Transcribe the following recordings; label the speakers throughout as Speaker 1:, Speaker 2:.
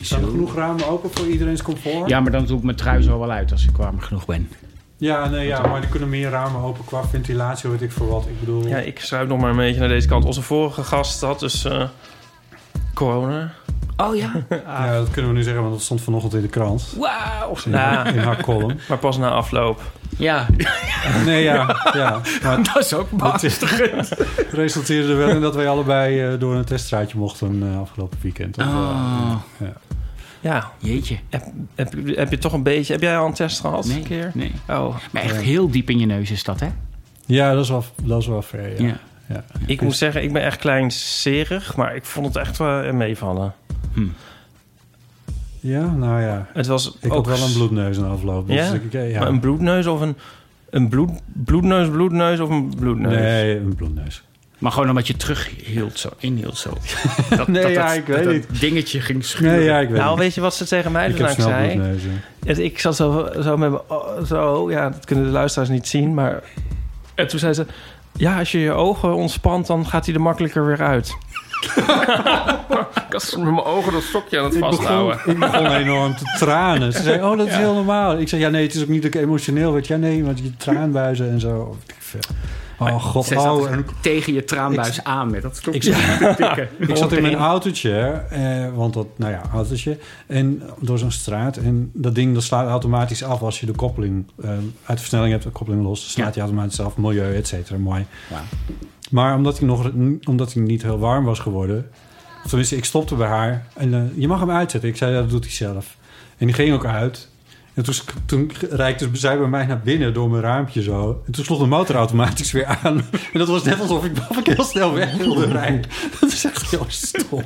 Speaker 1: Staan er genoeg ramen open voor iedereen's comfort?
Speaker 2: Ja, maar dan doe ik mijn trui zo wel uit als ik warm genoeg ben.
Speaker 1: Ja, nee, ja, maar er kunnen meer ramen open qua ventilatie, weet ik voor wat. Ik bedoel,
Speaker 3: Ja, ik schuif nog maar een beetje naar deze kant. Onze vorige gast had dus eh, corona.
Speaker 2: Oh ja?
Speaker 1: ja, dat kunnen we nu zeggen, want dat stond vanochtend in de krant.
Speaker 2: Wauw!
Speaker 1: In,
Speaker 3: Nou.
Speaker 1: in haar column.
Speaker 3: Maar pas na afloop.
Speaker 2: Ja,
Speaker 1: Nee, ja, ja. Maar het
Speaker 2: dat is ook beangstigend.
Speaker 1: resulteerde er wel in dat wij allebei eh, door een teststraatje mochten eh, afgelopen weekend. Dat, eh,
Speaker 2: Oh,
Speaker 3: Ja,
Speaker 2: jeetje.
Speaker 3: heb, heb, heb je toch een beetje... Heb jij al een test gehad?
Speaker 2: Nee,
Speaker 3: Een keer?
Speaker 2: nee.
Speaker 3: Oh,
Speaker 2: Maar echt heel diep in je neus is dat, hè?
Speaker 1: ja, dat is wel, dat is wel fair, ja.
Speaker 2: Ja.
Speaker 1: Ja.
Speaker 3: ik moet zeggen, ik ben echt kleinserig, maar ik vond het echt wel eh, meevallen.
Speaker 1: Ja, nou ja.
Speaker 3: Het was
Speaker 1: Ik
Speaker 3: ook
Speaker 1: had wel een bloedneus in de afloop. Dus
Speaker 3: Ja?
Speaker 1: ik, eh, ja.
Speaker 3: Maar een bloedneus of een, een bloed, bloedneus, bloedneus of een bloedneus?
Speaker 1: Nee, een bloedneus.
Speaker 2: Maar gewoon omdat je terughield zo, inhield zo. Dat,
Speaker 1: Nee, ja, ik weet
Speaker 2: dat
Speaker 1: niet.
Speaker 2: dingetje ging schuren.
Speaker 1: Nee, ja, ik weet
Speaker 3: Nou,
Speaker 1: het.
Speaker 3: weet je wat ze tegen mij
Speaker 1: Ik heb
Speaker 3: vandaag
Speaker 1: snel
Speaker 3: zei?
Speaker 1: bloedneuzen.
Speaker 3: Het- ik zat zo, zo met mijn... oh, zo, ja, dat kunnen de luisteraars niet zien, maar... En toen zei ze... Ja, als je je ogen ontspant, dan gaat hij er makkelijker weer uit. ik had met mijn ogen dat stokje aan het vasthouden.
Speaker 1: Ik begon enorm te tranen. Ze zei, oh, dat is heel normaal. Ik zei, ja, nee, het is ook niet dat ik emotioneel werd. Ja, nee, want je traanbuizen en zo. Of, ik veel. Oh, god.
Speaker 2: Zij zat
Speaker 1: Oh,
Speaker 2: gewoon tegen je traanbuis aan met dat stokje.
Speaker 1: ik zat in mijn autootje, eh, want dat, nou ja, autootje. En door zo'n straat. En dat ding dat slaat automatisch af als je de koppeling eh, uit de versnelling hebt, de koppeling los. dan slaat
Speaker 2: Ja.
Speaker 1: hij automatisch af, milieu, et cetera. Mooi.
Speaker 2: Ja.
Speaker 1: Maar omdat hij, nog, omdat hij niet heel warm was geworden. Tenminste, ik stopte bij haar. En eh, je mag hem uitzetten. Ik zei, ja, dat doet hij zelf. En die ging ook uit. En toen, toen reikte zij bij mij naar binnen door mijn raampje zo. En toen sloeg de motor automatisch weer aan. En dat was net alsof ik, of ik heel snel weg wilde rijden. Oh. Dat is echt heel stom.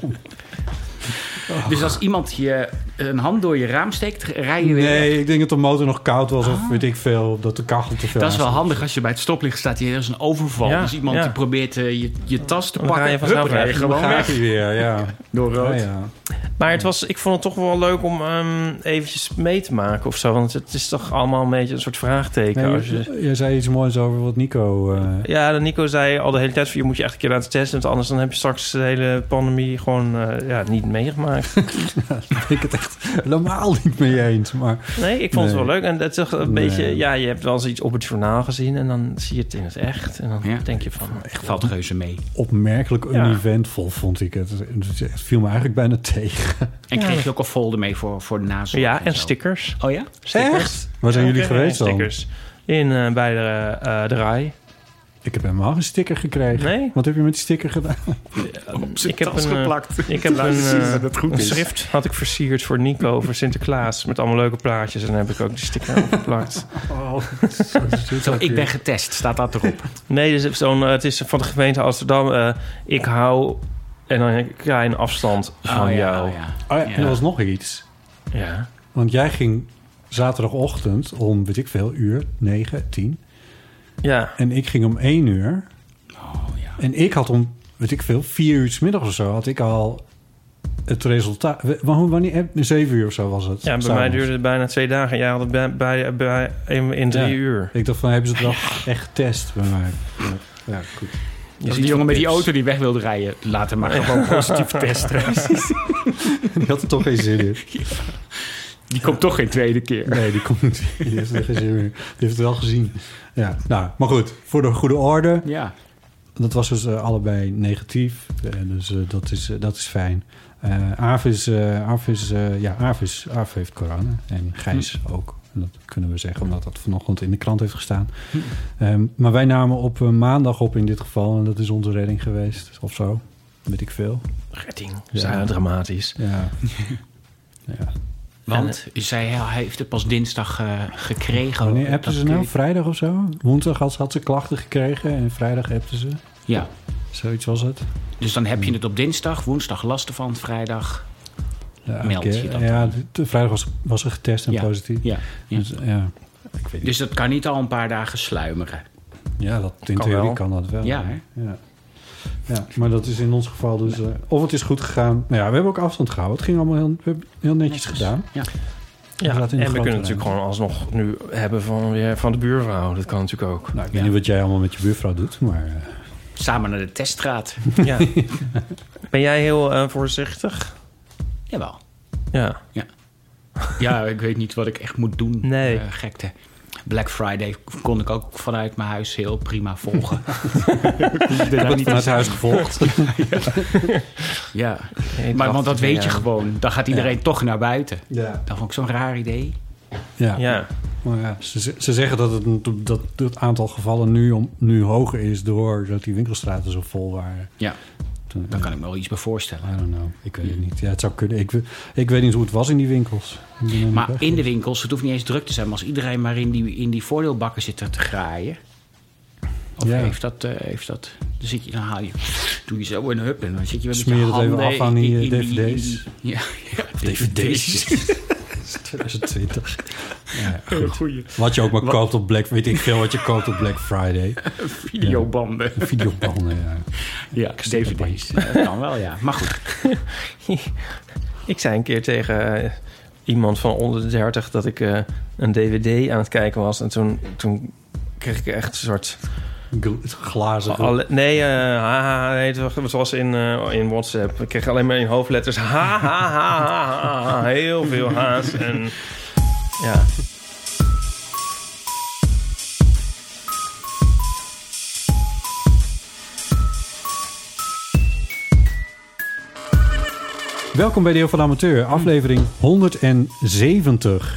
Speaker 2: Dus als iemand je een hand door je raam steekt, rij je weer. weg.
Speaker 1: Nee, ik denk dat de motor nog koud was of weet ik veel. Dat de kachel te veel
Speaker 2: Dat is wel
Speaker 1: aan
Speaker 2: handig als je bij het stoplicht staat. Hier is een overval.
Speaker 3: Ja,
Speaker 2: dus iemand
Speaker 3: ja.
Speaker 2: die probeert eh, je, je tas te
Speaker 3: Dan
Speaker 2: pakken.
Speaker 3: ga je vanzelf
Speaker 2: hup, rij je
Speaker 3: weg.
Speaker 2: gewoon
Speaker 1: staat.
Speaker 2: weg.
Speaker 1: Gaat hij weer, ja.
Speaker 2: Door rood.
Speaker 1: Ja, ja.
Speaker 3: Maar het was, ik vond het toch wel leuk om ehm, eventjes mee te maken of zo. Want het is toch allemaal een beetje een soort vraagteken.
Speaker 1: Nee,
Speaker 3: als je...
Speaker 1: je, je zei iets moois over wat Nico... eh,
Speaker 3: Ja, de Nico zei al de hele tijd... van, je moet je echt een keer laten testen... want anders dan heb je straks de hele pandemie gewoon eh, ja, niet meegemaakt.
Speaker 1: ben ik het echt helemaal niet mee eens. Maar
Speaker 3: Nee, ik vond het
Speaker 1: Nee.
Speaker 3: wel leuk. En dat is toch een
Speaker 1: Nee.
Speaker 3: beetje... Ja, je hebt wel eens iets op het journaal gezien... en dan zie je het in het echt. En dan
Speaker 2: Ja.
Speaker 3: denk je van...
Speaker 2: Valt reuze mee.
Speaker 1: opmerkelijk
Speaker 3: Ja.
Speaker 1: uneventvol vond ik het. Het het viel me eigenlijk bijna tegen.
Speaker 2: En kreeg je ook een folder mee voor, voor de nazorg?
Speaker 3: Ja, en
Speaker 2: zo.
Speaker 3: stickers.
Speaker 2: Oh ja?
Speaker 3: Stickers.
Speaker 1: Waar zijn
Speaker 3: Ja,
Speaker 1: jullie
Speaker 3: oké,
Speaker 1: geweest dan?
Speaker 3: Stickers. In, eh, bij de, eh de RAI.
Speaker 1: Ik heb helemaal geen sticker gekregen.
Speaker 3: Nee?
Speaker 1: Wat heb je met die sticker gedaan?
Speaker 3: ik heb een, eh, Ik heb een, eh, een schrift had ik versierd voor Nico voor Sinterklaas... met allemaal leuke plaatjes. En daar heb ik ook die sticker opgeplakt.
Speaker 2: Zo, ik ben getest. Staat dat erop?
Speaker 3: Nee, dus het is zo'n, eh, het is van de gemeente Amsterdam. eh, ik hou... En dan een klein afstand van jou.
Speaker 2: oh ja.
Speaker 1: Oh ja, en
Speaker 2: Ja.
Speaker 1: er was nog iets.
Speaker 3: ja.
Speaker 1: Want jij ging zaterdagochtend om, weet ik veel, uur, 9, 10.
Speaker 3: Ja,
Speaker 1: En ik ging om 1 uur.
Speaker 3: Oh,
Speaker 1: En ik had om, weet ik veel, 4 uur 's middags of zo... had ik al het resultaat... w- w- Wanneer, heb- 7 uur of zo was het.
Speaker 3: ja bij mij
Speaker 1: s'avonds.
Speaker 3: duurde het bijna twee dagen. Jij had het bij, bij, bij- in, in drie
Speaker 1: Ja.
Speaker 3: uur.
Speaker 1: Ik dacht van, hebben ze het wel echt getest bij mij? Ja, goed.
Speaker 2: Dat was die jongen met die auto die weg wilde rijden. Laat hem maar gewoon positief testen.
Speaker 1: Die had er toch geen zin in.
Speaker 2: Die komt toch geen tweede keer.
Speaker 1: Nee, die komt niet. Die heeft er geen zin meer. Die heeft het wel gezien. Ja, nou, maar goed. Voor de goede orde.
Speaker 2: Ja.
Speaker 1: Dat was dus eh, allebei negatief. Eh, dus eh, dat, is, eh, dat is fijn. Eh, Avis, eh, Avis, eh, ja, Avis, Aaf heeft corona. En Gijs
Speaker 2: Hm.
Speaker 1: ook. En Dat kunnen we zeggen, omdat dat vanochtend in de krant heeft gestaan.
Speaker 2: Hm.
Speaker 1: Ehm, maar wij namen op eh, maandag op in dit geval. En dat is onze redding geweest, of zo. Weet ik veel.
Speaker 3: Redding. Ja, dramatisch.
Speaker 1: Ja. ja.
Speaker 2: Want zij heeft het pas dinsdag eh, gekregen.
Speaker 1: Wanneer appten
Speaker 2: Dat
Speaker 1: ze nou?
Speaker 2: kreeg-
Speaker 1: Vrijdag of zo? Woensdag had, had ze klachten gekregen en vrijdag appten ze.
Speaker 2: Ja,
Speaker 1: Zoiets was het.
Speaker 2: dus dan heb je het op dinsdag, woensdag last ervan, vrijdag.
Speaker 1: Ja,
Speaker 2: Meld
Speaker 1: ik,
Speaker 2: je
Speaker 1: eh,
Speaker 2: dat
Speaker 1: ja, de- vrijdag was, was ze getest en
Speaker 2: Ja.
Speaker 1: positief.
Speaker 2: Ja. ja.
Speaker 1: Dus, ja.
Speaker 2: Dus dat kan niet al een paar dagen sluimeren.
Speaker 1: ja, dat, in
Speaker 3: Kan
Speaker 1: theorie
Speaker 3: wel.
Speaker 1: kan dat wel.
Speaker 2: Ja,
Speaker 1: hè? ja. Ja, maar dat is in ons geval dus... eh, of het is goed gegaan. Nou ja, we hebben ook afstand gehouden. Het ging allemaal heel, we hebben heel netjes gedaan.
Speaker 2: Ja.
Speaker 1: We zaten in de
Speaker 3: Ja, en we kunnen
Speaker 1: grote
Speaker 3: natuurlijk
Speaker 1: ruimte.
Speaker 3: gewoon alsnog nu hebben van, weer van de buurvrouw. Dat kan natuurlijk ook.
Speaker 1: Nou, ik
Speaker 2: Ja.
Speaker 1: weet niet wat jij allemaal met je buurvrouw doet, maar... eh,
Speaker 2: Samen naar de teststraat.
Speaker 3: Ja. ben jij heel eh, voorzichtig?
Speaker 2: Jawel.
Speaker 3: Ja.
Speaker 2: Ja, ik weet niet wat ik echt moet doen.
Speaker 3: Nee.
Speaker 2: Eh, gekte. Black Friday kon ik ook vanuit mijn huis heel prima volgen.
Speaker 1: ik heb het vanuit huis gevolgd.
Speaker 2: ja. Maar want dat weet je gewoon. Dan gaat iedereen toch naar buiten.
Speaker 1: ja.
Speaker 2: Dat vond ik zo'n raar idee.
Speaker 1: Ja.
Speaker 3: Ja.
Speaker 1: Maar ja, ze, ze- ze zeggen dat het, dat het aantal gevallen nu, om, nu hoger is... doordat die winkelstraten zo vol waren.
Speaker 2: Ja,
Speaker 1: Toen,
Speaker 2: daar kan ik me wel iets bij voorstellen.
Speaker 1: I don't know. Ik weet het niet. Ja, het zou kunnen. Ik, we- ik weet niet hoe het was in die winkels. Ik ben helemaal
Speaker 2: Maar
Speaker 1: weg.
Speaker 2: in de winkels, het hoeft niet eens druk te zijn. Maar als iedereen maar in die, in die voordeelbakken zit te graaien. Of
Speaker 1: Ja.
Speaker 2: heeft, dat, eh, heeft dat... Dan, zit je, dan haal je... Doe je zo een hup en dan zit je weer met
Speaker 1: Smeer
Speaker 2: je
Speaker 1: het even
Speaker 2: handen
Speaker 1: af aan die, eh,
Speaker 2: in in
Speaker 1: DVD's.
Speaker 2: die- ja, ja, DVD's.
Speaker 1: 2020. Ja, goed. Wat je ook maar koopt op Black... Weet ik veel wat je koopt op Black Friday.
Speaker 2: Videobanden.
Speaker 1: Videobanden, ja.
Speaker 2: Ja, DVD's. Dat kan wel, ja. Maar goed.
Speaker 3: Ik zei een keer tegen eh, iemand van onder de 30 dat ik eh, een DVD aan het kijken was. En toen, toen kreeg ik echt een soort.
Speaker 1: Gl- Glazen.
Speaker 3: alle- nee, eh haha, nee, het was- het was in, eh, in WhatsApp. Ik kreeg alleen maar in hoofdletters. Ha, ha, ha, ha, ha, ha. heel veel haast. En ja.
Speaker 1: Welkom bij Deel van de Amateur. Aflevering 170.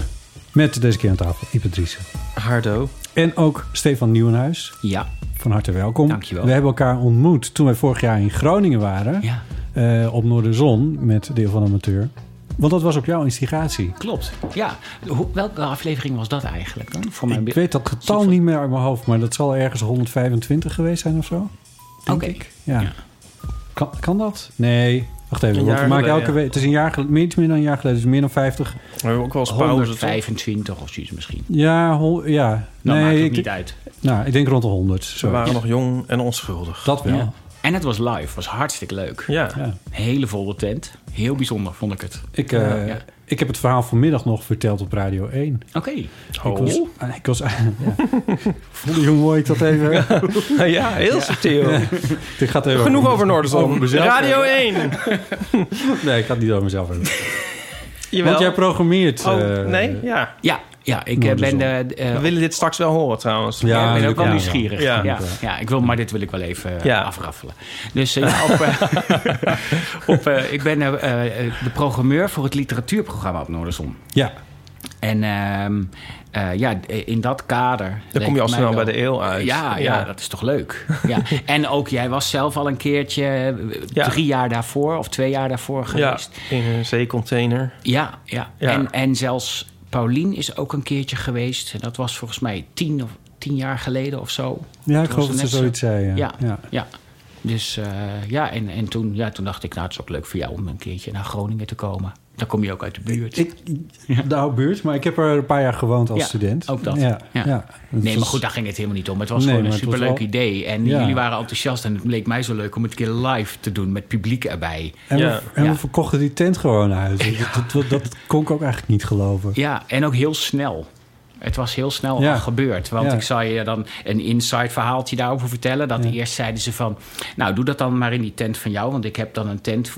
Speaker 1: Met deze keer aan tafel Ipe Driessen.
Speaker 3: Hardo.
Speaker 1: En ook Stefan Nieuwenhuis.
Speaker 2: Ja,
Speaker 1: Van harte welkom.
Speaker 2: Dankjewel.
Speaker 1: We hebben elkaar ontmoet toen wij vorig jaar in Groningen waren.
Speaker 2: ja.
Speaker 1: eh, op Noorderzon met Deel van de Amateur. Want dat was op jouw instigatie.
Speaker 2: Klopt. Ja. Hoe- welke aflevering was dat eigenlijk dan? Voor mijn
Speaker 1: Ik weet dat getal niet meer uit mijn hoofd, maar dat zal ergens 125 geweest zijn of zo.
Speaker 2: Oké.
Speaker 1: Ja.
Speaker 2: Ja.
Speaker 1: Kan, kan dat? Nee. Wacht even,
Speaker 3: Een
Speaker 1: want we
Speaker 3: jaar
Speaker 1: maken
Speaker 3: geleden,
Speaker 1: elke
Speaker 3: ja.
Speaker 1: week. Het is een jaar geleden, meer, iets meer dan een jaar geleden, dus meer dan 50.
Speaker 3: We hebben ook wel eens pauze. toch?
Speaker 2: 125 of zoiets misschien.
Speaker 1: Ja, hol- ja.
Speaker 2: Nou, maakt het
Speaker 1: ik,
Speaker 2: niet uit.
Speaker 1: Nou, ik denk rond de 100. Zo.
Speaker 3: We waren nog jong en onschuldig.
Speaker 1: Dat wel.
Speaker 2: Ja. En het was live. was hartstikke leuk.
Speaker 3: Ja.
Speaker 1: Ja.
Speaker 2: Hele volle tent. Heel bijzonder vond ik het.
Speaker 1: Ik, eh,
Speaker 2: Ja.
Speaker 1: ik heb het verhaal vanmiddag nog verteld op Radio 1.
Speaker 2: Oké. Oh.
Speaker 1: Ik was, ik was, ja. Voelde je hoe mooi ik dat even...
Speaker 3: Ja, heel subtiel.
Speaker 1: Dit gaat even
Speaker 3: Genoeg over
Speaker 1: Over
Speaker 3: Noorderzon.
Speaker 1: mezelf.
Speaker 3: Radio 1.
Speaker 1: Nee, ik ga het niet over mezelf hebben.
Speaker 3: Jawel.
Speaker 1: Want jij programmeert...
Speaker 3: Oh,
Speaker 1: eh,
Speaker 3: nee? Ja.
Speaker 2: Ja, ja ik
Speaker 3: Nou,
Speaker 2: eh, ben... eh, d- eh,
Speaker 3: We willen dit straks wel horen trouwens.
Speaker 1: Ja,
Speaker 2: ik ben ook
Speaker 1: natuurlijk,
Speaker 2: wel
Speaker 1: ja.
Speaker 2: nieuwsgierig.
Speaker 3: Ja.
Speaker 2: Ja. Ja. ik wil, maar dit wil ik wel even eh,
Speaker 3: Ja.
Speaker 2: afraffelen. Dus eh, ja, op, eh, op, eh, ik ben eh, eh, de programmeur voor het literatuurprogramma op Noorderzon.
Speaker 1: Ja,
Speaker 2: En ehm, eh, ja, in dat kader...
Speaker 3: Dan kom je al
Speaker 2: leek
Speaker 3: snel
Speaker 2: mij wel-
Speaker 3: bij de eeuw uit.
Speaker 2: Ja, ja.
Speaker 3: Ja.
Speaker 2: dat is toch leuk. ja. En ook, jij was zelf al een keertje eh,
Speaker 3: Ja.
Speaker 2: drie jaar daarvoor... of twee jaar daarvoor
Speaker 3: Ja,
Speaker 2: geweest.
Speaker 3: in een zeecontainer.
Speaker 2: Ja, ja.
Speaker 3: Ja.
Speaker 2: En, en zelfs Paulien is ook een keertje geweest. En dat was volgens mij tien, of, tien jaar geleden of zo.
Speaker 1: ja ik
Speaker 2: Toen
Speaker 1: geloof
Speaker 2: was
Speaker 1: dat
Speaker 2: er
Speaker 1: ze
Speaker 2: net
Speaker 1: zoiets zei. Ja.
Speaker 2: Ja, ja.
Speaker 1: Ja.
Speaker 2: Dus eh, ja, en, en toen, ja, toen dacht ik, nou, het is ook leuk voor jou om een keertje naar Groningen te komen. Dan kom je ook uit de buurt.
Speaker 1: Ik, nou, buurt, maar ik heb er een paar jaar gewoond als
Speaker 2: Ja,
Speaker 1: student.
Speaker 2: ook dat.
Speaker 1: Ja,
Speaker 2: Ja.
Speaker 1: ja. Het
Speaker 2: nee, maar
Speaker 1: was-
Speaker 2: goed, daar ging het helemaal niet om. Het was
Speaker 1: Nee,
Speaker 2: gewoon een
Speaker 1: maar het was
Speaker 2: superleuk
Speaker 1: wel-
Speaker 2: idee. En
Speaker 1: Ja.
Speaker 2: jullie waren enthousiast en het leek mij zo leuk om het een keer live te doen met publiek erbij.
Speaker 1: En,
Speaker 3: Ja.
Speaker 1: we, en we
Speaker 2: Ja.
Speaker 1: verkochten die tent gewoon uit. Dat, dat, dat kon ik ook eigenlijk niet geloven.
Speaker 2: Ja, en ook heel snel. Het was heel snel
Speaker 1: Ja.
Speaker 2: al gebeurd. Want
Speaker 1: Ja.
Speaker 2: ik zal je dan een inside verhaaltje daarover vertellen. Dat eerst zeiden ze van... Nou, doe dat dan maar in die tent van jou. Want ik heb dan een tent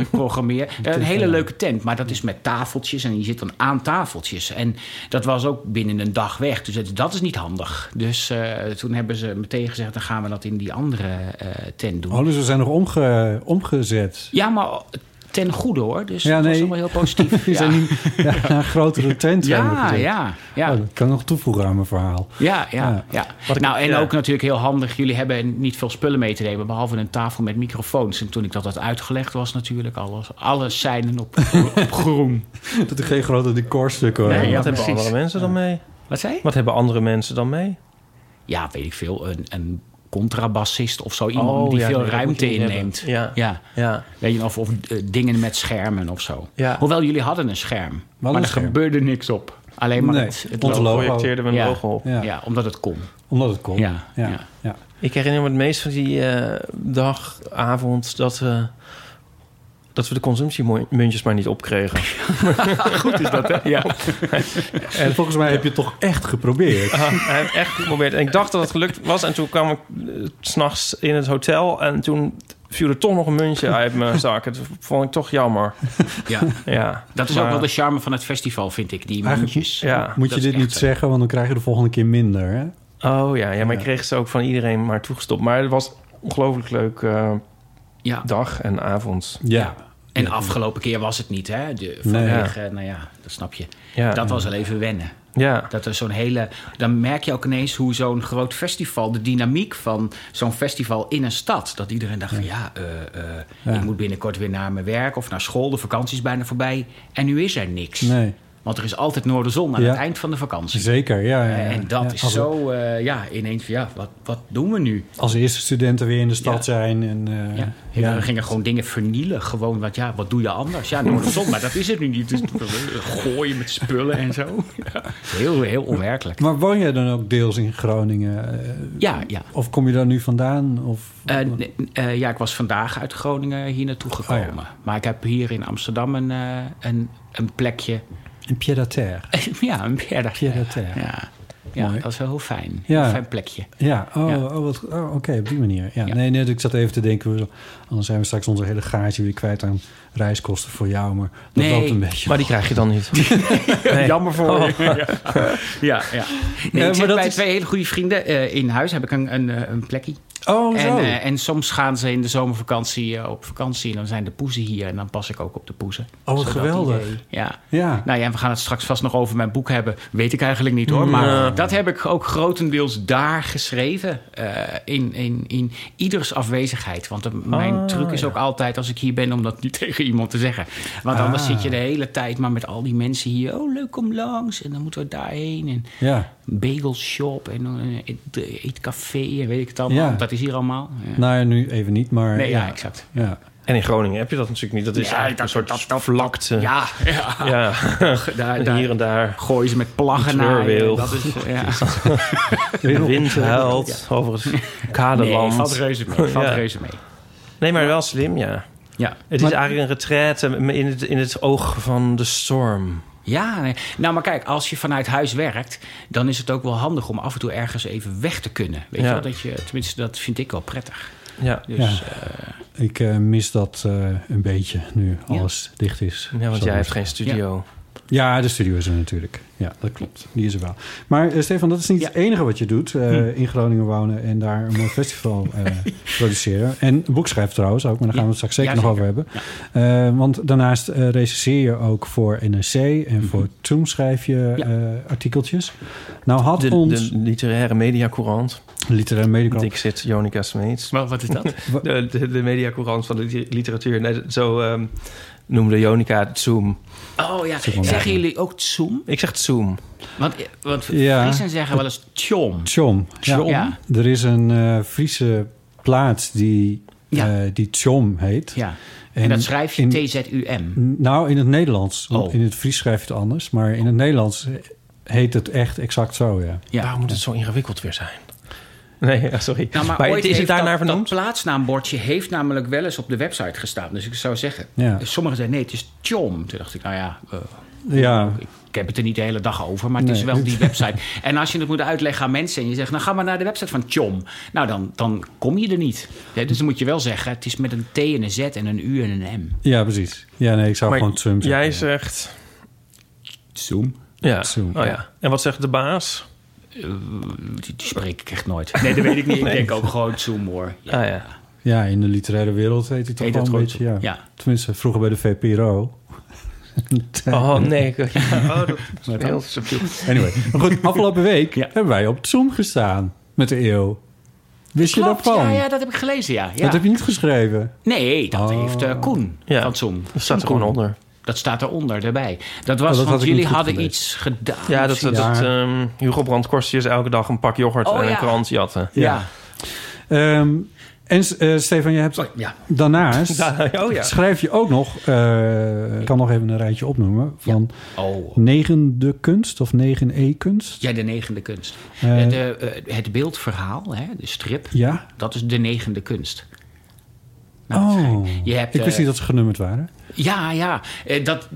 Speaker 2: ik programmeer. Eh, een hele leuke tent. Maar dat is met tafeltjes. En je zit dan aan tafeltjes. En dat was ook binnen een dag weg. Dus het- dat is niet handig. Dus eh, toen hebben ze meteen gezegd... Dan gaan we dat in die andere eh, tent doen.
Speaker 1: Oh, dus we zijn nog omge, omgezet.
Speaker 2: Ja, maar ten goede hoor. Dus
Speaker 1: Ja,
Speaker 2: dat was
Speaker 1: nee.
Speaker 2: allemaal heel positief.
Speaker 1: Die
Speaker 2: ja.
Speaker 1: zijn niet ja, naar een grotere tent. zijn we
Speaker 2: ja,
Speaker 1: gezet.
Speaker 2: ja, ja.
Speaker 1: Oh, dat kan ik nog toevoegen aan mijn verhaal.
Speaker 2: Ja, ja,
Speaker 1: Ja.
Speaker 2: ja.
Speaker 1: Wat ik-
Speaker 2: nou, en
Speaker 1: ja.
Speaker 2: ook natuurlijk heel handig. Jullie hebben niet veel spullen mee te nemen, behalve een tafel met microfoons. En toen ik dat had uitgelegd, was natuurlijk alles, alles seinen op, op groen.
Speaker 1: Dat er geen grote decorstukken
Speaker 2: Nee,
Speaker 1: waren.
Speaker 2: ja,
Speaker 3: wat hebben
Speaker 2: precies.
Speaker 3: andere mensen dan mee?
Speaker 2: Wat zei je?
Speaker 3: Wat hebben andere mensen dan mee?
Speaker 2: Ja, weet ik veel. Een, een contrabassist of zo. Iemand
Speaker 3: Oh,
Speaker 2: die
Speaker 3: ja,
Speaker 2: veel
Speaker 3: nee, dat moet je
Speaker 2: ruimte
Speaker 3: niet hebben.
Speaker 2: inneemt.
Speaker 3: Ja.
Speaker 2: ja.
Speaker 3: Ja.
Speaker 2: Weet je, of, of eh, dingen met schermen of zo.
Speaker 3: Ja.
Speaker 2: Hoewel jullie hadden een scherm, maar
Speaker 1: een
Speaker 2: er
Speaker 1: scherm.
Speaker 2: gebeurde niks op. Alleen maar
Speaker 1: Nee,
Speaker 2: het, het
Speaker 1: ons
Speaker 2: logo.
Speaker 1: logo.
Speaker 3: projecteerden we een
Speaker 2: Ja.
Speaker 3: logo op.
Speaker 1: Ja.
Speaker 2: Ja. omdat het kon.
Speaker 1: Omdat het kon.
Speaker 2: Ja,
Speaker 1: ja.
Speaker 2: ja.
Speaker 1: ja.
Speaker 3: Ik herinner me het meest van die eh, dag, avond, dat, we- dat we de consumptiemuntjes maar niet opkregen.
Speaker 2: Goed is dat, hè? Ja.
Speaker 1: En volgens mij heb je het toch echt geprobeerd.
Speaker 3: Ah, hij heeft echt geprobeerd. En ik dacht dat het gelukt was. En toen kwam ik eh, s s'nachts in het hotel. En toen viel er toch nog een muntje uit mijn zak. Dat vond ik toch jammer.
Speaker 2: ja.
Speaker 3: Ja.
Speaker 2: Dat is ook
Speaker 3: Maar-
Speaker 2: wel de charme van het festival, vind ik. Die
Speaker 1: Eigenlijk-
Speaker 2: muntjes.
Speaker 3: Ja.
Speaker 1: Moet je
Speaker 2: dat is
Speaker 1: dit niet
Speaker 2: echt zo.
Speaker 1: zeggen, want dan krijg je de volgende keer minder. Hè?
Speaker 3: Oh ja, ja maar ik kreeg ze ook van iedereen maar toegestopt. Maar het was een ongelooflijk leuk eh,
Speaker 2: Ja.
Speaker 3: dag en avond.
Speaker 1: Ja.
Speaker 2: En afgelopen keer was het niet, hè? De, vanwege, nou ja, dat snap je.
Speaker 3: Ja.
Speaker 2: Dat was al even wennen.
Speaker 3: Ja.
Speaker 2: Dat er zo'n hele. Dan merk je ook ineens hoe zo'n groot festival, de dynamiek van zo'n festival in een stad. Dat iedereen dacht van ja, eh, eh, ik moet binnenkort weer naar mijn werk of naar school. De vakantie is bijna voorbij. En nu is er niks.
Speaker 1: Nee.
Speaker 2: Want er is altijd Noorderzon aan
Speaker 1: Ja.
Speaker 2: het eind van de vakantie.
Speaker 1: Zeker, ja. ja, ja.
Speaker 2: En dat
Speaker 1: Ja,
Speaker 2: is
Speaker 1: als-
Speaker 2: zo, eh, ja, ineens van ja, wat, wat doen we nu?
Speaker 1: Als eerste studenten weer in de stad
Speaker 2: Ja.
Speaker 1: zijn. En, eh,
Speaker 2: Ja.
Speaker 1: ja.
Speaker 2: We gingen gewoon dingen vernielen. Gewoon, want ja, wat doe je anders? Ja, Noorderzon, maar dat is het nu niet. Dus gooien met spullen en zo. Ja. Heel, heel onwerkelijk.
Speaker 1: Maar woon jij dan ook deels in Groningen? Eh,
Speaker 2: Ja, ja.
Speaker 1: Of kom je daar nu vandaan? Of,
Speaker 2: Eh, nee, eh, ja, ik was vandaag uit Groningen hier naartoe gekomen.
Speaker 1: Oh, ja.
Speaker 2: Maar ik heb hier in Amsterdam een, eh, een, een plekje.
Speaker 1: in pied-à-terre.
Speaker 2: ja, eh, een berg.
Speaker 1: Pied-à-terre.
Speaker 2: Ja, ja
Speaker 1: Mooi.
Speaker 2: dat is wel heel fijn.
Speaker 1: Ja.
Speaker 2: Heel fijn plekje.
Speaker 1: Ja, oh,
Speaker 2: Ja.
Speaker 1: oh, wat- oh, oké, op die manier. Ja,
Speaker 2: Ja.
Speaker 1: Nee, nee, ik zat even te denken, we- anders zijn we straks onze hele gaatje weer kwijt aan reiskosten voor jou. Maar dat
Speaker 2: Nee.
Speaker 1: loopt een beetje.
Speaker 3: Maar die krijg je dan niet. Nee.
Speaker 2: Jammer voor je. Oh, Ja, ja. ja. Nee,
Speaker 1: maar
Speaker 2: ik zit
Speaker 1: dat
Speaker 2: bij
Speaker 1: is-
Speaker 2: twee hele goede vrienden eh, in huis. Heb ik een, een, eh, een plekje.
Speaker 1: oh,
Speaker 2: En,
Speaker 1: zo.
Speaker 2: eh, en soms gaan ze in de zomervakantie eh, op vakantie. En dan zijn de poezen hier. En dan pas ik ook op de poezen.
Speaker 1: oh, wat
Speaker 2: Zodat
Speaker 1: geweldig.
Speaker 2: die- eh, Ja.
Speaker 1: Ja.
Speaker 2: Nou ja, en we gaan het straks vast nog over mijn boek hebben. Weet ik eigenlijk niet hoor. Maar dat heb ik ook grotendeels daar geschreven. eh, in, in, in ieders afwezigheid. Want de- mijn
Speaker 1: Ah,
Speaker 2: truc is ook altijd als ik hier ben om dat niet tegen iemand te zeggen. Want anders
Speaker 1: Ah.
Speaker 2: zit je de hele tijd maar met al die mensen hier. Oh, leuk om langs. En dan moeten we daarheen. En
Speaker 1: ja.
Speaker 2: bagelshop en eh, eet- eetcafé en weet ik het allemaal.
Speaker 1: Ja.
Speaker 2: Dat is hier allemaal. Ja.
Speaker 1: Nou ja, nu even niet, maar...
Speaker 2: nee, ja,
Speaker 1: ja.
Speaker 2: exact.
Speaker 1: ja.
Speaker 3: En in Groningen heb je dat natuurlijk niet. Dat is
Speaker 2: Ja,
Speaker 3: eigenlijk een
Speaker 2: dat-
Speaker 3: soort
Speaker 2: dat- dat-
Speaker 3: vlakte.
Speaker 2: Ja, ja.
Speaker 3: Ja.
Speaker 2: Daar, daar
Speaker 3: Hier en daar.
Speaker 2: gooien ze met plaggen naar. je.
Speaker 3: Treurweel.
Speaker 2: Dat is, eh, ja.
Speaker 3: De wind huilt over het
Speaker 2: Nee,
Speaker 3: kaderland.
Speaker 2: valt reuze mee. Valt
Speaker 3: Ja.
Speaker 2: reuze mee.
Speaker 3: Nee, maar wel slim, ja.
Speaker 2: Ja.
Speaker 3: Het is eigenlijk een retraite in het, in het oog van de storm.
Speaker 2: Ja, nee. nou maar kijk, als je vanuit huis werkt, dan is het ook wel handig om af en toe ergens even weg te kunnen. Weet
Speaker 3: Ja.
Speaker 2: je wel, dat je, tenminste, dat vind ik wel prettig.
Speaker 3: Ja,
Speaker 2: Dus,
Speaker 1: Ja. Ik eh, mis dat eh, een beetje nu
Speaker 2: Ja.
Speaker 1: alles dicht is.
Speaker 3: ja want
Speaker 1: Zo
Speaker 3: jij
Speaker 1: is
Speaker 3: hebt
Speaker 1: het.
Speaker 3: geen studio.
Speaker 1: Ja, de studio is er natuurlijk. Ja, dat klopt. Die is er wel. Maar eh, Stefan, dat is niet
Speaker 2: Ja.
Speaker 1: het enige wat je doet. eh, In Groningen wonen en daar een mooi festival eh, produceren. En een boek schrijven trouwens ook, maar daar gaan we het straks zeker
Speaker 2: Ja,
Speaker 1: nog over
Speaker 2: zeker.
Speaker 1: hebben. Eh, want daarnaast eh recenseer je ook voor NRC en voor Toen schrijf je
Speaker 2: Ja.
Speaker 1: eh, artikeltjes. Nou had
Speaker 3: De,
Speaker 1: ons...
Speaker 3: de literaire mediacourant.
Speaker 1: literaire medicus.
Speaker 3: Ik zit Jonica Smeets.
Speaker 2: maar wat is dat?
Speaker 3: De, de, de mediacourant van de liter- literatuur. Nee, zo ehm, noemde Jonica het Zoom.
Speaker 2: Oh ja,
Speaker 1: wel
Speaker 2: zeggen jullie ook Zoom?
Speaker 3: Ik zeg het Zoom.
Speaker 2: Want, eh, want
Speaker 1: Ja.
Speaker 2: Friesen zeggen wel eens Tjom.
Speaker 1: Tjom.
Speaker 2: Tjom? Ja.
Speaker 1: Er is een eh, Friese plaats die,
Speaker 2: Ja.
Speaker 1: eh, die Tjom heet.
Speaker 2: Ja. En,
Speaker 1: En
Speaker 2: dat schrijf je
Speaker 1: in-
Speaker 2: T-Z-U-M.
Speaker 1: Nou, in het Nederlands.
Speaker 2: Oh.
Speaker 1: In het Fries schrijf je het anders. Maar in het Nederlands heet het echt exact zo, ja.
Speaker 2: Ja.
Speaker 3: Waarom moet het zo ingewikkeld weer zijn? Nee, ja, sorry.
Speaker 2: Nou, maar
Speaker 3: maar
Speaker 2: ooit
Speaker 3: het is het
Speaker 2: heeft
Speaker 3: daarnaar
Speaker 2: dat, dat
Speaker 3: vernoemd?
Speaker 2: plaatsnaambordje heeft namelijk wel eens op de website gestaan. Dus ik zou zeggen,
Speaker 1: Ja.
Speaker 2: sommigen zeiden nee, het is Tjom. Toen dacht ik, nou ja, eh,
Speaker 1: Ja,
Speaker 2: Ik heb het er niet de hele dag over, maar het is
Speaker 1: Nee.
Speaker 2: wel die website. En als je het moet uitleggen aan mensen en je zegt... nou ga maar naar de website van Chom. Nou, dan, dan kom je er niet. Ja, dus dan moet je wel zeggen, het is met een T en een Z en een U en een M.
Speaker 1: ja precies. Ja, nee, ik zou
Speaker 3: Maar
Speaker 1: gewoon Tsum zeggen.
Speaker 3: jij zegt...
Speaker 2: Zoom?
Speaker 3: Ja.
Speaker 1: Zoom,
Speaker 3: oh,
Speaker 1: ja.
Speaker 3: ja. En wat zegt de baas?
Speaker 2: Eh, Die, die spreek ik echt nooit. Nee, dat weet ik niet. Ik denk ook gewoon Zoom hoor. Ja.
Speaker 3: Ah ja.
Speaker 1: Ja, in de literaire wereld heet het toch
Speaker 2: Heet
Speaker 1: wel
Speaker 2: dat
Speaker 1: een
Speaker 2: gewoon
Speaker 1: beetje. Ja.
Speaker 2: zo? Ja.
Speaker 1: Tenminste, vroeger bij de VPRO.
Speaker 3: Oh nee, ik- oh, dat is
Speaker 1: Maar
Speaker 3: heel
Speaker 1: dan-
Speaker 3: subtiel.
Speaker 1: Anyway, maar goed, afgelopen week hebben wij op Zoom gestaan met de eeuw. Wist je
Speaker 2: Klopt,
Speaker 1: daarvan?
Speaker 2: ja, ja, dat heb ik gelezen, ja. ja.
Speaker 1: Dat heb je niet geschreven.
Speaker 2: Nee, dat
Speaker 1: Oh.
Speaker 2: heeft eh, Koen
Speaker 3: Ja.
Speaker 2: van Som.
Speaker 3: Dat staat er gewoon onder.
Speaker 2: Dat staat eronder, daarbij. Dat was,
Speaker 1: Oh, dat had ik
Speaker 2: want jullie
Speaker 1: niet goed
Speaker 2: hadden
Speaker 1: gelezen.
Speaker 2: iets gedaan.
Speaker 3: Ja, dat,
Speaker 2: misschien.
Speaker 3: dat,
Speaker 1: Ja.
Speaker 3: dat, ehm, Hugo Brandt kostte je elke dag een pak yoghurt
Speaker 2: Oh,
Speaker 3: en
Speaker 2: ja.
Speaker 3: een krant jatten.
Speaker 2: ja.
Speaker 1: Ja. Ehm, en eh, Stefan, je hebt
Speaker 2: ja.
Speaker 1: daarnaast...
Speaker 3: Oh ja.
Speaker 1: Schrijf je ook nog, eh, ik kan nog even een rijtje opnoemen, van
Speaker 2: Oh.
Speaker 1: negende kunst of negen E E-kunst.
Speaker 2: Ja, de negende kunst.
Speaker 1: Eh.
Speaker 2: Eh, de, eh, het beeldverhaal, hè, de strip,
Speaker 1: Ja?
Speaker 2: dat is de negende kunst.
Speaker 1: Oh,
Speaker 2: je hebt,
Speaker 1: ik wist
Speaker 2: eh,
Speaker 1: niet dat ze genummerd waren.
Speaker 2: Ja, ja. Eh, Dat,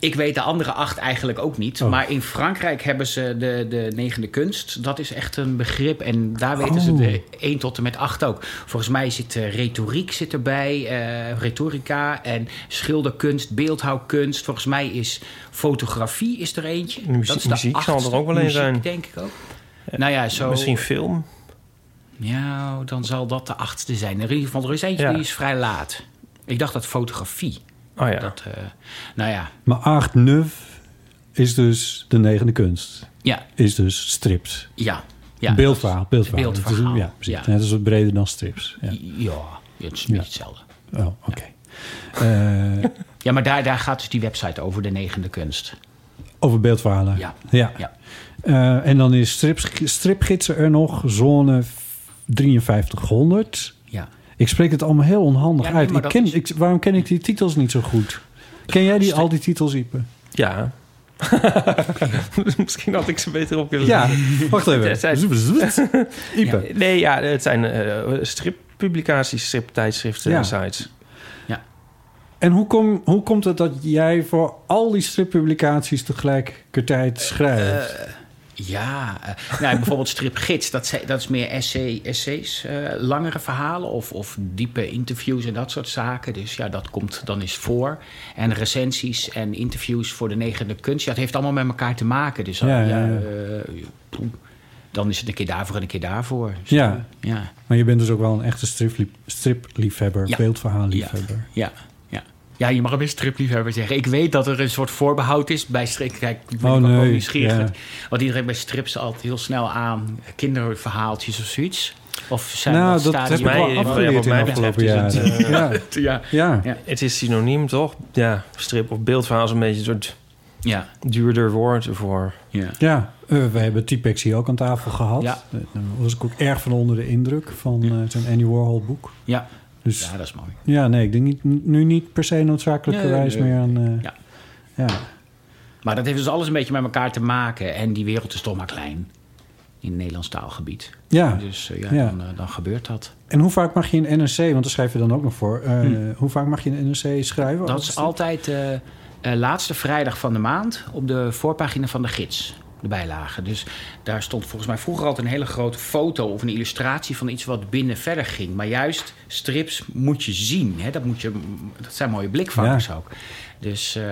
Speaker 2: ik weet de andere acht eigenlijk ook niet.
Speaker 1: Oh.
Speaker 2: Maar in Frankrijk hebben ze de, de negende kunst. Dat is echt een begrip. En daar weten ze
Speaker 1: Oh.
Speaker 2: de 1 tot en met 8 ook. Volgens mij zit eh, retoriek zit erbij. eh, retorica en schilderkunst, beeldhouwkunst. Volgens mij is fotografie is er eentje.
Speaker 3: Muzie- muziek zal er ook wel een
Speaker 2: Muziek,
Speaker 3: zijn.
Speaker 2: denk ik ook. Nou ja, zo...
Speaker 3: Misschien film.
Speaker 2: Ja, dan zal dat de achtste zijn. In ieder geval, er is eentje
Speaker 3: Ja.
Speaker 2: die is vrij laat. Ik dacht dat fotografie.
Speaker 3: Oh ja.
Speaker 2: Dat, eh, nou ja,
Speaker 1: Maar 8 nuf is dus de negende kunst.
Speaker 2: Ja,
Speaker 1: Is dus strips.
Speaker 2: ja. ja.
Speaker 1: beeldverhaal, beeldverhaal.
Speaker 2: Beeldverhaal,
Speaker 1: Het is- ja, precies.
Speaker 2: ja.
Speaker 1: Net als wat breder dan strips. Ja.
Speaker 2: Ja, het is een beetje hetzelfde.
Speaker 1: Oh, oké. Eh,
Speaker 2: Ja, maar daar, daar gaat dus die website over, de negende kunst.
Speaker 1: over beeldverhalen.
Speaker 2: Ja.
Speaker 1: ja.
Speaker 2: Ja.
Speaker 1: Eh, en dan is strips, stripgidsen er nog, zone 5300.
Speaker 2: Ja.
Speaker 1: Ik spreek het allemaal heel onhandig
Speaker 2: Ja, nee,
Speaker 1: uit.
Speaker 2: maar
Speaker 1: Ik
Speaker 2: dat
Speaker 1: ken,
Speaker 2: is-
Speaker 1: ik, waarom ken ik die titels niet zo goed? Ken jij die, al die titels, Ipe?
Speaker 3: Ja. Misschien had ik ze beter op kunnen
Speaker 1: Ja,
Speaker 3: lezen.
Speaker 1: wacht
Speaker 3: Ja, zij-
Speaker 1: even. Ipe.
Speaker 3: Nee, ja, het zijn eh, strippublicaties, striptijdschriften
Speaker 1: Ja.
Speaker 3: en sites.
Speaker 1: En hoe, kom, hoe komt het dat jij voor al die strippublicaties tegelijkertijd schrijft?
Speaker 2: Ja, eh, nou, bijvoorbeeld stripgids, dat, zijn- dat is meer essay, essays, eh, langere verhalen of, of diepe interviews en dat soort zaken. Dus ja, dat komt dan eens voor. En recensies en interviews voor de negende kunst, ja, dat heeft allemaal met elkaar te maken. Dus ah,
Speaker 1: Ja,
Speaker 2: ja,
Speaker 1: ja, ja.
Speaker 2: eh, poeh, dan is het een keer daarvoor en een keer daarvoor. Dus,
Speaker 1: ja,
Speaker 2: ja,
Speaker 1: maar je bent dus ook wel een echte striplief- stripliefhebber,
Speaker 2: Ja.
Speaker 1: beeldverhaalliefhebber.
Speaker 2: Ja, ja. Ja, je mag hem een stripliefhebber zeggen. Ik weet dat er een soort voorbehoud is bij strip. Kijk, ik ben
Speaker 1: Oh,
Speaker 2: ook wel
Speaker 1: nee,
Speaker 2: nieuwsgierig.
Speaker 1: ja.
Speaker 2: Want iedereen bij strips altijd heel snel aan kinderverhaaltjes of zoiets. Of zijn
Speaker 1: Nou, dat
Speaker 2: dat,
Speaker 1: heb ik
Speaker 3: stadia-
Speaker 1: wel
Speaker 3: Mij-
Speaker 1: afgeleerd
Speaker 3: wat
Speaker 1: in de
Speaker 3: mij
Speaker 1: afgelopen
Speaker 3: betreft is
Speaker 1: jaren.
Speaker 3: het, eh,
Speaker 1: Ja,
Speaker 2: Ja,
Speaker 1: ja.
Speaker 2: Ja.
Speaker 3: Het is synoniem, toch? Ja, strip of beeldverhaal is een beetje een soort
Speaker 2: ja,
Speaker 3: duurder woord voor.
Speaker 2: ja.
Speaker 1: Ja, eh, we hebben T-Pex hier ook aan tafel gehad.
Speaker 2: Ja.
Speaker 1: Eh, Daar was ik ook erg van onder de indruk van eh, zo'n Andy Warhol boek.
Speaker 2: Ja,
Speaker 1: Dus
Speaker 2: ja,
Speaker 1: ja,
Speaker 2: dat is mooi.
Speaker 1: nee, ik denk niet, nu niet per se noodzakelijkerwijs
Speaker 2: Nee, nee.
Speaker 1: meer aan... eh,
Speaker 2: Ja.
Speaker 1: ja.
Speaker 2: Maar dat heeft dus alles een beetje met elkaar te maken. En die wereld is toch maar klein. In het Nederlands taalgebied.
Speaker 1: Ja.
Speaker 2: Dus eh, ja,
Speaker 1: Ja.
Speaker 2: Dan, eh, dan gebeurt dat.
Speaker 1: En hoe vaak mag je een NRC, want daar schrijf je dan ook nog voor... eh, hoe vaak mag je een NRC schrijven?
Speaker 2: Hm. Dat is altijd eh, eh, laatste vrijdag van de maand op de voorpagina van de gids. De bijlage. Dus daar stond volgens mij vroeger altijd een hele grote foto of een illustratie van iets wat binnen verder ging. Maar juist strips moet je zien. Hè? Dat, moet je, dat zijn mooie blikvangers ook. Dus eh,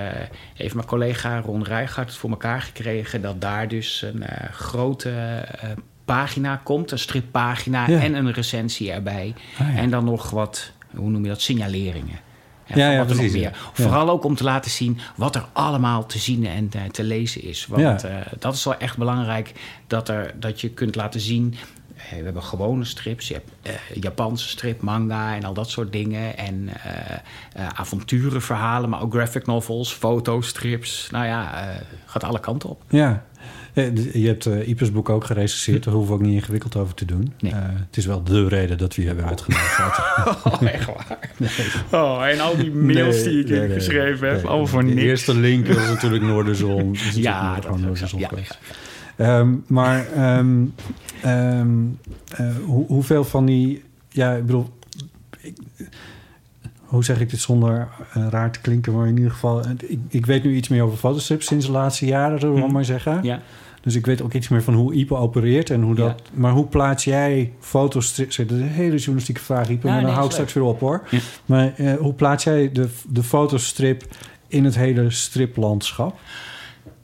Speaker 2: heeft mijn collega Ron Rijgaard het voor elkaar gekregen dat daar dus een eh, grote eh, pagina komt, een strippagina
Speaker 1: Ja.
Speaker 2: en een recensie erbij.
Speaker 1: Ah, ja.
Speaker 2: En dan nog wat, hoe noem je dat, signaleringen. En
Speaker 1: Ja,
Speaker 2: van
Speaker 1: ja,
Speaker 2: wat er nog
Speaker 1: precies, ja.
Speaker 2: meer. Vooral ook om te laten zien wat er allemaal te zien en eh, te lezen is. Want
Speaker 1: Ja.
Speaker 2: eh, dat is wel echt belangrijk dat, er, dat je kunt laten zien. eh, We hebben gewone strips, je hebt eh, Japanse strip, manga en al dat soort dingen. En eh, eh, avonturenverhalen, maar ook graphic novels, fotostrips. Nou ja, eh, gaat alle kanten op.
Speaker 1: Ja. Eh, d- Je hebt eh Ipers boek ook gerecenseerd. Daar hoeven we ook niet ingewikkeld over te doen.
Speaker 2: Hm. Nee.
Speaker 1: Eh, het is wel de reden dat we je hebben uitgenodigd.
Speaker 2: Oh, echt waar. Oh, en al die mails
Speaker 1: Nee,
Speaker 2: die ik
Speaker 1: nee, nee,
Speaker 2: geschreven heb,
Speaker 1: nee.
Speaker 2: allemaal voor
Speaker 1: de
Speaker 2: niks.
Speaker 1: eerste link was natuurlijk Noorderzon. Dat is
Speaker 2: Ja,
Speaker 1: natuurlijk
Speaker 2: dat
Speaker 1: gewoon
Speaker 2: is
Speaker 1: Noorderzon
Speaker 2: ook zo. Ja,
Speaker 1: geweest. Ehm, maar ehm, ehm, eh, hoe- hoeveel van die... Ja, ik bedoel... ik- hoe zeg ik dit zonder eh, raar te klinken? Maar in ieder geval... eh, Ik, ik weet nu iets meer over fotostrips sinds de laatste jaren, zullen we maar zeggen.
Speaker 2: Mhm. Ja.
Speaker 1: Dus ik weet ook iets meer van hoe Ipe opereert en hoe dat. Maar hoe plaats jij fotostrips? Dat is een hele journalistieke vraag, Ipe, maar
Speaker 2: Ja,
Speaker 1: dan
Speaker 2: nee,
Speaker 1: hou ik
Speaker 2: is
Speaker 1: straks weer op hoor. Maar eh, hoe plaats jij de, de fotostrip in het hele striplandschap?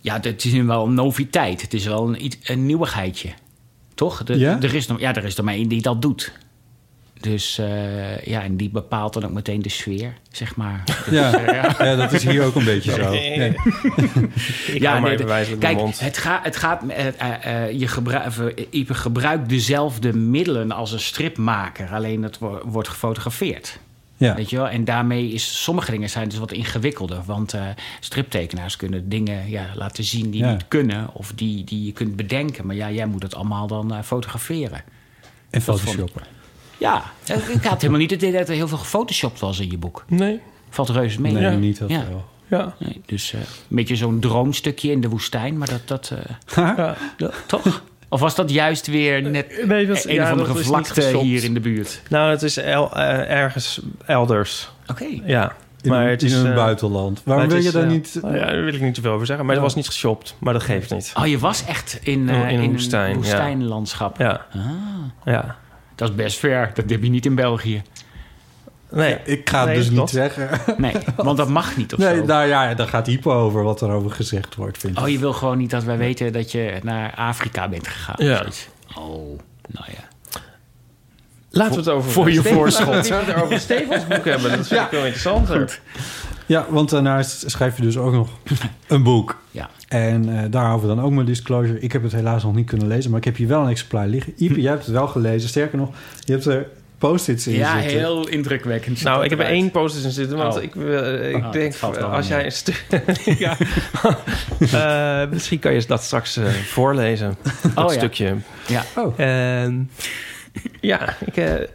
Speaker 2: Ja, het is wel een noviteit. Het is wel een, iets- een nieuwigheidje. Toch? De-
Speaker 1: Ja?
Speaker 2: er is nog, ja, er is er maar één die dat doet. Dus eh, ja, en die bepaalt dan ook meteen de sfeer, zeg maar.
Speaker 1: Ja.
Speaker 2: Dus, eh,
Speaker 1: Ja, dat is hier ook een beetje zo. Ja.
Speaker 3: Ik hou maar
Speaker 2: nee,
Speaker 3: even
Speaker 2: de-
Speaker 3: wijzelijk mijn
Speaker 2: kijk,
Speaker 3: mond.
Speaker 2: het, gaat, het gaat. eh, eh, eh, je gebruikt, gebruikt dezelfde middelen als een stripmaker, alleen het wo- wordt gefotografeerd.
Speaker 1: Ja.
Speaker 2: Weet je wel? En daarmee is sommige dingen zijn dus wat ingewikkelder. Want eh, striptekenaars kunnen dingen ja, laten zien die
Speaker 1: Ja.
Speaker 2: niet kunnen of die, die je kunt bedenken. Maar ja, jij moet het allemaal dan eh, fotograferen.
Speaker 1: En photoshoppen.
Speaker 2: Ja, eh, ik had helemaal niet het idee dat er heel veel gefotoshopt was in je boek.
Speaker 3: Nee,
Speaker 2: Valt reuze mee.
Speaker 1: Nee,
Speaker 3: Ja.
Speaker 1: niet heel
Speaker 2: Ja.
Speaker 1: veel.
Speaker 3: ja.
Speaker 2: Nee, dus eh, een beetje zo'n droomstukje in de woestijn, maar dat, dat eh,
Speaker 1: Ah?
Speaker 3: ja.
Speaker 2: toch? Of was dat juist weer net
Speaker 3: Eh, Nee, dat,
Speaker 2: een
Speaker 3: ja,
Speaker 2: of andere
Speaker 3: dat is niet
Speaker 2: vlakte
Speaker 3: geshopt.
Speaker 2: hier in de buurt?
Speaker 3: Nou, het is el- eh, ergens elders.
Speaker 2: Oké.
Speaker 3: Ja.
Speaker 1: In,
Speaker 3: maar
Speaker 1: een-
Speaker 3: het
Speaker 1: in
Speaker 3: is,
Speaker 1: een
Speaker 3: eh,
Speaker 1: buitenland.
Speaker 3: maar
Speaker 1: Waarom
Speaker 3: het
Speaker 1: wil je
Speaker 3: is,
Speaker 1: daar
Speaker 3: eh,
Speaker 1: niet... Ah.
Speaker 3: nou ja, daar wil ik niet te veel over zeggen. Maar dat was niet geshopt. Maar dat geeft niet.
Speaker 2: Oh, je was echt in, eh,
Speaker 3: Oh, In een
Speaker 2: in een
Speaker 3: woestijn, ja.
Speaker 2: woestijnlandschap.
Speaker 3: Ja. Ja.
Speaker 2: Dat is best ver. Dat heb je niet in België.
Speaker 3: Nee.
Speaker 1: Ik ga het
Speaker 3: Nee,
Speaker 1: dus niet
Speaker 3: klopt.
Speaker 1: zeggen.
Speaker 2: Nee, want dat mag niet of
Speaker 1: Nee,
Speaker 2: zo.
Speaker 1: nou ja, daar gaat hypo over wat er over gezegd wordt, vind ik.
Speaker 2: Oh, je wil gewoon niet dat wij weten dat je naar Afrika bent gegaan. of
Speaker 1: Ah,
Speaker 3: Ja.
Speaker 2: zoiets. Oh, nou ja.
Speaker 3: Laten we het over
Speaker 2: voor je voorschot.
Speaker 3: Laten we het over Stevens boek hebben. Dat vind ik wel interessanter.
Speaker 1: Ja, want daarnaast schrijf je dus ook nog een boek.
Speaker 2: Ja.
Speaker 1: En eh, daarover dan ook mijn disclosure. Ik heb het helaas nog niet kunnen lezen, maar ik heb hier wel een exemplaar liggen. Ipe, jij hebt het wel gelezen. Sterker nog, je hebt er post-its in
Speaker 2: Ja,
Speaker 1: zitten.
Speaker 2: heel indrukwekkend.
Speaker 3: eh, Nou, ik heb er
Speaker 2: Eruit.
Speaker 3: één post in zitten, want
Speaker 2: Oh.
Speaker 3: ik, eh, ik
Speaker 2: Ah,
Speaker 3: denk,
Speaker 2: dat valt wel
Speaker 3: als
Speaker 2: mee.
Speaker 3: jij een stuk... ja. Eh, misschien kan je dat straks eh, voorlezen, dat
Speaker 2: Oh, ja.
Speaker 3: stukje.
Speaker 2: Ja.
Speaker 1: Oh.
Speaker 3: En, Ehm, ja, ik eh, heb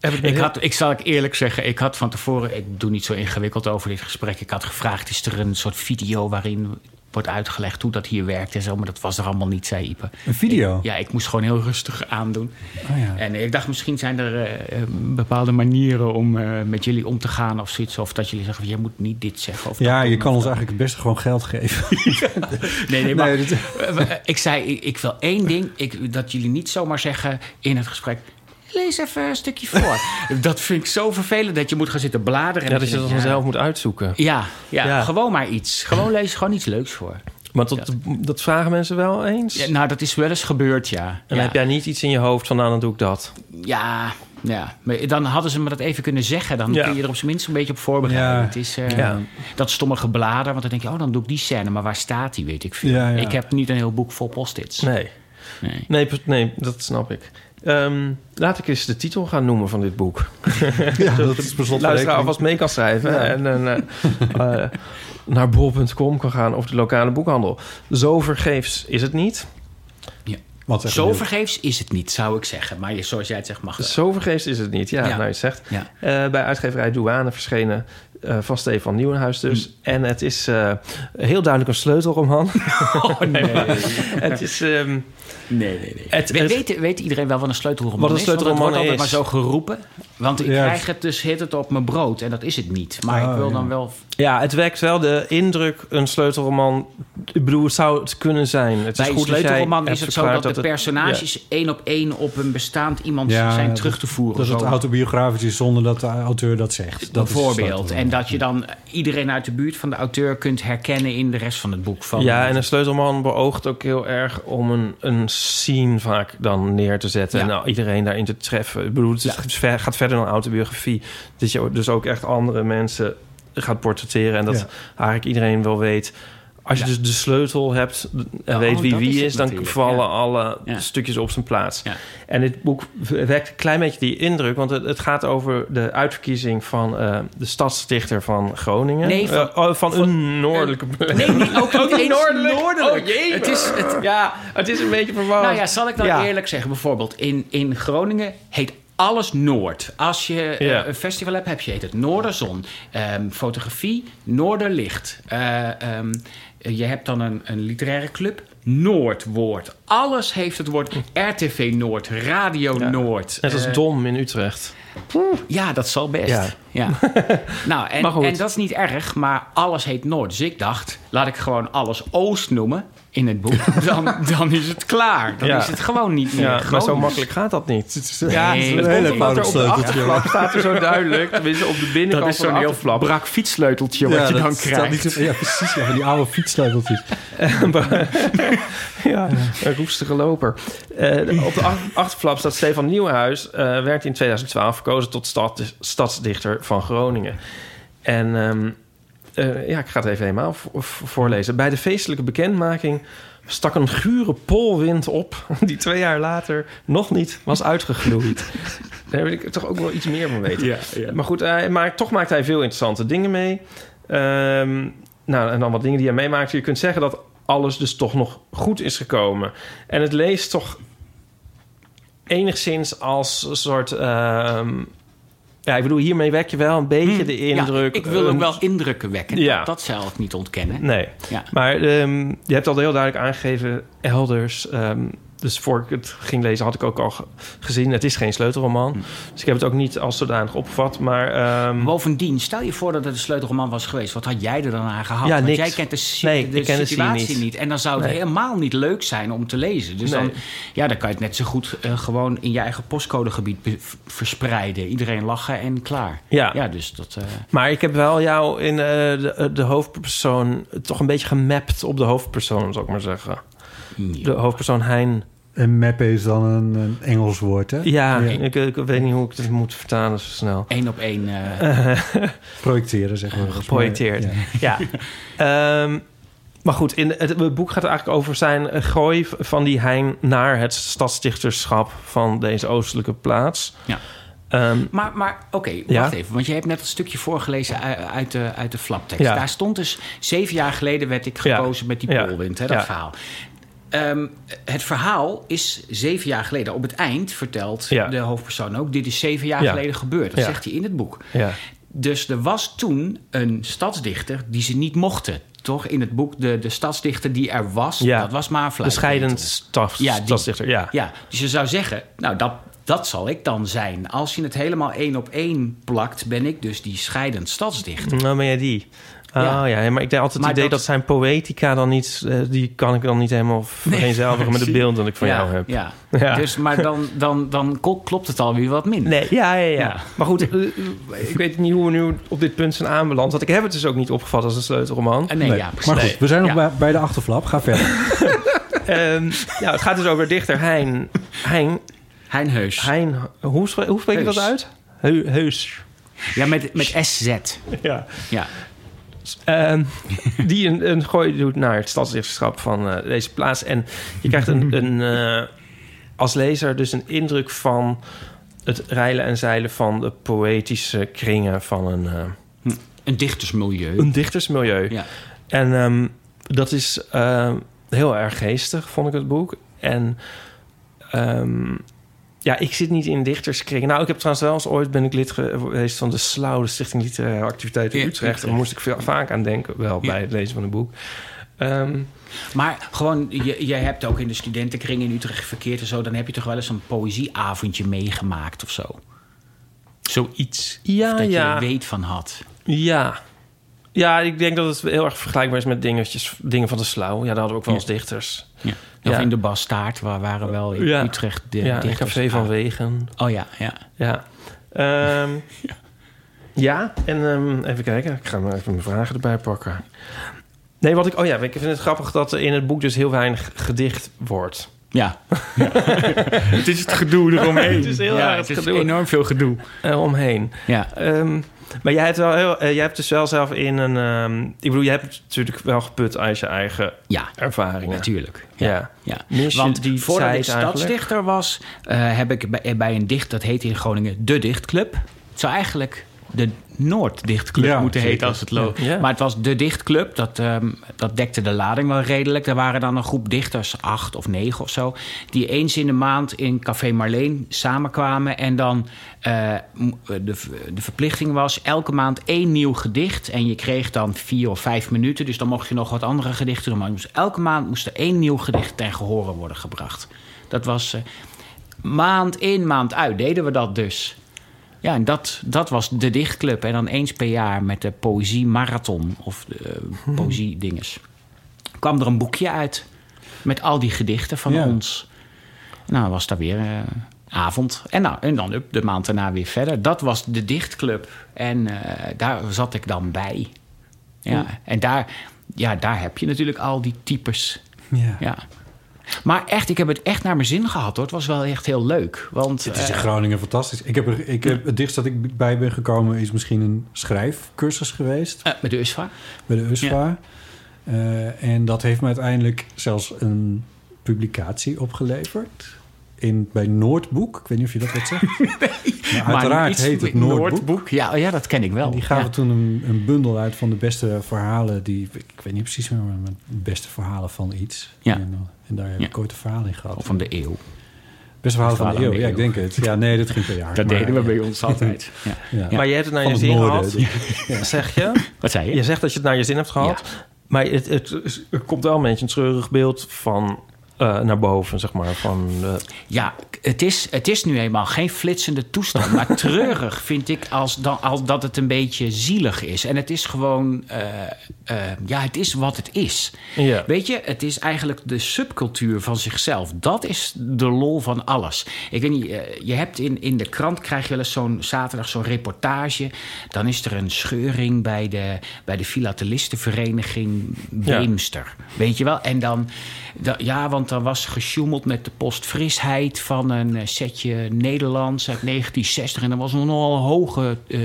Speaker 3: het
Speaker 2: Ik,
Speaker 3: heel-
Speaker 2: had, ik zal ik eerlijk zeggen, ik had van tevoren... Ik doe niet zo ingewikkeld over dit gesprek. Ik had gevraagd, is er een soort video waarin wordt uitgelegd hoe dat hier werkt en zo. Maar dat was er allemaal niet, zei Ipe.
Speaker 1: Een video?
Speaker 3: Oh.
Speaker 2: Ja, ik moest gewoon heel rustig aandoen.
Speaker 1: Oh, ja.
Speaker 2: En ik dacht, misschien zijn er eh, eh, bepaalde manieren om eh, met jullie om te gaan of zoiets. Of dat jullie zeggen, je moet niet dit zeggen. Of
Speaker 1: ja,
Speaker 2: dat
Speaker 1: je
Speaker 2: doen,
Speaker 1: kan
Speaker 2: of
Speaker 1: ons
Speaker 2: dat.
Speaker 1: eigenlijk het beste gewoon geld geven.
Speaker 2: Nee, nee, maar
Speaker 1: Nee, dit-
Speaker 2: eh, eh, ik zei, ik, ik wil één ding. Ik, dat jullie niet zomaar zeggen in het gesprek... Lees even een stukje voor. dat vind ik zo vervelend dat je moet gaan zitten bladeren. en
Speaker 3: ja, dat je
Speaker 2: denkt,
Speaker 3: dat
Speaker 2: ja,
Speaker 3: vanzelf moet uitzoeken.
Speaker 2: Ja, ja,
Speaker 3: Ja.
Speaker 2: gewoon maar iets. Gewoon lees gewoon iets leuks voor.
Speaker 3: Maar dat, dat vragen mensen wel eens.
Speaker 2: Ja,
Speaker 3: en
Speaker 2: nou, dat is wel eens gebeurd, ja.
Speaker 3: dan
Speaker 2: ja.
Speaker 3: heb jij niet iets in je hoofd van, nou, dan doe ik dat.
Speaker 2: Ja, ja. Maar dan hadden ze me dat even kunnen zeggen. Dan
Speaker 3: Ja.
Speaker 2: kun je er op zijn minst een beetje op voorbereiden.
Speaker 1: Ja.
Speaker 2: Het is eh,
Speaker 3: Ja.
Speaker 2: dat stomme geblader. Want dan denk je, oh, dan doe ik die scène. Maar waar staat die, weet ik veel.
Speaker 1: Ja, ja.
Speaker 2: Ik heb niet een heel boek vol post-its.
Speaker 3: Nee,
Speaker 2: Nee.
Speaker 3: nee, pers- nee dat snap ik. Ehm, laat ik eens de titel gaan noemen van dit boek.
Speaker 1: ja, dat is per
Speaker 3: luisteraar
Speaker 1: slotverrekening.
Speaker 3: alvast mee kan schrijven. En, en, eh, eh, naar bol.com kan gaan of de lokale boekhandel. Zo vergeefs is het niet.
Speaker 1: Wat echt
Speaker 2: Zo
Speaker 1: heel-
Speaker 2: vergeefs is het niet, zou ik zeggen. Maar je- zoals jij het zegt, mag dat.
Speaker 3: Zo vergeefs is het niet, ja,
Speaker 2: Ja.
Speaker 3: nou je het zegt.
Speaker 2: Ja.
Speaker 3: Eh, bij uitgeverij Douane verschenen eh, van Stefan Nieuwenhuis dus.
Speaker 2: Mm.
Speaker 3: En het is eh, heel duidelijk een sleutelroman.
Speaker 2: Oh, nee, nee, nee.
Speaker 3: het is... ehm,
Speaker 2: nee, nee, nee.
Speaker 3: Het-
Speaker 2: We-
Speaker 3: het-
Speaker 2: weet, weet iedereen wel wat een sleutelroman
Speaker 3: Wat een
Speaker 2: is? Want
Speaker 3: sleutelroman
Speaker 2: het wordt
Speaker 3: is.
Speaker 2: altijd maar zo geroepen. Want ik
Speaker 1: Ja.
Speaker 2: krijg het dus hit het op mijn brood. En dat is het niet. Maar
Speaker 1: Oh,
Speaker 2: ik wil
Speaker 1: ja.
Speaker 2: dan wel...
Speaker 3: ja, het wekt wel de indruk een sleutelroman... Ik bedoel, het zou het kunnen zijn. Het
Speaker 2: Bij
Speaker 3: is
Speaker 2: een
Speaker 3: goed dat jij
Speaker 2: sleutelroman
Speaker 3: hebt
Speaker 2: is het zo
Speaker 3: verklaard
Speaker 2: dat, de
Speaker 3: het- ja.
Speaker 2: personages één op één op een bestaand iemand
Speaker 1: Ja,
Speaker 2: zijn
Speaker 1: dat-
Speaker 2: terug te voeren.
Speaker 1: Dat het
Speaker 2: Zo.
Speaker 1: autobiografisch is zonder dat de auteur dat zegt. Dat is eh,
Speaker 2: bijvoorbeeld.
Speaker 1: sleutel.
Speaker 2: En dat je dan iedereen uit de buurt van de auteur kunt herkennen in de rest van het boek. Van,
Speaker 3: Ja, en een sleutelman beoogt ook heel erg om een, een scene vaak dan neer te zetten.
Speaker 2: Ja.
Speaker 3: En nou, iedereen daarin te treffen. Ik bedoel, het is-
Speaker 2: Ja.
Speaker 3: het ver- gaat verder dan autobiografie. Dat je dus ook echt andere mensen gaat portretteren. En dat
Speaker 1: Ja.
Speaker 3: eigenlijk iedereen wel weet. Als je
Speaker 2: Ja.
Speaker 3: dus de sleutel hebt en
Speaker 2: Ja,
Speaker 3: weet
Speaker 2: oh,
Speaker 3: wie
Speaker 2: dat
Speaker 3: wie
Speaker 2: is
Speaker 3: is,
Speaker 2: het
Speaker 3: dan
Speaker 2: natuurlijk.
Speaker 3: vallen
Speaker 2: Ja.
Speaker 3: alle
Speaker 2: Ja.
Speaker 3: stukjes op zijn plaats.
Speaker 2: Ja.
Speaker 3: En dit boek wekt een klein beetje die indruk, want het, het gaat over de uitverkiezing van eh, de stadsdichter van Groningen.
Speaker 2: Nee, van-
Speaker 3: Eh, oh, van, een noordelijke plek.
Speaker 2: Nee, niet, ook niet eens
Speaker 3: noordelijk.
Speaker 2: noordelijk.
Speaker 3: Oh, jee.
Speaker 2: Het is, het,
Speaker 3: Ja, het is een beetje verwarrend.
Speaker 2: nou ja, zal ik dan
Speaker 3: Ja.
Speaker 2: eerlijk zeggen. Bijvoorbeeld in, in Groningen heet alles Noord. Als je eh,
Speaker 3: Ja.
Speaker 2: een festival hebt, heb je heet het Noorderzon. Ehm, fotografie, Noorderlicht. Eh, ehm, je hebt dan een, een literaire club. Noordwoord. Alles heeft het woord RTV Noord, Radio Noord.
Speaker 3: Hm. Net als
Speaker 2: eh,
Speaker 3: Dom in Utrecht.
Speaker 2: Ja, dat zal best.
Speaker 3: Ja.
Speaker 2: Ja. nou, en,
Speaker 3: Maar goed.
Speaker 2: en dat is niet erg, maar alles heet Noord. Dus ik dacht, laat ik gewoon alles Oost noemen in het boek. Dan, dan is het klaar. Dan
Speaker 3: Ja.
Speaker 2: is het gewoon niet meer
Speaker 3: Ja, maar
Speaker 2: Gronings.
Speaker 3: zo makkelijk gaat dat niet.
Speaker 1: Het is een
Speaker 2: Ja, het
Speaker 1: hele
Speaker 2: komt
Speaker 3: Omdat er
Speaker 1: eenvoudig
Speaker 3: op de
Speaker 1: sleuteltje.
Speaker 3: achterklap staat er zo duidelijk. Tenminste, op de binnenkant
Speaker 2: Dat is
Speaker 3: van
Speaker 2: zo'n
Speaker 3: de
Speaker 2: heel
Speaker 3: achterklap.
Speaker 2: brak fietssleuteltje wat je
Speaker 1: dat
Speaker 2: dan
Speaker 1: staat
Speaker 2: krijgt.
Speaker 1: niet zo- ja, precies. Ja, van die oude fietssleuteltjes.
Speaker 3: ja, een roestige loper. Eh, op de ach- achterflap staat Stefan Nieuwenhuis. eh, werd in 2012 verkozen tot stad, stadsdichter van Groningen. En ehm, eh, ja, ik ga het even helemaal vo- vo- voorlezen. Bij de feestelijke bekendmaking stak een gure polwind op... die twee jaar later nog niet was uitgegloeid. Daar wil ik toch ook wel iets meer van weten.
Speaker 4: Ja, ja.
Speaker 3: Maar goed, hij maakt, toch maakt hij veel interessante dingen mee. Ehm, nou, en dan wat dingen die hij meemaakt. Je kunt zeggen dat alles dus toch nog goed is gekomen. En het leest toch enigszins als een soort... ehm, ja, ik bedoel, hiermee wek je wel een beetje de indruk...
Speaker 2: Hmm. ik wil
Speaker 3: een-
Speaker 2: ook wel indrukken wekken.
Speaker 3: Ja.
Speaker 2: Dat zou ik niet ontkennen.
Speaker 3: Nee,
Speaker 2: Ja.
Speaker 3: maar ehm, je hebt al heel duidelijk aangegeven elders. ehm, dus voor ik het ging lezen had ik ook al ge- gezien... het is geen sleutelroman. Dus ik heb het ook niet als zodanig opgevat. Maar ehm,
Speaker 2: Bovendien, stel je voor dat het een sleutelroman was geweest. Wat had jij er dan aan gehad?
Speaker 3: Ja,
Speaker 2: Want
Speaker 3: niks.
Speaker 2: jij kent de, si-
Speaker 3: Nee,
Speaker 2: de
Speaker 3: ik ken de
Speaker 2: situatie
Speaker 3: scene
Speaker 2: niet.
Speaker 3: niet.
Speaker 2: En dan zou het
Speaker 3: Nee.
Speaker 2: helemaal niet leuk zijn om te lezen. Dus
Speaker 3: Nee.
Speaker 2: dan, ja, dan kan je het net zo goed eh, gewoon in je eigen postcodegebied be- v- verspreiden. Iedereen lachen en klaar.
Speaker 3: Ja.
Speaker 2: ja dus dat... eh,
Speaker 3: Maar ik heb wel jou in eh, de, de hoofdpersoon toch een beetje gemapt op de hoofdpersoon, zou ik maar zeggen.
Speaker 2: ja.
Speaker 3: De hoofdpersoon Hein.
Speaker 1: En mappen is dan een, een Engels woord, hè?
Speaker 3: Ja, Ik, ik weet niet hoe ik dit moet vertalen zo snel.
Speaker 2: Eén op één. eh,
Speaker 1: Projecteren, zeg maar.
Speaker 3: Geprojecteerd.
Speaker 1: Ja.
Speaker 3: Ja. Ehm, maar goed, in het, het boek gaat eigenlijk over zijn eh, gooi van die Hein naar het stadsdichterschap van deze oostelijke plaats.
Speaker 2: Ja.
Speaker 3: Ehm,
Speaker 2: Maar, maar oké,
Speaker 3: Ja?
Speaker 2: wacht even. Want je hebt net een stukje voorgelezen u- uit de, uit de flaptekst.
Speaker 3: Ja.
Speaker 2: Daar stond dus... Zeven jaar geleden werd ik
Speaker 3: Ja.
Speaker 2: gekozen met die
Speaker 3: Ja.
Speaker 2: polwind, hè, dat
Speaker 3: Ja.
Speaker 2: verhaal. Ehm, het verhaal is zeven jaar geleden. Op het eind vertelt
Speaker 3: Ja.
Speaker 2: de hoofdpersoon ook... dit is zeven jaar
Speaker 3: Ja.
Speaker 2: geleden gebeurd. Dat
Speaker 3: Ja.
Speaker 2: zegt hij in het boek.
Speaker 3: ja.
Speaker 2: Dus er was toen een stadsdichter die ze niet mochten. Toch? In het boek, de, de stadsdichter die er was,
Speaker 3: Ja.
Speaker 2: dat was Mavla.
Speaker 3: De scheidend staf,
Speaker 2: Ja, die.
Speaker 3: stadsdichter. Ja.
Speaker 2: Ja, dus je zou zeggen, nou dat, dat zal ik dan zijn. Als je het helemaal één op één plakt, ben ik dus die scheidend stadsdichter.
Speaker 3: Nou, maar ja, die. Oh
Speaker 2: Ja.
Speaker 3: ja, maar ik had altijd
Speaker 2: Maar
Speaker 3: het idee
Speaker 2: dat-
Speaker 3: dat... zijn poëtica dan niet... eh, die kan ik dan niet helemaal vereenzelvigen met de beelden dat ik van jou heb.
Speaker 2: Ja.
Speaker 3: Ja.
Speaker 2: Dus, maar dan, dan, dan ko- klopt het alweer wat minder.
Speaker 3: Nee, ja, ja, ja.
Speaker 2: Ja.
Speaker 3: Maar goed, eh, ik weet niet hoe we nu op dit punt zijn aanbeland. Want ik heb het dus ook niet opgevat als een sleutelroman.
Speaker 2: Eh, nee,
Speaker 1: Nee.
Speaker 2: ja, precies.
Speaker 1: Maar goed, we zijn nog
Speaker 2: Ja.
Speaker 1: bij, bij de achterflap. Ga verder.
Speaker 3: Ehm, ja, het gaat dus over dichter Hein... Hein...
Speaker 2: Hein Heus.
Speaker 3: hein hoe, spre- hoe spreek ik dat
Speaker 2: Heus.
Speaker 3: uit? Heu- heus.
Speaker 2: Ja, met, met SZ.
Speaker 3: Ja.
Speaker 2: Ja.
Speaker 3: Ehm, die een, een gooi doet naar het stadsdichterschap van eh, deze plaats. En je krijgt een, een, eh, als lezer dus een indruk van het reilen en zeilen van de poëtische kringen van een, eh,
Speaker 2: Een dichtersmilieu.
Speaker 3: een dichtersmilieu.
Speaker 2: Ja.
Speaker 3: En ehm, dat is ehm, heel erg geestig, vond ik het boek. En ehm, ja, ik zit niet in dichterskringen. Nou, ik heb trouwens wel eens ooit ben ik lid geweest van de Slauw, de Stichting Literaire Activiteiten
Speaker 2: Ja,
Speaker 3: Utrecht.
Speaker 2: Utrecht.
Speaker 3: Daar moest ik veel, vaak aan denken, wel
Speaker 2: Ja.
Speaker 3: bij het lezen van een boek. Ehm,
Speaker 2: Maar gewoon, je, je hebt ook in de studentenkring in Utrecht verkeerd en zo... dan heb je toch wel eens een poëzieavondje meegemaakt of zo? Zoiets.
Speaker 3: Ja,
Speaker 2: Of dat
Speaker 3: Ah, ja.
Speaker 2: je er weet van had.
Speaker 3: ja. Ja, ik denk dat het heel erg vergelijkbaar is met dingetjes, dingen van de Slauw. Ja, daar hadden we ook wel eens dichters.
Speaker 2: Ja. Of
Speaker 3: Ja.
Speaker 2: in de Bastaard, waar waren wel in
Speaker 3: Ja.
Speaker 2: Utrecht de
Speaker 3: Ja, een
Speaker 2: dichters
Speaker 3: café van
Speaker 2: aan.
Speaker 3: Wegen.
Speaker 2: Oh ja, ja.
Speaker 3: Ja. Ehm, ja. en ehm, even kijken. Ik ga maar even mijn vragen erbij pakken. Nee, wat ik... Oh ja, ik vind het grappig dat er in het boek dus heel weinig gedicht wordt.
Speaker 2: Ja,
Speaker 5: Het is het gedoe eromheen.
Speaker 3: Het is heel
Speaker 2: ja
Speaker 3: erg
Speaker 2: het is
Speaker 3: gedoe.
Speaker 2: enorm veel gedoe.
Speaker 3: eh, omheen.
Speaker 2: Ja.
Speaker 3: Ehm, maar jij hebt, wel heel, eh, jij hebt dus wel zelf in een... ehm, ik bedoel, jij hebt natuurlijk wel geput uit je eigen
Speaker 2: Ja,
Speaker 3: ervaringen.
Speaker 2: natuurlijk.
Speaker 3: Ja.
Speaker 2: Ja.
Speaker 3: Mis je
Speaker 2: Want
Speaker 3: die
Speaker 2: voordat ik
Speaker 3: tijd eigenlijk?
Speaker 2: stadsdichter was, eh, heb ik bij, bij een dicht, dat heet in Groningen De Dichtclub. Het zou eigenlijk de Noorddichtclub
Speaker 1: Ja,
Speaker 2: moeten
Speaker 1: zeker.
Speaker 2: heten als het loopt.
Speaker 3: Ja.
Speaker 2: Maar het was De Dichtclub, dat, ehm, dat dekte de lading wel redelijk. Er waren dan een groep dichters, acht of negen of zo, die eens in de maand in Café Marleen samenkwamen. En dan eh, m- de, v- de verplichting was elke maand één nieuw gedicht. En je kreeg dan vier of vijf minuten, dus dan mocht je nog wat andere gedichten doen. Maar je moest- elke maand moest er één nieuw gedicht ten gehore worden gebracht. Dat was eh, maand in, maand uit deden we dat dus. Ja, en dat, dat was de dichtclub. En dan eens per jaar met de poëzie marathon of de eh, poëzie dinges. Kwam er een boekje uit met al die gedichten van
Speaker 1: Ja.
Speaker 2: ons. Nou, was daar weer eh, avond. En, nou, en dan up, de maand daarna weer verder. Dat was de dichtclub. En eh, daar zat ik dan bij. Ja, en daar... ja, daar heb je natuurlijk al die types. Ja. Maar echt, ik heb het echt naar mijn zin gehad hoor. Het was wel echt heel leuk. Want,
Speaker 1: Het is in
Speaker 2: eh,
Speaker 1: Groningen fantastisch. Ik heb, er- ik heb, het dichtst dat ik bij ben gekomen is misschien een schrijfcursus geweest.
Speaker 2: eh, met de USFA.
Speaker 1: bij de USFA. Eh, en dat heeft me uiteindelijk zelfs een publicatie opgeleverd. In, bij Noordboek. Ik weet niet of je dat wat zegt. maar uiteraard
Speaker 2: iets
Speaker 1: heet het
Speaker 2: met
Speaker 1: Noordboek.
Speaker 2: Ja, oh ja, dat ken ik wel.
Speaker 1: Die gaven
Speaker 2: Ja.
Speaker 1: toen een, een bundel uit van de beste verhalen. Die, ik weet niet precies meer, maar de beste verhalen van iets.
Speaker 2: Ja.
Speaker 1: En, dan- en daar heb
Speaker 2: Ja.
Speaker 1: ik ooit een verhaal in gehad.
Speaker 2: Of van de eeuw.
Speaker 1: Beste verhalen van de
Speaker 2: verhalen
Speaker 1: eeuw.
Speaker 2: aan de
Speaker 1: Ja, ik
Speaker 2: eeuw.
Speaker 1: denk het. Ja, nee, dat ging per jaar.
Speaker 2: Dat
Speaker 1: Maar-
Speaker 2: deden we bij ons altijd. Ja.
Speaker 1: Ja.
Speaker 3: Maar je hebt het naar
Speaker 1: Van
Speaker 3: je
Speaker 1: het
Speaker 3: zin
Speaker 1: noorden, dus.
Speaker 3: gehad,
Speaker 1: denk
Speaker 3: zeg je.
Speaker 2: Wat zei je?
Speaker 3: Je zegt dat je het naar je zin hebt gehad. Maar het, het, is- er komt wel een beetje een treurig beeld van eh, naar boven, zeg maar. Van, eh,
Speaker 2: Ja, het is, het is nu eenmaal geen flitsende toestand. Maar treurig vind ik als, dan, als dat het een beetje zielig is. En het is gewoon, eh, eh, ja, het is wat het is.
Speaker 3: ja.
Speaker 2: Weet je, het is eigenlijk de subcultuur van zichzelf. Dat is de lol van alles. Ik weet niet, eh, je hebt in, in de krant krijg je wel eens zo'n zaterdag zo'n reportage. Dan is er een scheuring bij de, bij de filatelistenvereniging
Speaker 3: Ja.
Speaker 2: Beemster. Weet je wel? En dan, da- ja, want dan was gesjoemeld met de postfrisheid van een eh, setje Nederlands uit 1960. En dat was nog een hoge, eh,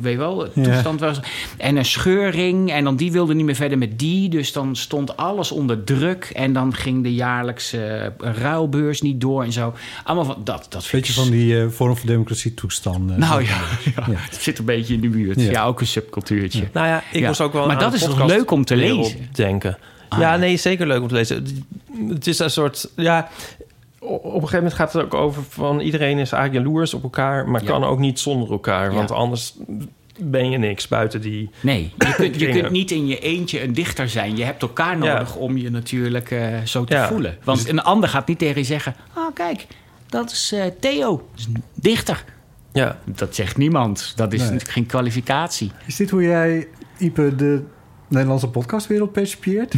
Speaker 2: weet je wel, toestand was. En een scheuring. En dan die wilde niet meer verder met die. Dus dan stond alles onder druk. En dan ging de jaarlijkse eh, ruilbeurs niet door en zo. Allemaal van dat. dat vind
Speaker 1: Beetje
Speaker 2: ik
Speaker 1: van die eh, Forum voor Democratie toestanden.
Speaker 2: nou ja, ja. het zit een beetje in de buurt. Ja,
Speaker 1: Ja.
Speaker 2: ook een subcultuurtje.
Speaker 3: Nou ja, ik
Speaker 2: Ja.
Speaker 3: moest ook wel
Speaker 2: Maar
Speaker 3: aan
Speaker 2: dat
Speaker 3: de
Speaker 2: is toch
Speaker 3: podcast-
Speaker 2: leuk om te
Speaker 3: wereld
Speaker 2: lezen? Ah,
Speaker 3: denken. ja, nee, zeker leuk om te lezen. Het is een soort, ja... o- Op een gegeven moment gaat het ook over van... iedereen is eigenlijk jaloers op elkaar... maar
Speaker 2: Ja.
Speaker 3: kan ook niet zonder elkaar. Want
Speaker 2: Ja.
Speaker 3: anders ben je niks buiten die...
Speaker 2: Nee, je kunt, je
Speaker 3: Dingen.
Speaker 2: kunt niet in je eentje een dichter zijn. Je hebt elkaar nodig om je natuurlijk eh, zo te
Speaker 3: Ja. Dus-
Speaker 2: voelen. Want een ander gaat niet tegen je zeggen... Ah, kijk, dat is eh, Theo, dat is een dichter.
Speaker 3: Ja,
Speaker 2: Dat zegt niemand. Dat is
Speaker 1: Nee.
Speaker 2: natuurlijk geen kwalificatie.
Speaker 1: Is dit hoe jij, Ipe, de Nederlandse podcastwereld percipieert?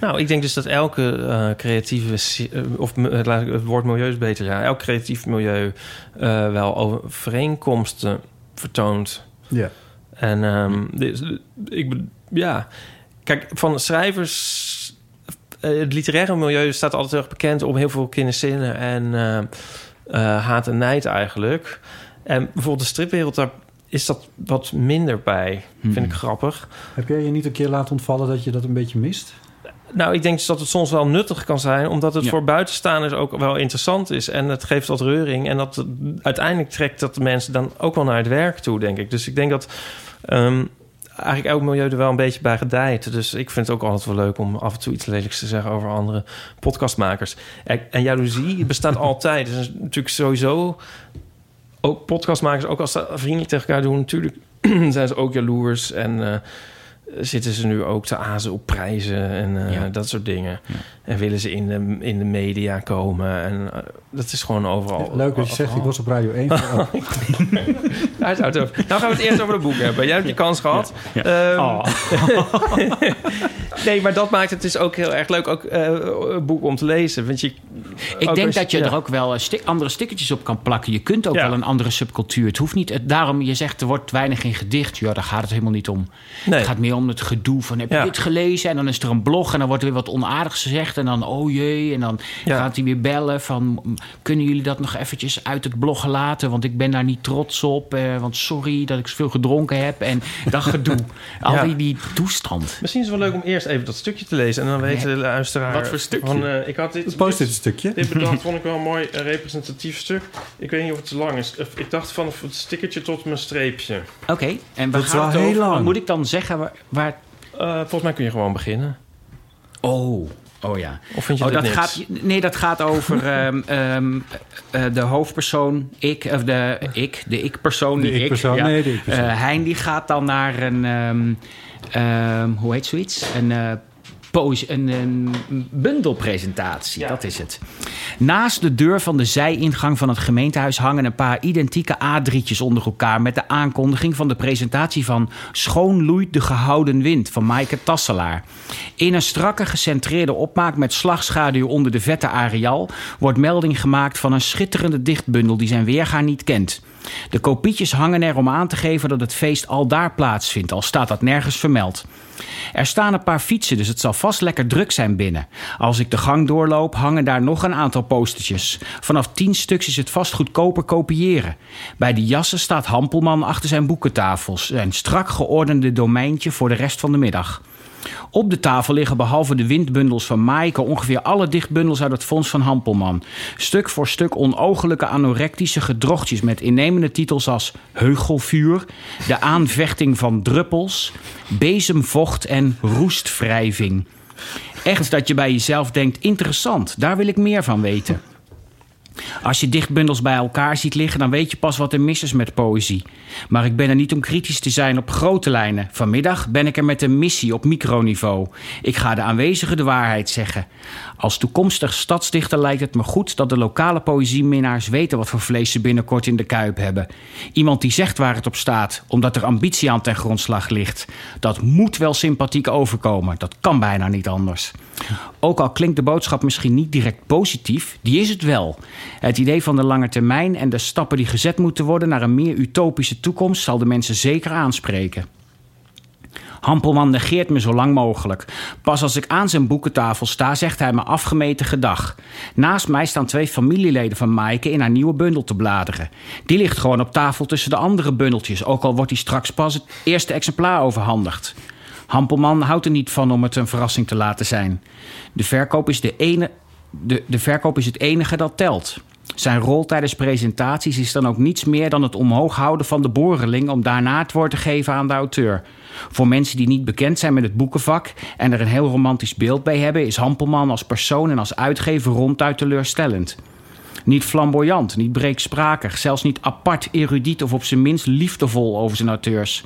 Speaker 3: Nou, ik denk dus dat elke eh, creatieve... si- eh, of m- eh, laat ik- het woord milieu is beter, ja. Elk creatief milieu eh, wel overeenkomsten vertoont.
Speaker 1: ja.
Speaker 3: En ehm, dit is- ik... be- Ja, kijk, van schrijvers... eh, het literaire milieu staat altijd heel erg bekend... om heel veel kinderzinnen en eh, eh, haat en nijd eigenlijk. En bijvoorbeeld de stripwereld, daar is dat wat minder bij. Vind ik grappig.
Speaker 1: Heb jij je niet een keer laten ontvallen dat je dat een beetje mist?
Speaker 3: Nou, ik denk dus dat het soms wel nuttig kan zijn, omdat het
Speaker 2: Ja.
Speaker 3: voor buitenstaanders ook wel interessant is. En het geeft wat reuring. En dat uiteindelijk trekt dat de mensen dan ook wel naar het werk toe, denk ik. Dus ik denk dat ehm, eigenlijk elk milieu er wel een beetje bij gedijt. Dus ik vind het ook altijd wel leuk om af en toe iets lelijks te zeggen over andere podcastmakers. En, en jaloezie bestaat altijd. Dus natuurlijk sowieso ook podcastmakers, ook als ze vriendelijk tegen elkaar doen, natuurlijk zijn ze ook jaloers. En eh, zitten ze nu ook te azen op prijzen en eh,
Speaker 2: Ja.
Speaker 3: dat soort dingen. En willen ze in de, in de media komen. En eh, dat is gewoon overal.
Speaker 1: Leuk dat je zegt, ik was op Radio 1. Van, oh,
Speaker 3: Daar is het over. Nou gaan we het eerst over het boek hebben. Jij hebt je kans gehad. Ehm, nee, maar dat maakt het dus ook heel erg leuk. Ook eh, een boek om te lezen. Want je,
Speaker 2: Ik
Speaker 3: ook
Speaker 2: denk
Speaker 3: als-
Speaker 2: dat je
Speaker 3: ja.
Speaker 2: er ook wel eh, stik- andere stickertjes op kan plakken. Je kunt ook
Speaker 3: Ja.
Speaker 2: wel een andere subcultuur. Het hoeft niet. Het, daarom, je zegt er wordt weinig in gedicht. Ja, daar gaat het helemaal niet om.
Speaker 3: Nee.
Speaker 2: Het gaat meer om het gedoe van heb je
Speaker 3: Ja.
Speaker 2: dit gelezen? En dan is er een blog en dan wordt er weer wat onaardigs gezegd. En dan oh jee. En dan
Speaker 3: Ja.
Speaker 2: gaat hij weer bellen van "M, kunnen jullie dat nog eventjes uit het blog laten? Want ik ben daar niet trots op. eh, want sorry dat ik zoveel gedronken heb. En dat gedoe. Al
Speaker 3: Ja.
Speaker 2: die, die toestand.
Speaker 3: Misschien is het wel leuk om eerst even dat stukje te lezen. En dan weten de luisteraar...
Speaker 2: Wat voor stukje?
Speaker 3: Van, eh, ik had dit,
Speaker 1: het post dit
Speaker 3: dit,
Speaker 1: stukje.
Speaker 3: dit bedacht, vond ik wel een mooi eh, representatief stuk. Ik weet niet of het te lang is. Of- Ik dacht van het stickertje tot mijn streepje.
Speaker 2: Oké, en we
Speaker 1: Dat is
Speaker 2: gaan
Speaker 1: wel
Speaker 2: het
Speaker 1: heel
Speaker 2: over.
Speaker 1: lang.
Speaker 2: Wat Moet ik dan zeggen waar... waar
Speaker 3: Eh, volgens mij kun je gewoon beginnen.
Speaker 2: oh, oh ja.
Speaker 3: Of vind je
Speaker 2: Oh,
Speaker 3: dit
Speaker 2: dat
Speaker 3: niks?
Speaker 2: gaat, nee, dat gaat over ehm, ehm, eh, de hoofdpersoon, ik, of de ik, de ik-persoon,
Speaker 1: De
Speaker 2: die ik.
Speaker 1: ik-persoon,
Speaker 2: ja.
Speaker 1: nee, de ik-persoon.
Speaker 2: Eh, Hein die gaat dan naar een, ehm, ehm, hoe heet zoiets? Een eh, expo- een, een bundelpresentatie, dat is het. Naast de deur van de zijingang van het gemeentehuis hangen een paar identieke A3'tjes onder elkaar... met de aankondiging van de presentatie van Schoon loeit de gehouden wind van Maaike Tasselaar. In een strakke gecentreerde opmaak met slagschaduw onder de vette areaal... wordt melding gemaakt van een schitterende dichtbundel die zijn weerga niet kent... De kopietjes hangen er om aan te geven dat het feest al daar plaatsvindt, al staat dat nergens vermeld. Er staan een paar fietsen, dus het zal vast lekker druk zijn binnen. Als ik de gang doorloop, hangen daar nog een aantal postertjes. Vanaf tien stuks is het vast goedkoper kopiëren. Bij de jassen staat Hampelman achter zijn boekentafels, zijn strak geordende domeintje voor de rest van de middag. Op de tafel liggen behalve de windbundels van Maaike ongeveer alle dichtbundels uit het Fonds van Hampelman. Stuk voor stuk onogelijke anorectische gedrochtjes met innemende titels als Heugelvuur, De aanvechting van druppels, Bezemvocht en Roestwrijving. Echt dat je bij jezelf denkt: interessant, daar wil ik meer van weten. Als je dichtbundels bij elkaar ziet liggen, dan weet je pas wat er mis is met poëzie. Maar ik ben er niet om kritisch te zijn op grote lijnen. Vanmiddag ben ik er met een missie op microniveau. Ik ga de aanwezigen de waarheid zeggen. Als toekomstig stadsdichter lijkt het me goed dat de lokale poëzieminnaars weten wat voor vlees ze binnenkort in de kuip hebben. Iemand die zegt waar het op staat, omdat er ambitie aan ten grondslag ligt. Dat moet wel sympathiek overkomen. Dat kan bijna niet anders. Ook al klinkt de boodschap misschien niet direct positief, die is het wel. Het idee van de lange termijn en de stappen die gezet moeten worden naar een meer utopische toekomst zal de mensen zeker aanspreken. Hampelman negeert me zo lang mogelijk. Pas als ik aan zijn boekentafel sta, zegt hij me afgemeten gedag. Naast mij staan twee familieleden van Maaike in haar nieuwe bundel te bladeren. Die ligt gewoon op tafel tussen de andere bundeltjes, ook al wordt die straks pas het eerste exemplaar overhandigd. Hampelman houdt er niet van om het een verrassing te laten zijn. De verkoop is, de ene, de, de verkoop is het enige dat telt. Zijn rol tijdens presentaties is dan ook niets meer dan het omhoog houden van de boreling om daarna het woord te geven aan de auteur. Voor mensen die niet bekend zijn met het boekenvak en er een heel romantisch beeld bij hebben, is Hampelman als persoon en als uitgever ronduit teleurstellend. Niet flamboyant, niet breeksprakig, zelfs niet apart, erudiet of op zijn minst liefdevol over zijn auteurs.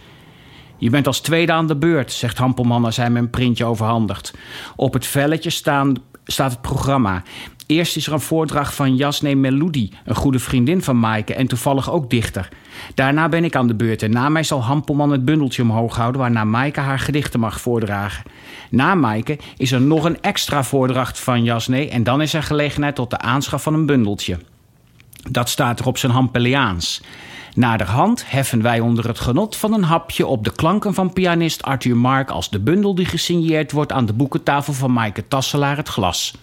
Speaker 2: Je bent als tweede aan de beurt, zegt Hampelman als hij me een printje overhandigt. Op het velletje staan, staat het programma. Eerst is er een voordracht van Jasne Meludi, een goede vriendin van Maaike en toevallig ook dichter. Daarna ben ik aan de beurt en na mij zal Hampelman het bundeltje omhoog houden waarna Maaike haar gedichten mag voordragen. Na Maaike is er nog een extra voordracht van Jasne en dan is er gelegenheid tot de aanschaf van een bundeltje. Dat staat er op zijn Hampeliaans. Naderhand heffen wij onder het genot van een hapje op de klanken van pianist Arthur Mark als de bundel die gesigneerd wordt aan de boekentafel van Maaike Tasselaar het glas.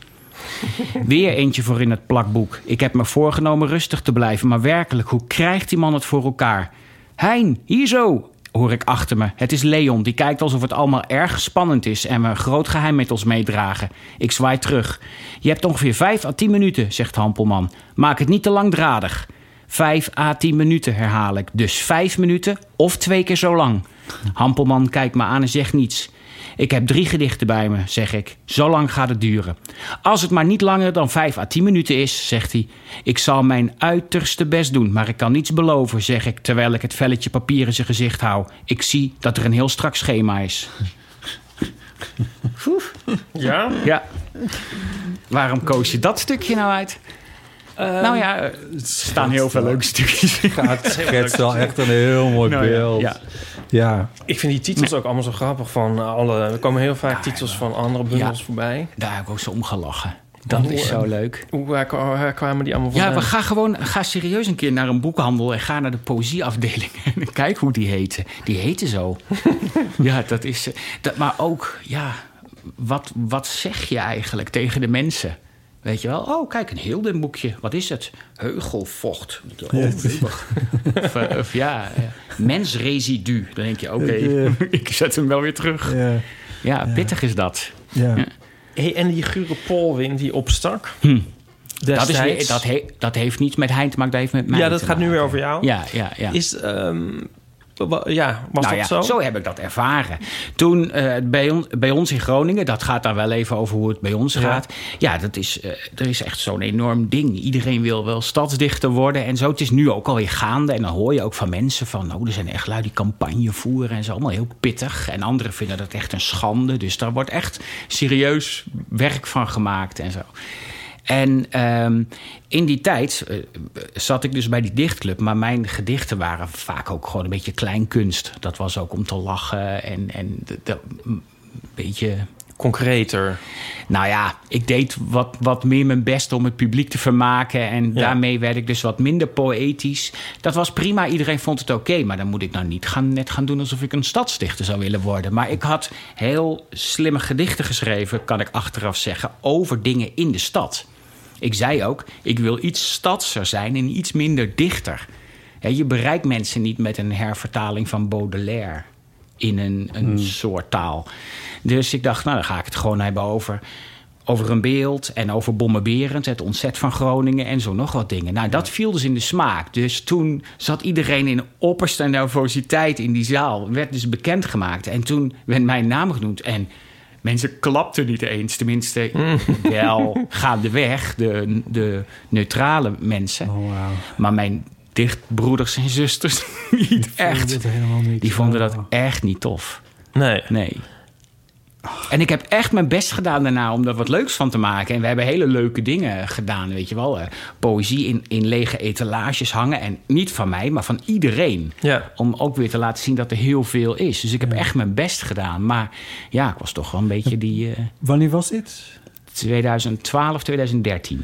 Speaker 2: Weer eentje voor in het plakboek. Ik heb me voorgenomen rustig te blijven, maar werkelijk, hoe krijgt die man het voor elkaar? Hein, hier zo, hoor ik achter me. Het is Leon, die kijkt alsof het allemaal erg spannend is en we een groot geheim met ons meedragen. Ik zwaai terug. Je hebt ongeveer 5 à 10 minuten, zegt Hampelman. Maak het niet te langdradig. 5 à 10 minuten herhaal ik. Dus 5 minuten of twee keer zo lang. Hampelman kijkt me aan en zegt niets. Ik heb drie gedichten bij me, zeg ik. Zo lang gaat het duren. Als het maar niet langer dan 5 à 10 minuten is, zegt hij. Ik zal mijn uiterste best doen, maar ik kan niets beloven, zeg ik terwijl ik het velletje papier in zijn gezicht hou. Ik zie dat er een heel strak schema is.
Speaker 5: Ja?
Speaker 2: Ja. Waarom koos je dat stukje nou uit? nou ja, er staan heel veel leuke stukjes.
Speaker 1: Het schetst wel echt een heel mooi
Speaker 5: Nou ja,
Speaker 1: beeld.
Speaker 2: ja.
Speaker 1: Ja.
Speaker 3: Ik vind die titels ook allemaal zo grappig. Van eh, alle, er komen heel vaak titels van andere bundels voorbij.
Speaker 2: Daar heb ik ook zo om gelachen. Dat is zo leuk.
Speaker 3: Hoe waar, waar kwamen die allemaal
Speaker 2: Ja,
Speaker 3: vandaan?
Speaker 2: we gaan gewoon ga serieus een keer naar een boekhandel en ga naar de poëzieafdeling en kijk hoe die heten. Die heten zo. ja, dat is. eh, Dat, maar ook, ja, wat, wat zeg je eigenlijk tegen de mensen? Weet je wel? Oh, kijk, een heel dun boekje. Wat is het? Heugelvocht. Oh, lubig. of, eh, of ja, eh, mensresidu. Dan denk je, oké,
Speaker 1: Ja.
Speaker 2: ik zet hem wel weer terug.
Speaker 1: Ja.
Speaker 2: Ja, pittig is dat.
Speaker 1: Ja.
Speaker 3: Hey, en die Gure Polwin die opstak.
Speaker 2: Dat, is weer,
Speaker 3: destijds.
Speaker 2: dat, he- dat heeft niets met Hein te maken, dat heeft met mij
Speaker 3: ja, dat
Speaker 2: te
Speaker 3: gaat nu
Speaker 2: maken.
Speaker 3: weer over jou.
Speaker 2: Ja, ja, ja.
Speaker 3: Is, ehm, wa- ja, was
Speaker 2: nou
Speaker 3: dat
Speaker 2: ja,
Speaker 3: zo?
Speaker 2: heb ik dat ervaren. Toen eh, bij, on- bij ons in Groningen, dat gaat dan wel even over hoe het bij ons gaat. Ja, dat is, eh, er is echt zo'n enorm ding. Iedereen wil wel stadsdichter worden en zo. Het is nu ook alweer gaande. En dan hoor je ook van mensen van, nou, er zijn echt lui die campagne voeren en zo. Allemaal heel pittig. En anderen vinden dat echt een schande. Dus daar wordt echt serieus werk van gemaakt en zo. En ehm, in die tijd eh, zat ik dus bij die dichtclub. Maar mijn gedichten waren vaak ook gewoon een beetje kleinkunst. Dat was ook om te lachen en, en d- d- een beetje...
Speaker 3: Concreter.
Speaker 2: Nou ja, ik deed wat, wat meer mijn best om het publiek te vermaken. En
Speaker 3: Ja.
Speaker 2: daarmee werd ik dus wat minder poëtisch. Dat was prima, iedereen vond het oké. maar dan moet ik nou niet gaan, net gaan doen alsof ik een stadsdichter zou willen worden. Maar ik had heel slimme gedichten geschreven, kan ik achteraf zeggen, over dingen in de stad. Ik zei ook, ik wil iets stadser zijn en iets minder dichter. Hè, je bereikt mensen niet met een hervertaling van Baudelaire in een, een soort taal. Dus ik dacht, nou dan ga ik het gewoon hebben over, over een beeld en over Bommenberend, het ontzet van Groningen en zo nog wat dingen. Nou, dat viel dus in de smaak. Dus toen zat iedereen in opperste nervositeit in die zaal, werd dus bekendgemaakt. En toen werd mijn naam genoemd en Mensen klapten niet eens, tenminste
Speaker 1: Hmm.
Speaker 2: wel gaandeweg, de, de neutrale mensen.
Speaker 1: Oh, wauw.
Speaker 2: Maar mijn dichtbroeders en zusters niet echt.
Speaker 1: Dat helemaal niet.
Speaker 2: Die vonden
Speaker 1: Oh,
Speaker 2: dat echt niet tof.
Speaker 3: Nee.
Speaker 2: Nee. En ik heb echt mijn best gedaan daarna om daar wat leuks van te maken. En we hebben hele leuke dingen gedaan, weet je wel. Eh, Poëzie in, in lege etalages hangen. En niet van mij, maar van iedereen.
Speaker 3: Ja.
Speaker 2: Om ook weer te laten zien dat er heel veel is. Dus ik heb echt mijn best gedaan. Maar ja, ik was toch wel een beetje die eh,
Speaker 1: Wanneer was dit?
Speaker 2: 2012, 2013.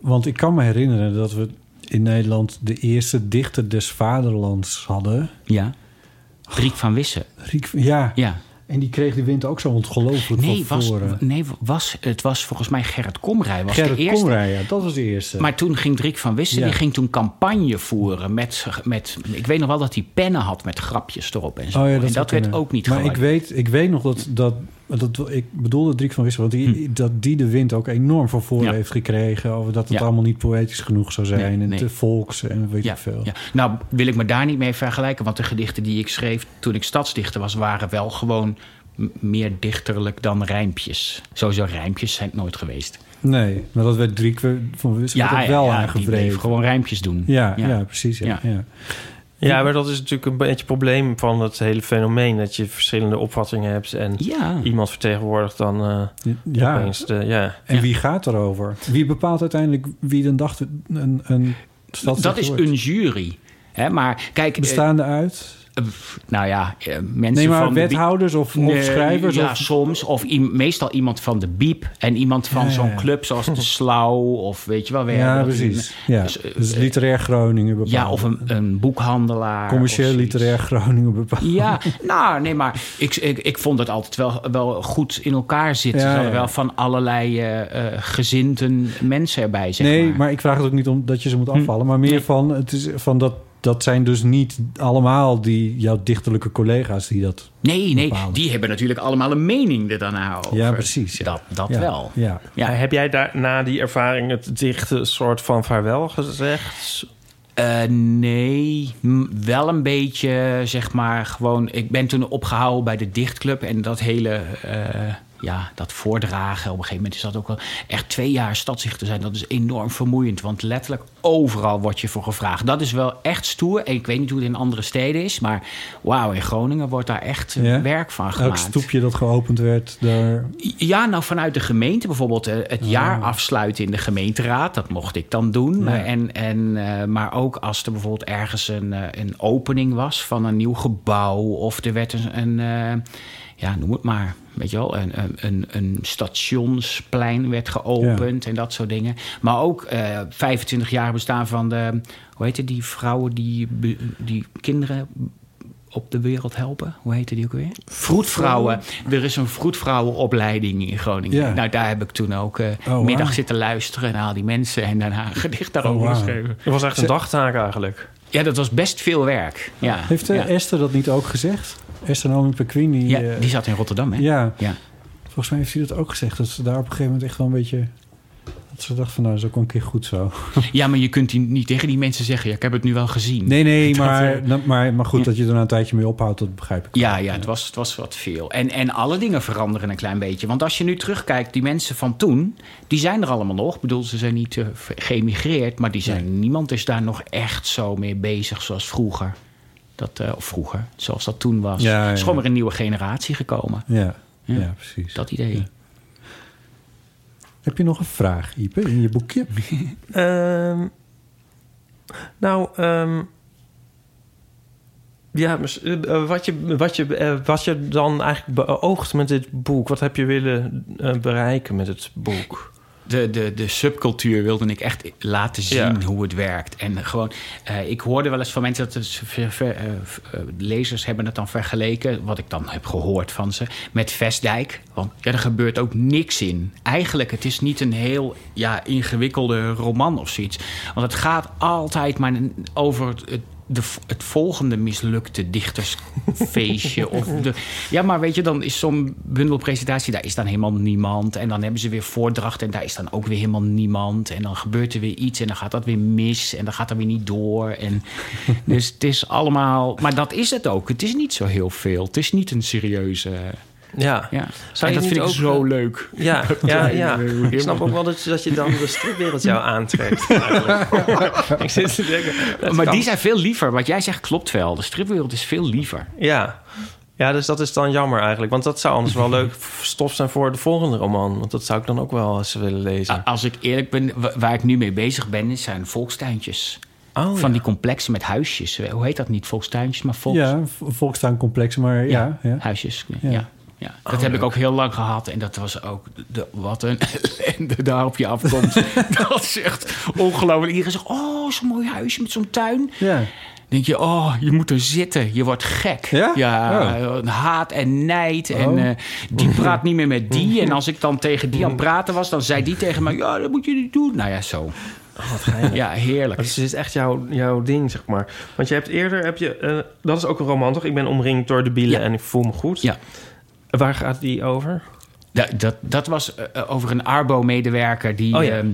Speaker 1: Want ik kan me herinneren dat we in Nederland de eerste dichter des vaderlands hadden.
Speaker 2: Ja. Riek van Wissen.
Speaker 1: Riek, ja.
Speaker 2: Ja.
Speaker 1: En die kreeg de wind ook zo ongelooflijk
Speaker 2: Nee,
Speaker 1: van
Speaker 2: was,
Speaker 1: voren.
Speaker 2: nee was, het was volgens mij Gerrit Komrij. Was
Speaker 1: eh, Gerrit
Speaker 2: de eerste.
Speaker 1: Komrij, ja, dat was de eerste.
Speaker 2: Maar toen ging Driek van Wissen,
Speaker 1: Ja.
Speaker 2: die ging toen campagne voeren met, met... Ik weet nog wel dat hij pennen had met grapjes erop en zo.
Speaker 1: Oh ja,
Speaker 2: en
Speaker 1: zou
Speaker 2: dat werd
Speaker 1: kunnen.
Speaker 2: ook niet
Speaker 1: Maar ik
Speaker 2: gewaardeerd.
Speaker 1: weet, ik weet nog dat, dat, dat... Ik bedoelde Driek van Wissen, want die, dat die de wind ook enorm van voren
Speaker 2: Hm. Ja.
Speaker 1: heeft gekregen... over dat het
Speaker 2: Ja.
Speaker 1: allemaal niet poëtisch genoeg zou zijn...
Speaker 2: Nee,
Speaker 1: en
Speaker 2: nee.
Speaker 1: te volks en weet
Speaker 2: Ja,
Speaker 1: ik veel.
Speaker 2: ja. Nou wil ik me daar niet mee vergelijken... want de gedichten die ik schreef toen ik stadsdichter was... waren wel gewoon m- meer dichterlijk dan rijmpjes. Sowieso rijmpjes zijn het nooit geweest.
Speaker 1: Nee, maar dat werd Driek van Wissen werd ook wel
Speaker 2: die bleef
Speaker 1: aangevreven.
Speaker 2: gewoon rijmpjes doen.
Speaker 1: Ja, ja. precies. Ja,
Speaker 2: Ja.
Speaker 1: ja.
Speaker 3: Ja, maar dat is natuurlijk een beetje het probleem van het hele fenomeen. Dat je verschillende opvattingen hebt en
Speaker 2: Ja.
Speaker 3: iemand vertegenwoordigt dan eh
Speaker 1: Ja,
Speaker 3: opeens de... Ja.
Speaker 1: En wie gaat erover? Wie bepaalt uiteindelijk wie dan dacht een, een stadsdichter
Speaker 2: Dat is
Speaker 1: wordt?
Speaker 2: een jury. Hè, maar kijk, eh,
Speaker 1: Bestaande uit?
Speaker 2: eh, pff, nou ja, eh, mensen
Speaker 1: Nee, maar
Speaker 2: van de bi-
Speaker 1: wethouders of, of
Speaker 2: Nee,
Speaker 1: schrijvers?
Speaker 2: Ja,
Speaker 1: of,
Speaker 2: soms. Of i- meestal iemand van de Biep. En iemand van
Speaker 1: Ja, ja,
Speaker 2: zo'n
Speaker 1: ja.
Speaker 2: club zoals de Slauw. Of weet je wel. we
Speaker 1: ja
Speaker 2: hebben dat in-
Speaker 1: precies. Ja.
Speaker 2: dus,
Speaker 1: Dus,
Speaker 2: eh,
Speaker 1: literair Groningen bepaalt.
Speaker 2: ja, of een, een boekhandelaar.
Speaker 1: Commercieel
Speaker 2: of zoiets.
Speaker 1: literair Groningen bepaalt.
Speaker 2: Ja, nou nee, maar ik, ik, ik vond het altijd wel, wel goed in elkaar zitten.
Speaker 1: Ja,
Speaker 2: Ze hadden
Speaker 1: ja.
Speaker 2: wel van allerlei eh eh, gezinten mensen erbij, zeg
Speaker 1: nee,
Speaker 2: maar. Hm.
Speaker 1: maar ik vraag het ook niet om dat je ze moet afvallen. Maar meer
Speaker 2: Nee.
Speaker 1: van, het is, van dat, dat zijn dus niet allemaal die, jouw dichterlijke collega's die dat...
Speaker 2: Nee, nee,
Speaker 1: bepalen.
Speaker 2: die hebben natuurlijk allemaal een mening er daarna over.
Speaker 1: Ja, precies, ja.
Speaker 2: Dat, dat
Speaker 1: Ja,
Speaker 2: wel.
Speaker 1: Ja.
Speaker 2: Ja.
Speaker 3: Heb jij daar na die ervaring het dichte soort van vaarwel gezegd?
Speaker 2: Eh, nee, m- wel een beetje, zeg maar, gewoon... Ik ben toen opgehouden bij de dichtclub en dat hele... eh, ja, dat voordragen. Op een gegeven moment is dat ook wel... Echt twee jaar stadsdichter te zijn, dat is enorm vermoeiend. Want letterlijk overal word je voor gevraagd. Dat is wel echt stoer. En ik weet niet hoe het in andere steden is, maar... Wauw, in Groningen wordt daar echt eh,
Speaker 1: Ja?
Speaker 2: werk van gemaakt.
Speaker 1: Elk stoepje dat geopend werd, daar...
Speaker 2: Ja, nou vanuit de gemeente bijvoorbeeld. eh, Het jaar afsluiten in de gemeenteraad, dat mocht ik dan doen. Maar, en, en, eh, maar ook als er bijvoorbeeld ergens een, eh, een opening was van een nieuw gebouw. Of er werd een, een eh, ja, noem het maar, weet je wel, een, een- een, een stationsplein werd geopend en dat soort dingen. Maar ook eh, 25 jaar bestaan van de, hoe heette die vrouwen die, be- die kinderen op de wereld helpen. Hoe heette die ook weer? Vroedvrouwen. Er is een vroedvrouwenopleiding in Groningen.
Speaker 1: Ja. Oh,
Speaker 2: Nou, daar heb ik toen ook eh,
Speaker 1: wauw.
Speaker 2: middag zitten luisteren naar al die mensen en daarna een gedicht daarover
Speaker 1: wauw.
Speaker 2: geschreven.
Speaker 3: Oh, Het was echt een dagtaak eigenlijk.
Speaker 2: Ja, dat was best veel werk. Ja.
Speaker 1: Heeft eh,
Speaker 2: ja.
Speaker 1: Esther dat niet ook gezegd? Esther Naomi Perquin, die...
Speaker 2: Ja,
Speaker 1: eh,
Speaker 2: die zat in Rotterdam, hè?
Speaker 1: ja,
Speaker 2: Ja.
Speaker 1: volgens mij heeft hij dat ook gezegd. Dat ze daar op een gegeven moment echt wel een beetje... Dat ze dacht van, nou, dat is ook wel een keer goed zo.
Speaker 2: Ja, maar je kunt die, niet tegen die mensen zeggen... Ja, ik heb het nu wel gezien.
Speaker 1: Nee, nee,
Speaker 2: Dat,
Speaker 1: maar,
Speaker 2: eh,
Speaker 1: dan- maar, maar goed, dat je er na een tijdje mee ophoudt, dat begrijp ik.
Speaker 2: Ja, ja het, was, het was wat veel. En, en alle dingen veranderen een klein beetje. Want als je nu terugkijkt, die mensen van toen, die zijn er allemaal nog. Ik bedoel, ze zijn niet eh, ver- geëmigreerd, maar die zijn, niemand is daar nog echt zo mee bezig zoals vroeger. Dat, eh, of vroeger, zoals dat toen was.
Speaker 1: Ja, ja,
Speaker 2: Er is gewoon
Speaker 1: ja.
Speaker 2: weer een nieuwe generatie gekomen.
Speaker 1: Ja,
Speaker 2: Ja.
Speaker 1: ja. precies.
Speaker 2: Dat idee.
Speaker 1: Heb je nog een vraag, Ipe, in je boekje?
Speaker 3: Ehm, nou, ehm, ja, mis- eh, eh, wat, je, wat, je, eh, wat je dan eigenlijk beoogt met dit boek, wat heb je willen eh, bereiken met het boek?
Speaker 2: De, de, de subcultuur wilde ik echt laten zien
Speaker 3: Ja.
Speaker 2: hoe het werkt. En gewoon, eh, ik hoorde wel eens van mensen dat het ver- ver- eh, v- eh, lezers hebben het dan vergeleken, wat ik dan heb gehoord van ze, met Vestdijk. Want ja, er gebeurt ook niks in. Eigenlijk, het is niet een heel ja, ingewikkelde roman of zoiets. Want het gaat altijd maar over het. het de, v- het volgende mislukte dichtersfeestje. of de, ja, maar weet je, dan is zo'n bundelpresentatie, daar is dan helemaal niemand. En dan hebben ze weer voordracht en daar is dan ook weer helemaal niemand. En dan gebeurt er weer iets en dan gaat dat weer mis. En dan gaat dat weer niet door. En dus het is allemaal. Maar dat is het ook. Het is niet zo heel veel. Het is niet een serieuze.
Speaker 3: Ja,
Speaker 2: Ja. en dat
Speaker 3: Zou je niet
Speaker 2: vind ik
Speaker 3: ook,
Speaker 2: zo
Speaker 3: eh,
Speaker 2: leuk.
Speaker 3: ja, ja.
Speaker 2: Ja,
Speaker 3: ja.
Speaker 2: ik weet niet
Speaker 3: Ik snap
Speaker 2: helemaal.
Speaker 3: ook wel dat, dat je dan de stripwereld jou aantrekt. eigenlijk. ik zit te denken. dat
Speaker 2: maar
Speaker 3: kan.
Speaker 2: die zijn veel liever. Wat jij zegt klopt wel. De stripwereld is veel liever.
Speaker 3: Ja. ja, dus dat is dan jammer eigenlijk. Want dat zou anders wel leuk stof zijn voor de volgende roman. Want dat zou ik dan ook wel eens willen lezen.
Speaker 2: A- Als ik eerlijk ben, wa- waar ik nu mee bezig ben, is zijn volkstuintjes.
Speaker 3: Oh,
Speaker 2: van
Speaker 3: ja.
Speaker 2: die complexen met huisjes. Eh, Hoe heet dat niet? Volkstuintjes, maar volks...
Speaker 1: Ja, v- volkstuincomplex, maar ja. ja,
Speaker 2: Huisjes, ja.
Speaker 1: Ja. Oh,
Speaker 2: ja. dat heb ik ook heel lang gehad. En dat was ook... De, wat een ellende daar op je afkomt. dat is echt ongelooflijk. Iedereen zegt, oh, zo'n mooi huisje met zo'n tuin.
Speaker 1: Ja.
Speaker 2: denk je, oh, je moet er zitten. Je wordt gek.
Speaker 1: Ja?
Speaker 3: Oh.
Speaker 2: eh, haat en nijd. En eh, die praat niet meer met die. En als ik dan tegen die aan het praten was, dan zei die tegen mij... Ja, dat moet je niet doen. Nou ja, zo.
Speaker 3: Oh,
Speaker 2: Ja, heerlijk.
Speaker 3: Dus het is echt jouw, jouw ding, zeg maar. Want je hebt eerder, heb je, eh, dat is ook een roman, toch? Ik ben omringd door de bielen
Speaker 2: Ja.
Speaker 3: en ik voel me goed.
Speaker 2: Ja.
Speaker 3: Waar gaat die over?
Speaker 2: Da- dat, dat was eh, eh, over een Arbo-medewerker die, ehm,
Speaker 3: Oh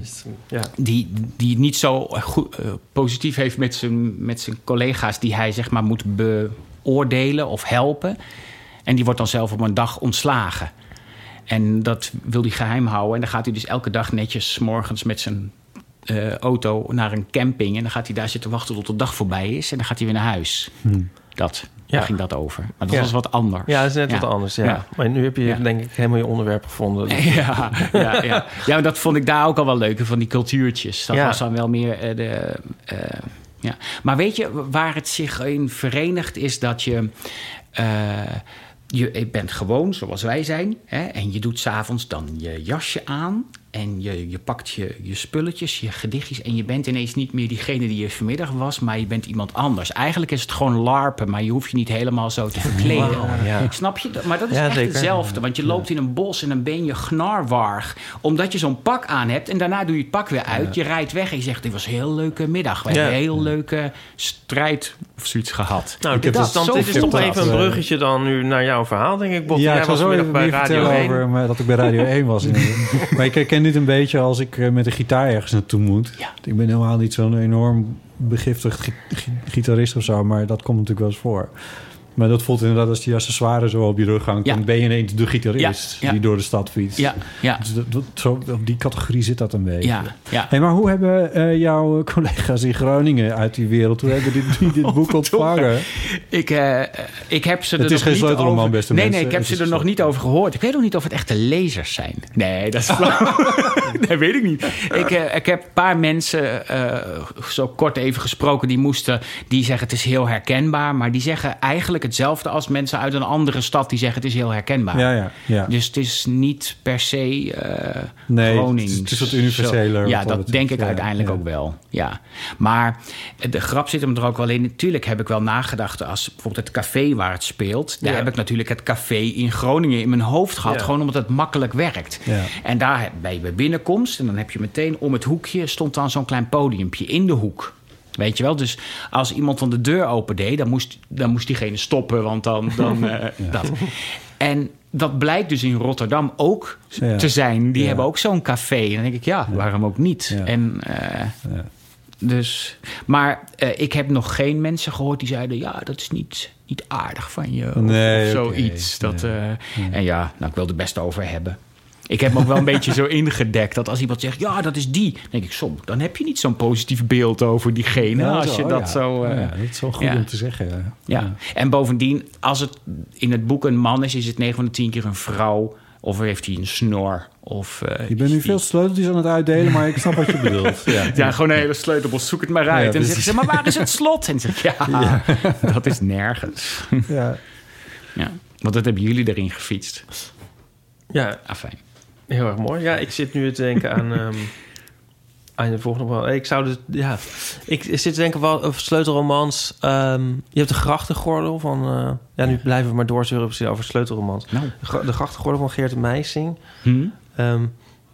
Speaker 3: ja.
Speaker 2: die, die het niet zo goed, eh, positief heeft met zijn, met zijn collega's die hij zeg maar moet beoordelen of helpen. En die wordt dan zelf op een dag ontslagen. En dat wil hij geheim houden. En dan gaat hij dus elke dag netjes 's morgens met zijn eh, auto naar een camping. En dan gaat hij daar zitten wachten tot de dag voorbij is. En dan gaat hij weer naar huis. Dat,
Speaker 3: Hmm. Ja.
Speaker 2: Daar ging dat over. Maar dat
Speaker 3: Ja.
Speaker 2: was wat anders.
Speaker 3: ja, dat is net wat anders, ja.
Speaker 2: Ja.
Speaker 3: Maar nu heb je
Speaker 2: Ja.
Speaker 3: denk ik helemaal je onderwerp gevonden.
Speaker 2: Ja, ja, ja. ja maar dat vond ik daar ook al wel leuk, van die cultuurtjes. Dat
Speaker 3: Ja.
Speaker 2: was dan wel meer eh, de... eh, ja. Maar weet je, waar het zich in verenigt is dat je... eh, je je bent gewoon zoals wij zijn. Hè, en je doet s'avonds dan je jasje aan. En je, je pakt je, je spulletjes, je gedichtjes. En je bent ineens niet meer diegene die je vanmiddag was. Maar je bent iemand anders. Eigenlijk is het gewoon larpen. Maar je hoeft je niet helemaal zo te verkleden.
Speaker 3: ja.
Speaker 2: Snap je? dat? Maar dat is
Speaker 3: Ja,
Speaker 2: echt
Speaker 3: zeker.
Speaker 2: hetzelfde. Want je loopt in een bos en dan ben je gnarwarg. Omdat je zo'n pak aan hebt en daarna doe je het pak weer uit. Je rijdt weg en je zegt, dit was een heel leuke middag. We
Speaker 3: Ja.
Speaker 2: hebben een heel leuke strijd of zoiets gehad.
Speaker 3: Nou,
Speaker 1: Ik
Speaker 3: dit
Speaker 1: heb
Speaker 3: is,
Speaker 1: dat
Speaker 3: dan,
Speaker 1: zo
Speaker 3: dit is toch
Speaker 1: veel
Speaker 3: even een
Speaker 1: laten-
Speaker 3: bruggetje dan nu naar jouw verhaal, denk ik, Bob.
Speaker 1: Ja,
Speaker 3: Jij
Speaker 1: ik zal
Speaker 3: was
Speaker 1: zo
Speaker 3: vanmiddag
Speaker 1: even meer vertellen
Speaker 3: 1.
Speaker 1: over me, dat ik bij Radio 1 was. inderdaad. maar ik herken dit een beetje als ik eh, met een gitaar ergens naartoe moet.
Speaker 2: Ja.
Speaker 1: Ik ben helemaal niet zo'n enorm begiftigd gi- gi- gitarist of zo, maar dat komt natuurlijk wel eens voor. Maar dat voelt inderdaad als die accessoires zo op je rug hangt.
Speaker 2: Ja.
Speaker 1: Dan ben je ineens de gitarist
Speaker 2: Ja, ja.
Speaker 1: die door de stad fietst.
Speaker 2: Ja, ja,
Speaker 1: Dus dat, dat- zo, op die categorie zit dat Dus een beetje.
Speaker 2: ja, ja.
Speaker 1: Hey, maar hoe hebben eh, jouw collega's in Groningen uit die wereld... hoe hebben dit, die dit boek ontvangen?
Speaker 2: Ik, eh, eh, ik heb ze er
Speaker 1: Het is
Speaker 2: nog
Speaker 1: geen
Speaker 2: niet
Speaker 1: sleutelroman,
Speaker 2: over...
Speaker 1: beste
Speaker 2: nee,
Speaker 1: mensen.
Speaker 2: Nee, ik heb
Speaker 1: Het
Speaker 2: ze
Speaker 1: is
Speaker 2: er
Speaker 1: een
Speaker 2: nog niet over gehoord. Ik weet nog niet of het echte lezers zijn. Nee, dat is flauw. dat weet ik niet. Ik, eh, ik heb een paar mensen eh, zo kort even gesproken. Die moesten, die zeggen het is heel herkenbaar. Maar die zeggen eigenlijk hetzelfde als mensen uit een andere stad. Die zeggen het is heel herkenbaar.
Speaker 1: Ja, ja, ja.
Speaker 2: Dus het is niet per se eh
Speaker 1: Nee, het
Speaker 2: Gronings.
Speaker 1: is- het is wat universeler,
Speaker 2: Zo.
Speaker 1: wat
Speaker 2: Ja,
Speaker 1: dat
Speaker 2: dat
Speaker 1: betreft.
Speaker 2: denk ik
Speaker 1: Ja,
Speaker 2: uiteindelijk
Speaker 1: ja.
Speaker 2: ook wel. Ja. Maar de grap zit hem er ook wel in. Natuurlijk heb ik wel nagedacht als bijvoorbeeld het café waar het speelt. Daar
Speaker 3: Ja.
Speaker 2: heb ik natuurlijk het café in Groningen in mijn hoofd gehad.
Speaker 3: Ja.
Speaker 2: Gewoon omdat het makkelijk werkt.
Speaker 1: Ja.
Speaker 2: En daar heb- ben je bij binnenkomst. En dan heb je meteen om het hoekje stond dan zo'n klein podiumpje in de hoek. Weet je wel, dus als iemand dan de deur opendeed, dan moest, dan moest diegene stoppen, want dan. dan eh, dat. En dat blijkt dus in Rotterdam ook
Speaker 1: Ja.
Speaker 2: te zijn. Die
Speaker 1: Ja.
Speaker 2: hebben ook zo'n café. En dan denk ik, ja, waarom ook niet?
Speaker 1: Ja.
Speaker 2: En, eh, dus, maar eh, ik heb nog geen mensen gehoord die zeiden... ja, dat is niet, niet aardig van je. of-
Speaker 1: Nee,
Speaker 2: of
Speaker 1: oké.
Speaker 2: zoiets. Dat, eh, En ja, nou, ik wil er best over hebben. Ik heb me ook wel een beetje zo ingedekt dat als iemand zegt... ja, dat is die, dan denk ik, som, dan heb je niet zo'n positief beeld over diegene...
Speaker 1: Ja,
Speaker 2: Nou, als je dat
Speaker 1: Nou, ja.
Speaker 2: zo... eh,
Speaker 1: ja, dat is wel goed
Speaker 2: ja.
Speaker 1: om te zeggen. Ja.
Speaker 2: ja, en bovendien, als het in het boek een man is, is het 9 van de 10 keer een vrouw. Of heeft hij een snor. Of, eh,
Speaker 1: Je bent nu
Speaker 2: is
Speaker 1: veel
Speaker 2: die-
Speaker 1: sleuteltjes aan het uitdelen, maar ik snap wat je bedoelt. Ja.
Speaker 2: Ja, gewoon een hele sleutelbos, zoek het maar uit. en dan
Speaker 1: precies.
Speaker 2: zeggen ze, maar waar is het slot? En dan zeg ik, ja, dat is nergens.
Speaker 1: Ja.
Speaker 2: Ja, want dat hebben jullie erin gefietst.
Speaker 3: Ja,
Speaker 2: Afijn.
Speaker 3: heel erg mooi. Ja, ik zit nu te denken aan, ehm, aan de volgende roman. Ik zou dus, ja, ik zit te denken wel over sleutelromans. Ehm, je hebt de grachtengordel van, eh, ja, nu blijven we maar doorzeuren precies over sleutelromans.
Speaker 2: Nou.
Speaker 3: De gra- De grachtengordel van Geert Meijsing.
Speaker 2: Hm?
Speaker 3: Ehm,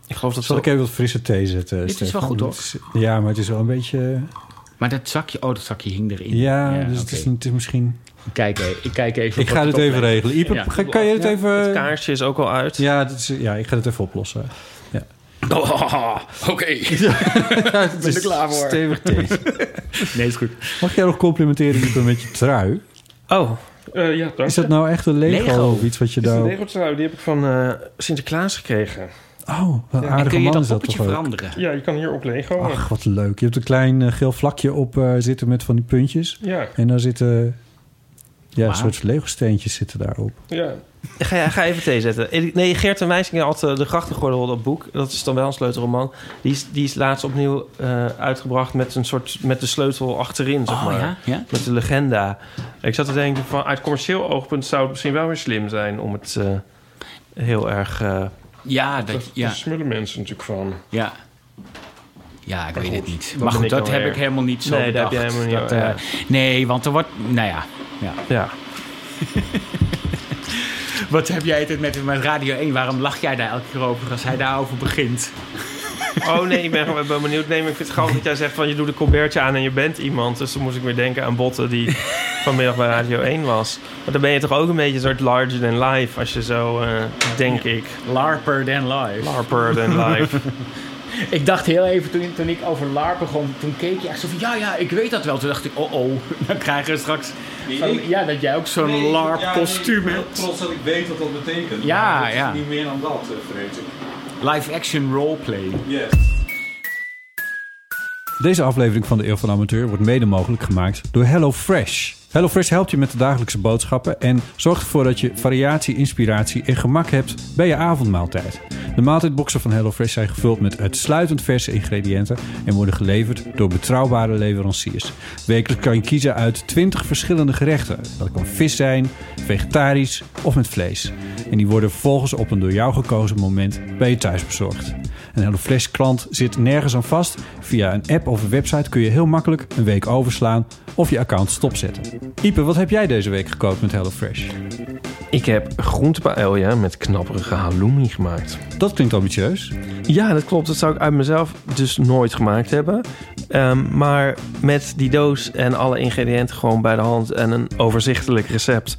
Speaker 3: ik geloof dat
Speaker 1: Zal
Speaker 3: ze-
Speaker 1: ik even wat frisse thee zetten?
Speaker 2: Dit is wel
Speaker 1: Stefan?
Speaker 2: goed, hoor.
Speaker 1: Het is- Ja, maar het is wel een beetje...
Speaker 2: Maar dat zakje, oh, dat zakje hing erin.
Speaker 1: Ja, dus het,
Speaker 2: oké.
Speaker 1: is, het is misschien...
Speaker 2: Ik Kijk, eh, ik kijk even.
Speaker 1: Ik
Speaker 2: wat
Speaker 1: ga
Speaker 2: het
Speaker 1: dit even
Speaker 2: oplevert.
Speaker 1: regelen. Iep,
Speaker 2: Ja.
Speaker 1: ga- kan je dit
Speaker 3: Ja, Het
Speaker 1: even...
Speaker 3: kaarsje is ook al uit.
Speaker 1: Ja, dat is, ja, ik ga dit even oplossen.
Speaker 2: Oké.
Speaker 1: Ik ben er klaar voor. Stevig thee.
Speaker 2: Nee, is goed.
Speaker 1: Mag jij nog complimenteren, Iep, met je trui?
Speaker 3: Oh. ja, dank
Speaker 1: Is dat nou echt een Lego,
Speaker 2: Lego.
Speaker 1: of iets wat je
Speaker 3: Dit is een
Speaker 1: daar...
Speaker 3: Lego-trui, die heb ik van eh, Sinterklaas gekregen.
Speaker 1: Oh, wat een
Speaker 2: En
Speaker 1: aardige
Speaker 2: kun je
Speaker 1: man
Speaker 2: dat
Speaker 1: is dat
Speaker 2: poppetje
Speaker 1: toch ook?
Speaker 2: veranderen?
Speaker 3: Ja, je kan hier op Lego.
Speaker 1: Ach, wat leuk. Je hebt een klein eh, geel vlakje op eh, zitten met van die puntjes.
Speaker 3: Ja,
Speaker 1: En daar zitten... Ja,
Speaker 2: Wauw.
Speaker 1: een soort Lego-steentjes zitten daarop.
Speaker 3: ja. Ga, ga even thee zetten. Nee, Geert en Wijsing had eh, De Grachtengordel, dat boek. Dat is dan wel een sleutelroman. Die is, die is laatst opnieuw eh, uitgebracht met een soort... met de sleutel achterin, zeg
Speaker 2: Oh
Speaker 3: maar.
Speaker 2: ja? ja?
Speaker 3: Met de legenda. Ik zat te denken, van, uit commercieel oogpunt zou het misschien wel weer slim zijn... om het eh, heel erg... eh
Speaker 2: Ja, dat, ja.
Speaker 3: smullen mensen natuurlijk van.
Speaker 2: Ja. Ja, ik weet het niet.
Speaker 3: ben
Speaker 2: Maar goed,
Speaker 3: ik
Speaker 2: dat
Speaker 3: dan
Speaker 2: heb
Speaker 3: weer.
Speaker 2: ik helemaal niet zo
Speaker 3: Nee, dat heb
Speaker 2: bedacht.
Speaker 3: je helemaal niet,
Speaker 2: Dat,
Speaker 3: ja.
Speaker 2: eh, nee, want er wordt... Nou ja. ja.
Speaker 3: Ja.
Speaker 2: Wat heb jij het met, met Radio 1? Waarom lach jij daar elke keer over als hij daarover begint?
Speaker 3: Oh nee, ik ben gewoon wel benieuwd. Nee, maar ik vind het grappig dat jij zegt van je doet een colbertje aan en je bent iemand. Dus dan moest ik weer denken aan Botten die vanmiddag bij Radio 1 was. Maar dan ben je toch ook een beetje een soort larger than life als je zo, eh, denk ik,
Speaker 2: Larper than live.
Speaker 3: larper than life.
Speaker 2: Ik dacht heel even, toen, toen ik over LARP begon, toen keek je echt zo van... Ja, ja, ik weet dat wel. Toen dacht ik, oh, oh, dan krijgen we straks... van- ja, dat jij ook zo'n LARP-kostuum hebt.
Speaker 1: trots dat ik weet wat dat betekent.
Speaker 2: Ja, maar dat is ja. niet
Speaker 1: meer dan dat, eh, vrees ik.
Speaker 2: Live-action roleplay.
Speaker 1: Deze aflevering van de Eeuw van de Amateur wordt mede mogelijk gemaakt door HelloFresh. HelloFresh helpt je met de dagelijkse boodschappen en zorgt ervoor dat je variatie, inspiratie en gemak hebt bij je avondmaaltijd. De maaltijdboxen van HelloFresh zijn gevuld met uitsluitend verse ingrediënten en worden geleverd door betrouwbare leveranciers. Wekelijks kan je kiezen uit 20 verschillende gerechten. Dat kan vis zijn, vegetarisch of met vlees. En die worden vervolgens op een door jou gekozen moment bij je thuis bezorgd. Een HelloFresh klant zit nergens aan vast. Via een app of een website kun je heel makkelijk een week overslaan of je account stopzetten. Ipe, wat heb jij deze week gekookt met HelloFresh?
Speaker 3: ik heb groentepaella met knapperige halloumi gemaakt.
Speaker 1: Dat klinkt ambitieus.
Speaker 3: Ja, dat klopt. Dat zou ik uit mezelf dus nooit gemaakt hebben. Ehm, maar met die doos en alle ingrediënten gewoon bij de hand en een overzichtelijk recept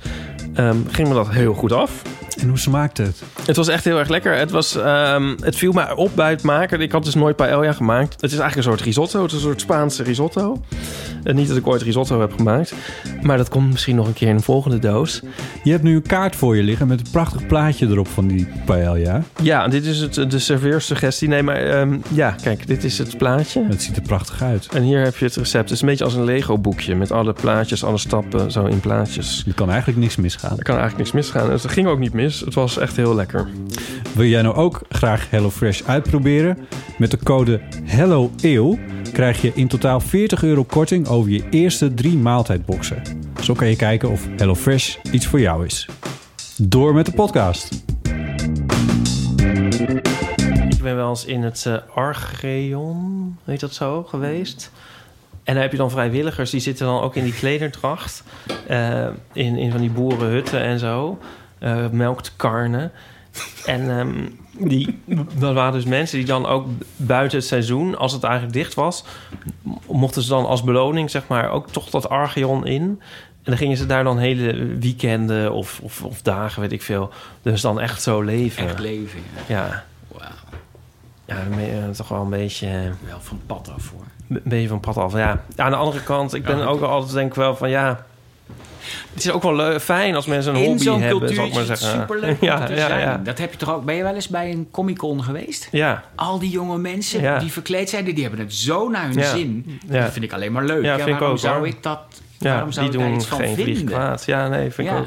Speaker 3: ehm, ging me dat heel goed af.
Speaker 1: En hoe smaakt het?
Speaker 3: Het was echt heel erg lekker. Het, was, ehm, het viel mij op bij het maken. Ik had dus nooit paella gemaakt. Het is eigenlijk een soort risotto. Het is een soort Spaanse risotto. En niet dat ik ooit risotto heb gemaakt. Maar dat komt misschien nog een keer in een volgende doos.
Speaker 1: Je hebt nu een kaart voor je liggen met een prachtig plaatje erop van die paella.
Speaker 3: Ja, dit is het, de serveersuggestie. Nee, maar ehm, ja, kijk, dit is het plaatje.
Speaker 1: Het ziet er prachtig uit.
Speaker 3: En hier heb je het recept. Het is een beetje als een Lego-boekje met alle plaatjes, alle stappen zo in plaatjes.
Speaker 1: Er kan eigenlijk niks misgaan.
Speaker 3: Er kan eigenlijk niks misgaan. Het ging ook niet mis. Het was echt heel lekker.
Speaker 1: Wil jij nou ook graag HelloFresh uitproberen? Met de code HelloEeuw krijg je in totaal 40 euro korting over je eerste drie maaltijdboxen. Zo kan je kijken of HelloFresh iets voor jou is. Door met de podcast.
Speaker 3: Ik ben wel eens in het eh, Archeon, heet dat zo, geweest. En daar heb je dan vrijwilligers, die zitten dan ook in die klederdracht. eh, in, in van die boerenhutten en zo. eh melkt karnen. En ehm, die, dat waren dus mensen die dan ook buiten het seizoen, als het eigenlijk dicht was, m- mochten ze dan als beloning, zeg maar, ook toch dat Archeon in. En dan gingen ze daar dan hele weekenden of, of, of dagen, weet ik veel. Dus dan echt zo leven.
Speaker 2: Echt leven,
Speaker 3: ja. Ja, ja dan ben je, eh, toch wel een beetje... eh,
Speaker 2: Wel van pad af hoor.
Speaker 3: Een beetje van pad af, ja. Aan de andere kant, ik ben
Speaker 2: Ja.
Speaker 3: ook altijd denk ik wel van ja... Het is ook wel leuk, fijn als mensen een
Speaker 2: In
Speaker 3: hobby
Speaker 2: zo'n
Speaker 3: hebben,
Speaker 2: cultuur
Speaker 3: zal ik
Speaker 2: is
Speaker 3: maar
Speaker 2: het
Speaker 3: zeggen.
Speaker 2: superleuk om
Speaker 3: ja,
Speaker 2: te
Speaker 3: ja,
Speaker 2: zijn.
Speaker 3: ja.
Speaker 2: Dat heb je toch ook... Ben je wel eens bij een Comic-Con geweest?
Speaker 3: Ja.
Speaker 2: Al die jonge mensen
Speaker 3: Ja.
Speaker 2: die verkleed zijn, die die hebben het zo naar hun
Speaker 3: Ja.
Speaker 2: zin.
Speaker 3: Ja.
Speaker 2: Dat vind ik alleen maar leuk.
Speaker 3: Ja,
Speaker 2: Ja,
Speaker 3: vind ik
Speaker 2: waarom
Speaker 3: ook,
Speaker 2: zou
Speaker 3: hoor.
Speaker 2: ik dat...
Speaker 3: Ja,
Speaker 2: waarom zou
Speaker 3: die
Speaker 2: ik daar
Speaker 3: doen
Speaker 2: iets van
Speaker 3: geen vlieg
Speaker 2: vinden?
Speaker 3: kwaad. Ja, nee, vind ik
Speaker 2: Ja.
Speaker 3: ook.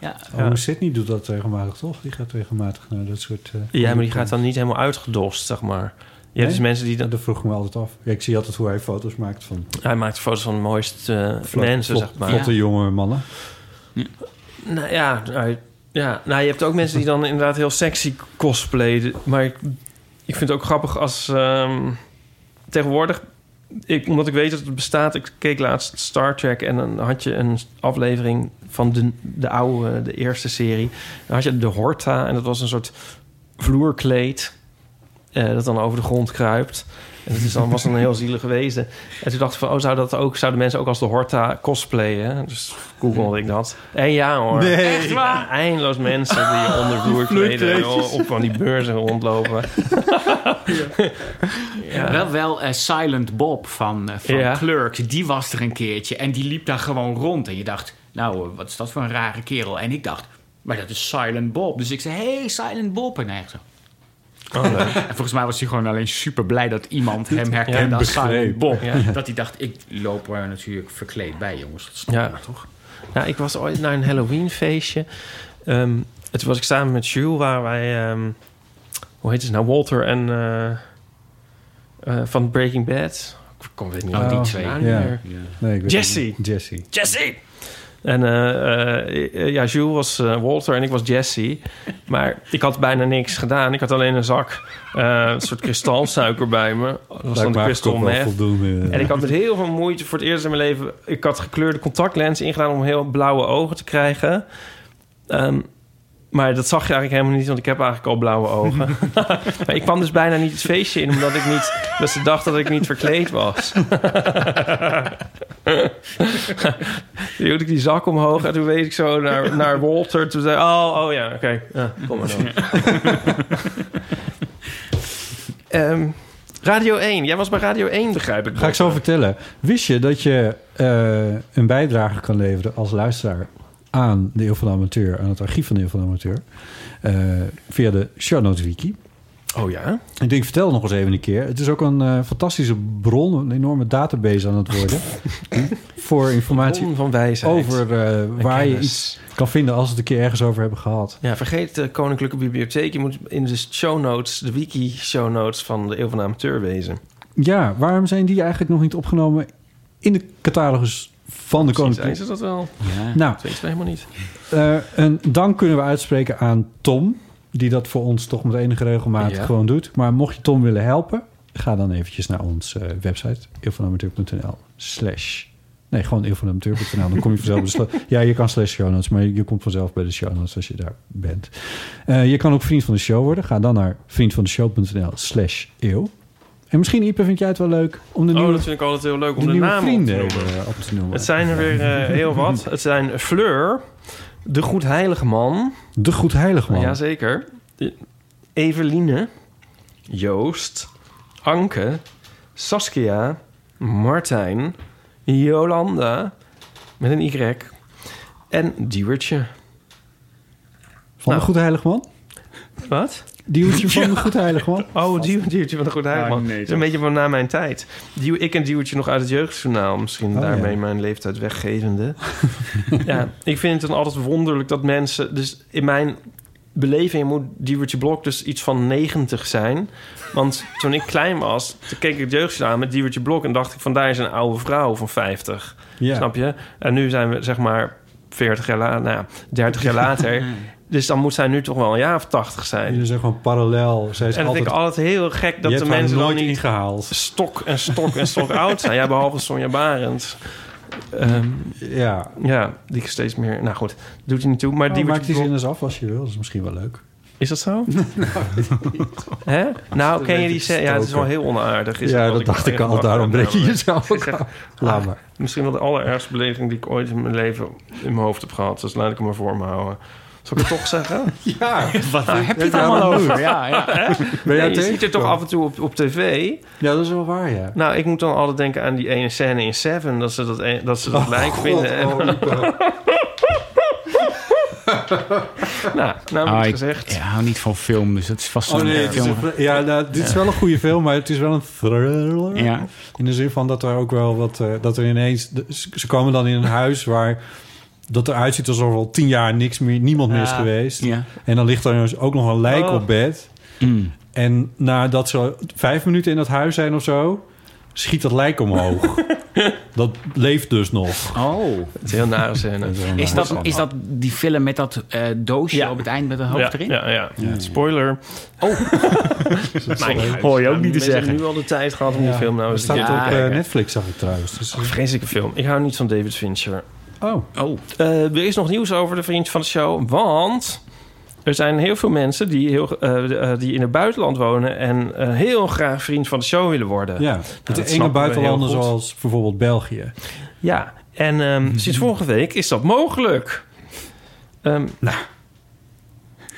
Speaker 2: Ja.
Speaker 1: Oh, Sydney doet dat regelmatig, toch? Die gaat regelmatig naar dat soort... eh,
Speaker 3: Ja, maar die gaat dan niet helemaal uitgedost, zeg maar. Je hebt
Speaker 1: Nee?
Speaker 3: dus mensen die dan...
Speaker 1: Dat vroeg ik me altijd af. Ja, ik zie altijd hoe hij foto's maakt van
Speaker 3: Hij maakt foto's van de mooiste eh,
Speaker 1: vlot-
Speaker 3: mensen,
Speaker 1: vlot-
Speaker 3: zeg maar.
Speaker 1: vlotte jonge mannen.
Speaker 3: Nou ja, nou, ja. Nou, je hebt ook mensen die dan inderdaad heel sexy cosplayen. Maar ik, ik vind het ook grappig als... ehm, tegenwoordig, ik, omdat ik weet dat het bestaat... Ik keek laatst Star Trek en dan had je een aflevering van de, de oude, de eerste serie. Dan had je de Horta en dat was een soort vloerkleed... eh, dat dan over de grond kruipt. En dat is dan, was dan een heel zielige wezen. En toen dacht ik van, oh, zou dat ook, zouden mensen ook als de Horta cosplayen? Dus googelde ik dat. En ja hoor.
Speaker 1: Nee.
Speaker 3: Echt waar? eindeloos mensen die onder vloerkleden
Speaker 1: vloerkleedjes.
Speaker 3: op van die beurzen rondlopen. Ja.
Speaker 2: Wel, wel eh, Silent Bob van, eh, van
Speaker 3: Ja.
Speaker 2: Clerks, die was er een keertje. En die liep daar gewoon rond. En je dacht, nou, eh, wat is dat voor een rare kerel? En ik dacht, maar dat is Silent Bob. Dus ik zei, hey, Silent Bob. En hij echt zo...
Speaker 1: Oh,
Speaker 2: en volgens mij was hij gewoon alleen super blij dat iemand hem herkende als Silent
Speaker 1: begreep.
Speaker 2: Bob.
Speaker 3: Ja.
Speaker 2: Dat hij dacht, ik loop er natuurlijk verkleed bij, jongens. Dat snap
Speaker 3: Ja.
Speaker 2: ik toch?
Speaker 3: Nou, ik was ooit naar een Halloween feestje. Ehm het was ik samen met Jules, waar wij, ehm, hoe heet het nou, Walter en eh, eh, van Breaking Bad. Ik kom weet niet
Speaker 2: Oh, die
Speaker 3: hoe
Speaker 2: twee.
Speaker 3: naam
Speaker 1: Ja.
Speaker 3: meer.
Speaker 1: Nee, ik weet
Speaker 3: Jesse.
Speaker 1: het niet. Jesse.
Speaker 3: Jesse! En eh, eh, eh, ja, Jules was eh, Walter en ik was Jesse. Maar ik had bijna niks gedaan. Ik had alleen een zak, eh, een soort kristalsuiker bij me. Dat was dan
Speaker 1: Lijkt
Speaker 3: de
Speaker 1: me
Speaker 3: crystal
Speaker 1: eigenlijk ook wel
Speaker 3: meth.
Speaker 1: voldoende. eh.
Speaker 3: En ik had met heel veel moeite voor het eerst in mijn leven... Ik had gekleurde contactlens ingedaan om heel blauwe ogen te krijgen. Ehm, maar dat zag je eigenlijk helemaal niet, want ik heb eigenlijk al blauwe ogen. maar ik kwam dus bijna niet het feestje in, omdat ik niet... Dat ze dachten dat ik niet verkleed was. toen hield ik die zak omhoog en toen weet ik zo naar, naar Walter. Toen zei oh, oh ja, oké. Ja, kom maar dan. Ehm, Radio 1. Jij was bij Radio 1, begrijp ik.
Speaker 1: Ga ik zo
Speaker 3: Walter.
Speaker 1: vertellen. Wist je dat je eh, een bijdrage kan leveren als luisteraar aan de Eeuw van de Amateur, aan het archief van de Eeuw van de Amateur, eh, via de Show Notes Wiki?
Speaker 3: Oh ja?
Speaker 1: Ik denk, vertel nog eens even een keer. Het is ook een eh, fantastische bron, een enorme database aan het worden. hm, voor informatie
Speaker 3: Bron van wijsheid.
Speaker 1: over eh, waar je
Speaker 3: kennis.
Speaker 1: iets kan vinden als we het een keer ergens over hebben gehad.
Speaker 3: Ja, vergeet de Koninklijke Bibliotheek. Je moet in de show notes, de wiki-show notes van de Eeuw van de Amateur wezen.
Speaker 1: Ja, waarom zijn die eigenlijk nog niet opgenomen in de catalogus van de
Speaker 3: Misschien zijn
Speaker 1: Koninklijke?
Speaker 3: ze dat wel.
Speaker 1: Nou,
Speaker 3: Dat weten we helemaal niet.
Speaker 1: Eh, een dank kunnen we uitspreken aan Tom, die dat voor ons toch met enige regelmaat
Speaker 3: Ja.
Speaker 1: gewoon doet. Maar mocht je Tom willen helpen, ga dan eventjes naar onze eh, website eeuwvanamateur.nl slash Nee, gewoon eeuwvanamateur.nl. Dan kom je vanzelf bij de sla- Ja, je kan slash show notes, maar je komt vanzelf bij de show notes als je daar bent. Eh, je kan ook vriend van de show worden. Ga dan naar vriendvandeshow.nl slash eeuw. En misschien, Ipe, vind jij het wel leuk om de
Speaker 3: Oh,
Speaker 1: nieuwe,
Speaker 3: dat vind ik altijd heel leuk om
Speaker 1: de
Speaker 3: de,
Speaker 1: nieuwe
Speaker 3: naam
Speaker 1: vrienden
Speaker 3: op te noemen.
Speaker 1: eh, op te noemen.
Speaker 3: Het zijn er weer eh, heel wat. Het zijn Fleur, de Goed Heilige Man.
Speaker 1: De Goed Heilig Man.
Speaker 3: Jazeker. Eveline, Joost, Anke, Saskia, Martijn, Jolanda, met een Y, en Diewertje.
Speaker 1: van
Speaker 3: nou.
Speaker 1: de Goed Heilig Man?
Speaker 3: Wat?
Speaker 1: Die hoedje van de Goed Heilig Man?
Speaker 3: Oh, duw, duwtje van de Goede Heilig,
Speaker 5: Ah,
Speaker 3: man.
Speaker 5: nee,
Speaker 3: dat is
Speaker 5: toch.
Speaker 3: een beetje van na mijn tijd. Duw, ik en duwtje nog uit het jeugdjournaal. Misschien
Speaker 1: Oh,
Speaker 3: daarmee
Speaker 1: ja.
Speaker 3: mijn leeftijd weggevende. ja, ik vind het dan altijd wonderlijk dat mensen... Dus in mijn beleving moet duwtje Blok dus iets van 90 zijn. Want toen ik klein was, toen keek ik het jeugdjournaal met duwtje Blok... en dacht ik, van daar is een oude vrouw van 50.
Speaker 1: Ja.
Speaker 3: Snap je? En nu zijn we zeg maar 40 jaar later, nou ja, 30 jaar later. Dus dan moet zij nu toch wel een jaar of 80 zijn.
Speaker 1: En dan zijn gewoon parallel. Zij is
Speaker 3: en dat
Speaker 1: altijd,
Speaker 3: vind ik altijd heel
Speaker 1: je
Speaker 3: gek dat de
Speaker 1: hebt haar
Speaker 3: mensen dan
Speaker 1: nooit
Speaker 3: niet
Speaker 1: ingehaald.
Speaker 3: stok en stok en stok oud zijn. Ja, behalve Sonja Barend. Ehm,
Speaker 1: Ja.
Speaker 3: ja, die steeds meer... Nou goed, doet hij niet toe. Maar
Speaker 1: Maar
Speaker 3: die
Speaker 1: die Oh, maakt die
Speaker 3: wordt-
Speaker 1: zin eens af als je wil. Dat is misschien wel leuk.
Speaker 3: Is dat zo? Nou,
Speaker 1: Nou,
Speaker 3: Hè? Nou, ken je die scène? Ja, het is wel heel onaardig. Is
Speaker 1: Ja,
Speaker 3: het wat
Speaker 1: dat dacht ik al, daarom breek je jezelf ook
Speaker 3: Zeg,
Speaker 1: af. Laat maar.
Speaker 3: Misschien wel de allerergste beleving die ik ooit in mijn leven in mijn hoofd heb gehad. Dus laat ik hem maar voor me houden. Zal ik het toch zeggen?
Speaker 1: Ja.
Speaker 3: Wat
Speaker 1: Waar heb je het allemaal over? Ja, ja. Ben jij
Speaker 3: je ziet het
Speaker 1: tegengekomen?
Speaker 3: toch af en toe op, op tv.
Speaker 1: Ja, dat is wel waar, ja.
Speaker 3: Nou, ik moet dan altijd denken aan die ene scène in Seven. Dat ze dat, e- dat, ze dat
Speaker 1: Oh,
Speaker 3: lijk
Speaker 1: God,
Speaker 3: vinden. En-
Speaker 1: oh, Ipo.
Speaker 3: nou, nou
Speaker 2: Ah,
Speaker 3: moet
Speaker 2: ik-
Speaker 3: gezegd.
Speaker 2: Ik hou niet van film, dus dat is vast
Speaker 1: Oh
Speaker 2: een
Speaker 1: nee,
Speaker 2: eh,
Speaker 1: het is
Speaker 2: film.
Speaker 1: een- ja, nou, dit is wel een goede film, maar het is wel een thriller.
Speaker 2: Ja.
Speaker 1: In de zin van dat er ook wel wat... eh, dat er ineens... de- ze- ze komen dan in een huis waar... Dat eruit ziet alsof er al tien jaar niks meer, niemand meer is
Speaker 2: Ja.
Speaker 1: geweest.
Speaker 2: Ja.
Speaker 1: En dan ligt er dus ook nog een lijk
Speaker 3: Oh.
Speaker 1: op bed.
Speaker 2: Mm.
Speaker 1: En nadat ze vijf minuten in dat huis zijn of zo... schiet dat lijk omhoog. dat leeft dus nog.
Speaker 2: Oh.
Speaker 3: Het is een heel nare scène.
Speaker 2: Is dat, is dat die film met dat eh, doosje
Speaker 3: Ja.
Speaker 2: op het eind met een hoofd
Speaker 3: Ja,
Speaker 2: erin?
Speaker 3: ja, ja. Spoiler. Oh.
Speaker 2: hoor je ook niet te
Speaker 3: Mensen
Speaker 2: zeggen.
Speaker 3: hebben nu al de tijd gehad om die film nou
Speaker 1: Er
Speaker 3: eens te
Speaker 1: staat
Speaker 2: Ja,
Speaker 1: op eh,
Speaker 3: kijken.
Speaker 1: Netflix, zag ik trouwens. Dus, eh,
Speaker 3: Vreselijke film. Ik hou niet van David Fincher.
Speaker 1: oh,
Speaker 2: Oh,
Speaker 3: Eh, er is nog nieuws over de vriend van de show, want er zijn heel veel mensen die, heel, eh, eh, die in het buitenland wonen en eh, heel graag vriend van de show willen worden.
Speaker 1: ja. Het
Speaker 3: dat snappen
Speaker 1: ene
Speaker 3: we
Speaker 1: buitenlanden
Speaker 3: heel goed.
Speaker 1: zoals bijvoorbeeld België.
Speaker 3: Ja, en ehm, sinds vorige week is dat mogelijk. Ehm,
Speaker 1: Nou.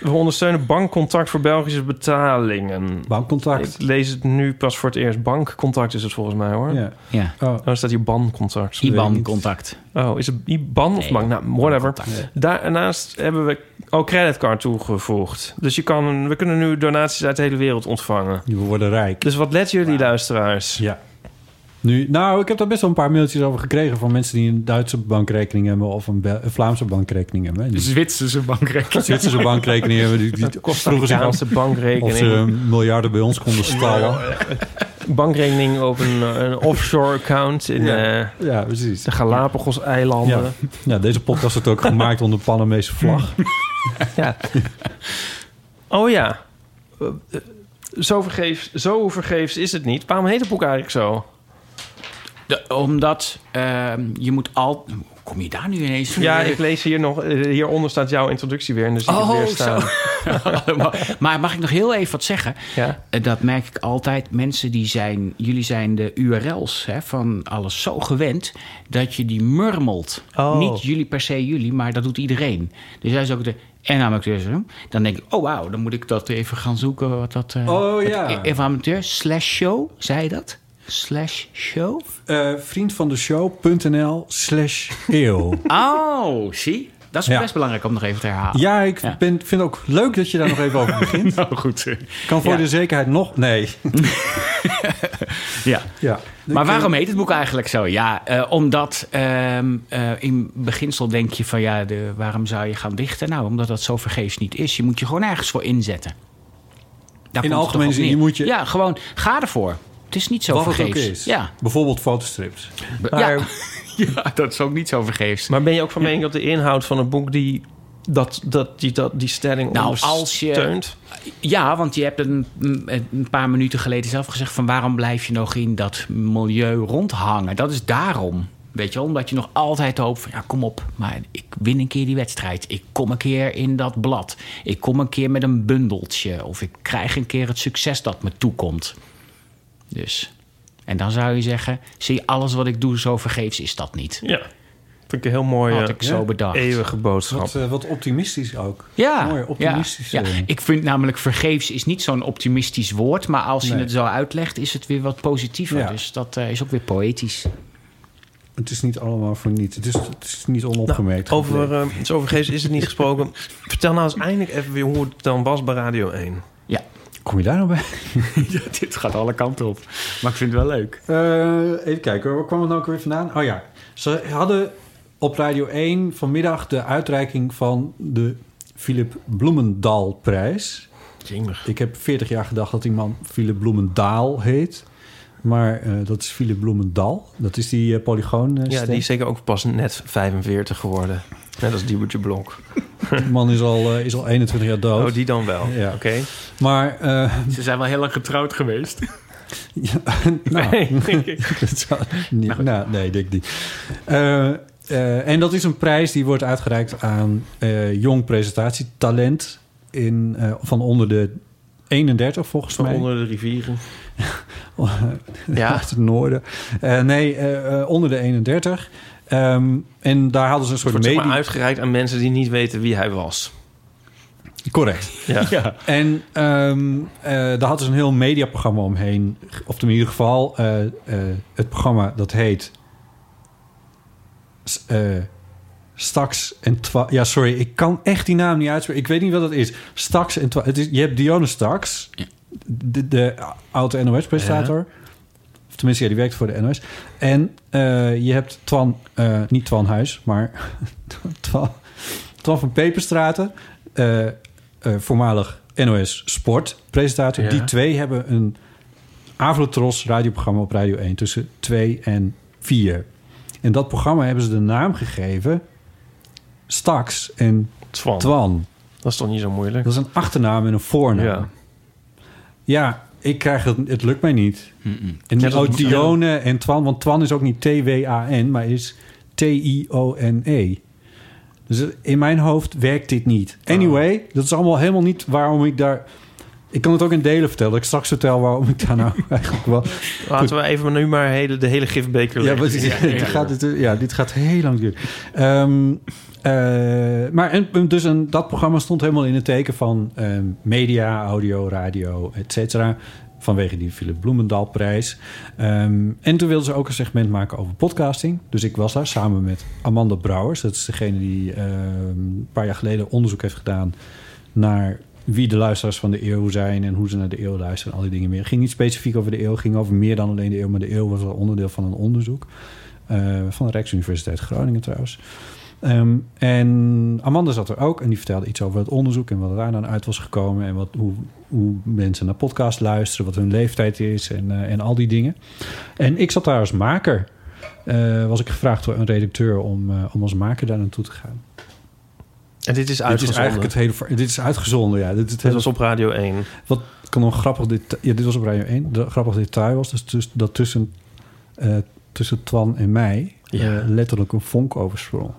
Speaker 3: We ondersteunen bankcontact voor Belgische betalingen.
Speaker 1: Bankcontact.
Speaker 3: Ik lees het nu pas voor het eerst. Bankcontact is het volgens mij hoor.
Speaker 1: Ja.
Speaker 2: ja.
Speaker 1: Oh,
Speaker 3: Oh, er staat hier bancontact.
Speaker 2: IBAN-contact.
Speaker 3: Oh, is het IBAN of
Speaker 2: Nee,
Speaker 3: bank? Nou, whatever.
Speaker 1: Nee.
Speaker 3: Daarnaast hebben we ook creditcard toegevoegd. Dus je kan, we kunnen nu donaties uit de hele wereld ontvangen.
Speaker 1: we worden rijk.
Speaker 3: Dus wat let jullie luisteraars?
Speaker 1: Ja. Nu, nou, ik heb daar best wel een paar mailtjes over gekregen... van mensen die een Duitse bankrekening hebben... of een, Bel- een Vlaamse bankrekening hebben. En
Speaker 2: De
Speaker 3: Dus
Speaker 1: die
Speaker 2: Zwitserse bankrekening.
Speaker 1: Zwitserse bankrekening hebben... die, die vroegen zich af
Speaker 3: Amerikaanse
Speaker 1: of ze
Speaker 3: bankrekening.
Speaker 1: eh, miljarden bij ons konden stallen.
Speaker 3: eh, Bankrekening op een, eh, een offshore account in
Speaker 1: Ja.
Speaker 3: eh,
Speaker 1: Ja, precies.
Speaker 3: de Galapagos-eilanden.
Speaker 1: Ja. ja, deze podcast wordt ook gemaakt onder Panamese vlag.
Speaker 3: Ja. Oh ja. Eh, eh, Zo vergeefs, zo vergeefs is het niet. Waarom heet het boek eigenlijk zo?
Speaker 2: De- omdat ehm, je moet al... Hoe kom je daar nu ineens?
Speaker 3: Ja, ik lees hier nog. eh, Hieronder staat jouw introductie weer. En dus ik het
Speaker 2: Oh,
Speaker 3: weer
Speaker 2: zo.
Speaker 3: staan.
Speaker 2: maar mag ik nog heel even wat zeggen?
Speaker 3: Ja.
Speaker 2: Eh, Dat merk ik altijd. Mensen die zijn... Jullie zijn de URL's hè, van alles zo gewend... dat je die murmelt.
Speaker 3: Oh.
Speaker 2: Niet jullie per se jullie, maar dat doet iedereen. Dus hij is ook de... En amateurs. hè? Dan denk ik, oh wauw, dan moet ik dat even gaan zoeken. Wat dat, eh,
Speaker 1: Oh,
Speaker 2: wat-
Speaker 1: ja.
Speaker 2: Even amateur, slash show, zei je dat? Slash show?
Speaker 1: Eh vriendvandeshow.nl slash eeuw.
Speaker 2: Oh, zie? Dat is
Speaker 1: Ja.
Speaker 2: best belangrijk om nog even te herhalen.
Speaker 1: Ja, ik
Speaker 2: Ja.
Speaker 1: Ben, vind het ook leuk dat je daar nog even over begint.
Speaker 2: Nou, goed.
Speaker 1: Kan voor
Speaker 2: Ja.
Speaker 1: de zekerheid nog... Nee.
Speaker 2: Ja.
Speaker 1: Ja.
Speaker 2: Maar waarom heet het boek eigenlijk zo? Ja, eh, omdat ehm, eh, in beginsel denk je van ja, de, waarom zou je gaan dichten? Nou, omdat dat zo vergeefs niet is. Je moet je gewoon ergens voor inzetten. Daar
Speaker 1: In
Speaker 2: komt het
Speaker 1: algemene
Speaker 2: toch op
Speaker 1: zin,
Speaker 2: neer.
Speaker 1: je moet je-
Speaker 2: Ja, gewoon ga ervoor. Het is niet zo
Speaker 1: Wat het ook
Speaker 2: vergeefs.
Speaker 1: is.
Speaker 2: Ja.
Speaker 1: Bijvoorbeeld fotostrips.
Speaker 2: Be- ja. ja, dat is ook niet zo vergeefs.
Speaker 3: Maar ben je ook van mening dat de inhoud van het boek die, dat, dat, die, dat, die stelling
Speaker 2: Nou, als je-
Speaker 3: ondersteunt?
Speaker 2: Ja, want je hebt een, een paar minuten geleden zelf gezegd van waarom blijf je nog in dat milieu rondhangen? Dat is daarom. Weet je wel, omdat je nog altijd hoopt van ja, kom op, maar ik win een keer die wedstrijd. Ik kom een keer in dat blad. Ik kom een keer met een bundeltje. Of ik krijg een keer het succes dat me toekomt. Dus. En dan zou je zeggen: zie je, alles wat ik doe zo vergeefs is dat niet.
Speaker 3: Ja. Vind ik een heel mooie
Speaker 2: Had ik zo bedacht.
Speaker 3: eeuwige boodschap.
Speaker 1: Wat, eh, wat optimistisch ook.
Speaker 2: Ja,
Speaker 1: Mooi, optimistisch.
Speaker 2: Ja,
Speaker 1: eh.
Speaker 2: ja. Ik vind namelijk vergeefs is niet zo'n optimistisch woord. Maar als je
Speaker 1: Nee.
Speaker 2: het zo uitlegt, is het weer wat positiever.
Speaker 1: Ja.
Speaker 2: Dus dat eh, is ook weer poëtisch.
Speaker 1: Het is niet allemaal voor niets. Het is, het is niet
Speaker 2: Nou,
Speaker 1: onopgemerkt.
Speaker 3: over eh, iets overgeefs is het niet gesproken. Vertel nou eens eindelijk even weer hoe het dan was bij Radio 1.
Speaker 2: Ja.
Speaker 1: Kom je daar nou bij?
Speaker 2: dit gaat alle kanten op. Maar ik vind het wel leuk.
Speaker 1: Eh, even kijken, hoor. waar kwam het nou ook weer vandaan? Oh ja, ze hadden op Radio 1 vanmiddag de uitreiking van de Philip Bloemendaal-prijs. Ik heb 40 jaar gedacht dat die man Philip Bloemendaal heet. Maar eh, dat is Philip Bloemendal. Dat is die eh, polygoon. eh,
Speaker 3: Ja,
Speaker 1: stem.
Speaker 3: die is zeker ook pas net 45 geworden. Net als Diebertje Blok.
Speaker 1: Die man is al, eh, is al 21 jaar dood.
Speaker 3: Oh, die dan wel.
Speaker 1: Ja.
Speaker 3: Oké.
Speaker 1: Maar, eh,
Speaker 2: Ze zijn wel heel lang getrouwd geweest.
Speaker 1: ja, nou, Dat zou- nee, nou, nee, denk ik niet. Eh, eh, en dat is een prijs die wordt uitgereikt aan eh, jong presentatietalent. in, eh, van onder de 31 volgens
Speaker 3: Van
Speaker 1: mij.
Speaker 3: onder de rivieren.
Speaker 1: ja. het noorden. Eh, nee, eh, eh, onder de 31. Ehm, en daar hadden ze een soort
Speaker 3: Wordt zeg maar
Speaker 1: medie-
Speaker 3: uitgereikt aan mensen die niet weten wie hij was.
Speaker 1: Correct.
Speaker 3: Ja.
Speaker 1: En ehm, eh, daar hadden ze een heel mediaprogramma omheen. Of in ieder geval eh, eh, het programma dat heet... S- eh, Stax en Twa... Ja, sorry, ik kan echt die naam niet uitspreken. Ik weet niet wat dat is. Stax en Twa... Het is, je hebt Dionne Stax, de, de oude NOS-presentator. Of tenminste, ja, die werkt voor de NOS. En eh, je hebt Twan... eh, niet Twan Huis, maar... Twan, Twan van Peperstraten. eh, eh, voormalig NOS Sport presentator.
Speaker 3: Ja.
Speaker 1: Die twee hebben een Avrotros radioprogramma op Radio 1 tussen 2 en 4. En dat programma hebben ze de naam gegeven Stax en
Speaker 3: Twan.
Speaker 1: Twan.
Speaker 3: Dat is toch niet zo moeilijk?
Speaker 1: Dat is nou. een achternaam en een voornaam.
Speaker 3: Ja.
Speaker 1: Ja, ik krijg het, het lukt mij niet. En
Speaker 3: Ja,
Speaker 1: die
Speaker 3: dat moet-
Speaker 1: Dione en Twan, want Twan is ook niet T-W-A-N, maar is T-I-O-N-E. E. Dus het- in mijn hoofd werkt dit niet. Anyway, dat is allemaal helemaal niet waarom ik daar. Ik kan het ook in delen vertellen. dat Ik straks vertel waarom ik daar nou eigenlijk wel.
Speaker 3: Laten we even nu maar hele, de hele gifbeker
Speaker 1: Ja,
Speaker 3: lezen.
Speaker 1: wat, dit, gaat, dus- dit, ja dit gaat heel lang duren. Ehm, eh, maar en, dus een, dat programma stond helemaal in het teken van ehm, media, audio, radio, et cetera. Vanwege die Philip Bloemendaalprijs. Ehm en toen wilden ze ook een segment maken over podcasting. Dus ik was daar samen met Amanda Brouwers. Dat is degene die ehm, een paar jaar geleden onderzoek heeft gedaan naar wie de luisteraars van de eeuw zijn en hoe ze naar de eeuw luisteren en al die dingen meer. Het ging niet specifiek over de eeuw, het ging over meer dan alleen de eeuw, maar de eeuw was wel onderdeel van een onderzoek. eh, van de Rijksuniversiteit Groningen trouwens. Ehm, en Amanda zat er ook en die vertelde iets over het onderzoek en wat daar dan uit was gekomen en wat, hoe, hoe mensen naar podcasts luisteren, wat hun leeftijd is en, eh, en al die dingen. En ik zat daar als maker. Eh, was ik gevraagd door een redacteur om, eh, om als maker daar naartoe te gaan.
Speaker 3: En dit is
Speaker 1: Dit is
Speaker 3: uitgezonden.
Speaker 1: eigenlijk het hele. ver- Dit is uitgezonden, ja. Dit, dit
Speaker 3: Dit
Speaker 1: hele
Speaker 3: was op Radio 1.
Speaker 1: wat kan een grappig detail... Ja, dit was op Radio 1. De grappig detail was dus, tuss- dat tussen, eh, tussen Twan en mij...
Speaker 3: Ja.
Speaker 1: eh, letterlijk een vonk oversprong.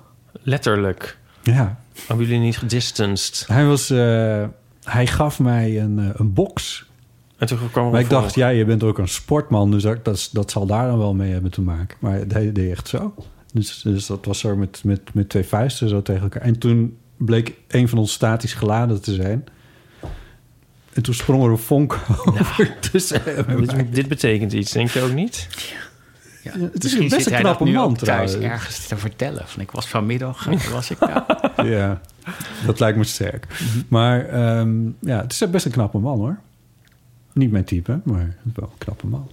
Speaker 3: Letterlijk.
Speaker 1: Ja,
Speaker 3: Hebben jullie niet gedistanced?
Speaker 1: hij was... eh, hij gaf mij een, eh, een box.
Speaker 3: En toen kwam er
Speaker 1: Maar
Speaker 3: een
Speaker 1: ik dacht,
Speaker 3: volg.
Speaker 1: ja, je bent ook een sportman... dus dat, dat, is- dat zal daar dan wel mee hebben te maken. Maar hij deed echt zo. Dus, dus dat was zo met, met, met twee vuisten zo tegen elkaar. En toen bleek een van ons statisch geladen te zijn... En toen sprong er een vonk over tussen hem en mij.
Speaker 3: Dit, dit betekent iets, denk je ook niet?
Speaker 1: Ja, het is
Speaker 2: Misschien
Speaker 1: best
Speaker 2: zit
Speaker 1: een
Speaker 2: hij dat
Speaker 1: knappe
Speaker 2: nu
Speaker 1: man
Speaker 2: ook thuis
Speaker 1: trouwens.
Speaker 2: ergens te vertellen. Van, ik was vanmiddag, eh, was ik daar.
Speaker 1: Ja, dat lijkt me sterk.
Speaker 3: Mhm.
Speaker 1: Maar ehm, ja, het is best een knappe man hoor. Niet mijn type, maar wel een knappe man.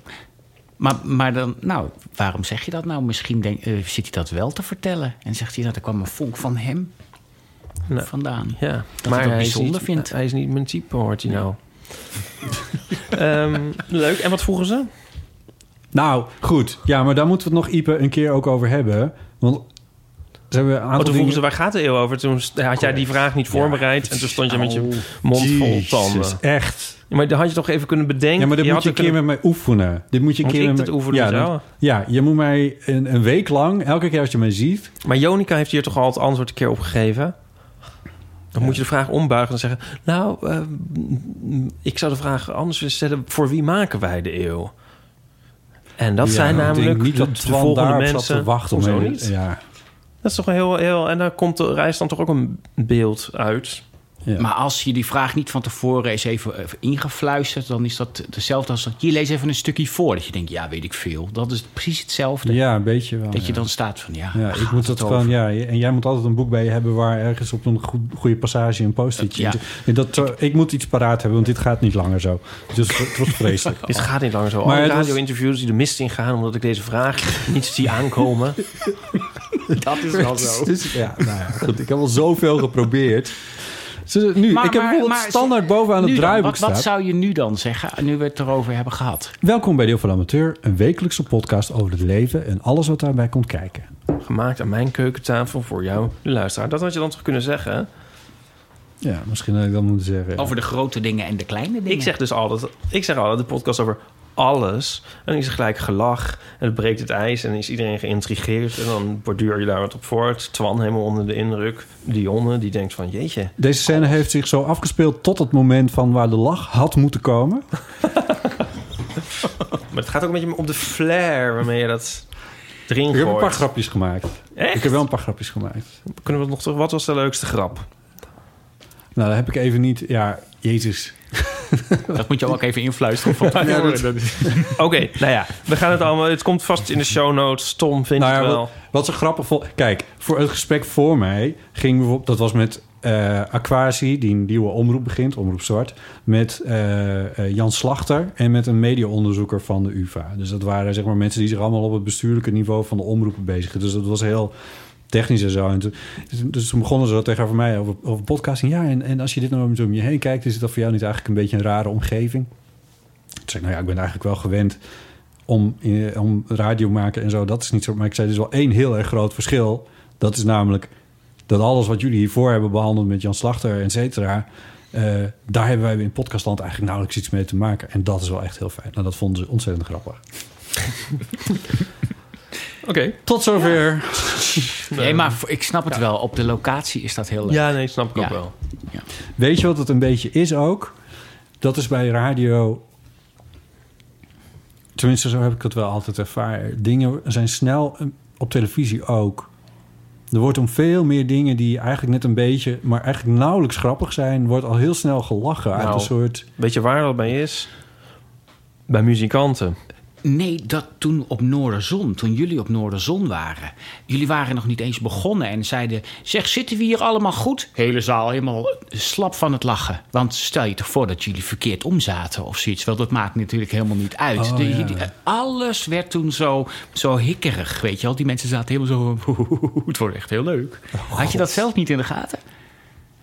Speaker 2: Maar, maar dan, nou, waarom zeg je dat nou? Misschien denk, eh, zit hij dat wel te vertellen. En zegt hij dat er kwam een vonk van hem
Speaker 3: Nou,
Speaker 2: vandaan.
Speaker 3: Ja.
Speaker 2: Dat
Speaker 3: maar
Speaker 2: ik dat
Speaker 3: hij is
Speaker 2: bijzonder
Speaker 3: niet-
Speaker 2: vind.
Speaker 3: Hij is niet mijn type, hoort hij nou. Ehm, leuk. En wat vroegen ze?
Speaker 1: Nou, goed. Ja, maar daar moeten we het nog Ipe een keer ook over hebben. Want ze hebben een
Speaker 3: Oh,
Speaker 1: aantal
Speaker 3: toen vroegen ze,
Speaker 1: dingen-
Speaker 3: waar gaat de eeuw over? Toen st- had jij die vraag niet voorbereid. en toen stond je met je mond
Speaker 1: Jezus,
Speaker 3: vol tanden.
Speaker 1: echt.
Speaker 3: Ja, Maar dan had je toch even kunnen bedenken.
Speaker 1: Ja, maar dit
Speaker 3: je
Speaker 1: moet je
Speaker 3: had
Speaker 1: een keer
Speaker 3: er
Speaker 1: met mij oefenen. Dit moet je een
Speaker 3: Moet
Speaker 1: keer met
Speaker 3: ik dat
Speaker 1: mij-
Speaker 3: oefenen
Speaker 1: Ja,
Speaker 3: met jou?
Speaker 1: dan- ja, je moet mij een, een week lang, elke keer als je mij ziet...
Speaker 3: kunnen- Maar Jonica heeft hier toch al het antwoord een keer op gegeven? Dan moet je de vraag ombuigen en zeggen... Nou, eh, m- ik zou de vraag anders willen stellen... voor wie maken wij de eeuw? En dat
Speaker 1: Ja,
Speaker 3: zijn
Speaker 1: ik denk
Speaker 3: namelijk
Speaker 1: niet
Speaker 3: de,
Speaker 1: dat
Speaker 3: de volgende
Speaker 1: daarop zat te
Speaker 3: mensen...
Speaker 1: wachten. om
Speaker 3: Hoezo
Speaker 1: even-
Speaker 3: niet?
Speaker 1: Ja,
Speaker 3: Dat is toch een heel, heel... En daar komt de reis dan toch ook een beeld uit.
Speaker 1: ja.
Speaker 2: Maar als je die vraag niet van tevoren eens even, even ingefluisterd... dan is dat hetzelfde als dat... Hier, lees even een stukje voor. Dat je denkt, ja, weet ik veel. Dat is precies hetzelfde.
Speaker 1: ja, een beetje wel.
Speaker 2: dat je
Speaker 1: ja.
Speaker 2: dan staat van, ja,
Speaker 1: Ja,
Speaker 2: waar
Speaker 1: ik
Speaker 2: gaat
Speaker 1: moet dat
Speaker 2: het
Speaker 1: gewoon,
Speaker 2: over?
Speaker 1: ja, en jij moet altijd een boek bij je hebben waar ergens op een goed- goede passage een post-itje
Speaker 2: Ja.
Speaker 1: in zit. En Dat, eh, ik moet iets paraat hebben, want dit gaat niet langer zo. Dus het was vreselijk.
Speaker 3: Dit gaat niet langer zo.
Speaker 1: Maar
Speaker 3: Alle
Speaker 1: het was-
Speaker 3: radio-interviews die de mist ingaan... omdat ik deze vraag niet zie aankomen.
Speaker 2: Dat is wel zo.
Speaker 1: Dus, ja, nou ja, goed, ik heb al zoveel geprobeerd. Dus, nu,
Speaker 2: Maar-
Speaker 1: ik heb
Speaker 2: maar-
Speaker 1: bijvoorbeeld
Speaker 2: maar-
Speaker 1: standaard bovenaan
Speaker 2: Nu
Speaker 1: het
Speaker 2: dan,
Speaker 1: draaiboek
Speaker 2: wat,
Speaker 1: staan.
Speaker 2: wat zou je nu dan zeggen, nu we het erover hebben gehad?
Speaker 1: Welkom bij Deel van de Amateur, een wekelijkse podcast over het leven en alles wat daarbij komt kijken.
Speaker 3: Gemaakt aan mijn keukentafel voor jou, de luisteraar. Dat had je dan toch kunnen zeggen? hè?
Speaker 1: Ja, misschien had ik dat moeten zeggen.
Speaker 2: Over de grote dingen en de kleine dingen?
Speaker 3: Ik zeg dus altijd... Ik zeg altijd de podcast over alles. En dan is er gelijk gelach. En het breekt het ijs. En dan is iedereen geïntrigeerd. En dan borduur je daar wat op voort. Twan helemaal onder de indruk. Dionne, die denkt van jeetje.
Speaker 1: Deze scène heeft zich zo afgespeeld tot het moment van waar de lach had moeten komen.
Speaker 3: Maar het gaat ook een beetje om de flair waarmee je dat erin
Speaker 1: Ik
Speaker 3: gooit.
Speaker 1: heb een paar grapjes gemaakt.
Speaker 3: Echt?
Speaker 1: Ik heb wel een paar grapjes gemaakt.
Speaker 3: Kunnen we nog terug? Wat was de leukste grap?
Speaker 1: Nou, dat heb ik even niet. Ja, Jezus.
Speaker 2: Dat moet je ook even influisteren. Van
Speaker 1: Ja, dat-
Speaker 3: Oké, nou ja. We gaan het allemaal... Het komt vast in de show notes. Tom vindt
Speaker 1: Nou ja,
Speaker 3: het wel.
Speaker 1: wat, wat ze grappig vond... Kijk, voor het gesprek voor mij ging bijvoorbeeld... Dat was met eh Aquasi, die een nieuwe omroep begint, Omroep Zwart... met eh, eh, Jan Slachter en met een mediaonderzoeker van de UvA. Dus dat waren zeg maar, mensen die zich allemaal op het bestuurlijke niveau van de omroepen bezigen. Dus dat was heel technisch en zo. En toen, dus toen begonnen ze zo tegenover mij over, over podcasting. Ja, en, en als je dit nou zo om je heen kijkt... is dat voor jou niet eigenlijk een beetje een rare omgeving? Ik zei, nou ja, ik ben eigenlijk wel gewend om, eh, om radio maken en zo. Dat is niet zo. Maar ik zei, er is wel één heel erg groot verschil. Dat is namelijk dat alles wat jullie hiervoor hebben behandeld met Jan Slachter, et cetera. eh, daar hebben wij in podcastland eigenlijk nauwelijks iets mee te maken. En dat is wel echt heel fijn. Nou, dat vonden ze ontzettend grappig.
Speaker 3: Oké.
Speaker 1: Tot zover.
Speaker 2: Nee, maar voor- ik snap het wel. Op de locatie is dat heel leuk.
Speaker 3: Ja, nee, snap ik
Speaker 2: Ja.
Speaker 3: ook wel.
Speaker 1: Weet je wat het een beetje is ook? Dat is bij radio. Tenminste, zo heb ik het wel altijd ervaren. Dingen zijn snel eh, op televisie ook. Er wordt om veel meer dingen die eigenlijk net een beetje, maar eigenlijk nauwelijks grappig zijn, wordt al heel snel gelachen. uit
Speaker 3: Nou.
Speaker 1: een soort.
Speaker 3: Weet je waar dat bij is? Bij muzikanten.
Speaker 2: Nee, dat toen op Noorderzon, toen jullie op Noorderzon waren. Jullie waren nog niet eens begonnen en zeiden... Zeg, zitten we hier allemaal goed? Hele zaal helemaal slap van het lachen. Want stel je toch voor dat jullie verkeerd omzaten of zoiets. Wel, dat maakt natuurlijk helemaal niet uit.
Speaker 1: Oh,
Speaker 2: De-
Speaker 1: ja.
Speaker 2: jullie- eh, alles werd toen zo, zo hikkerig, weet je wel. Die mensen zaten helemaal zo... Het wordt echt heel leuk.
Speaker 1: Oh,
Speaker 2: Had je dat zelf niet in de gaten?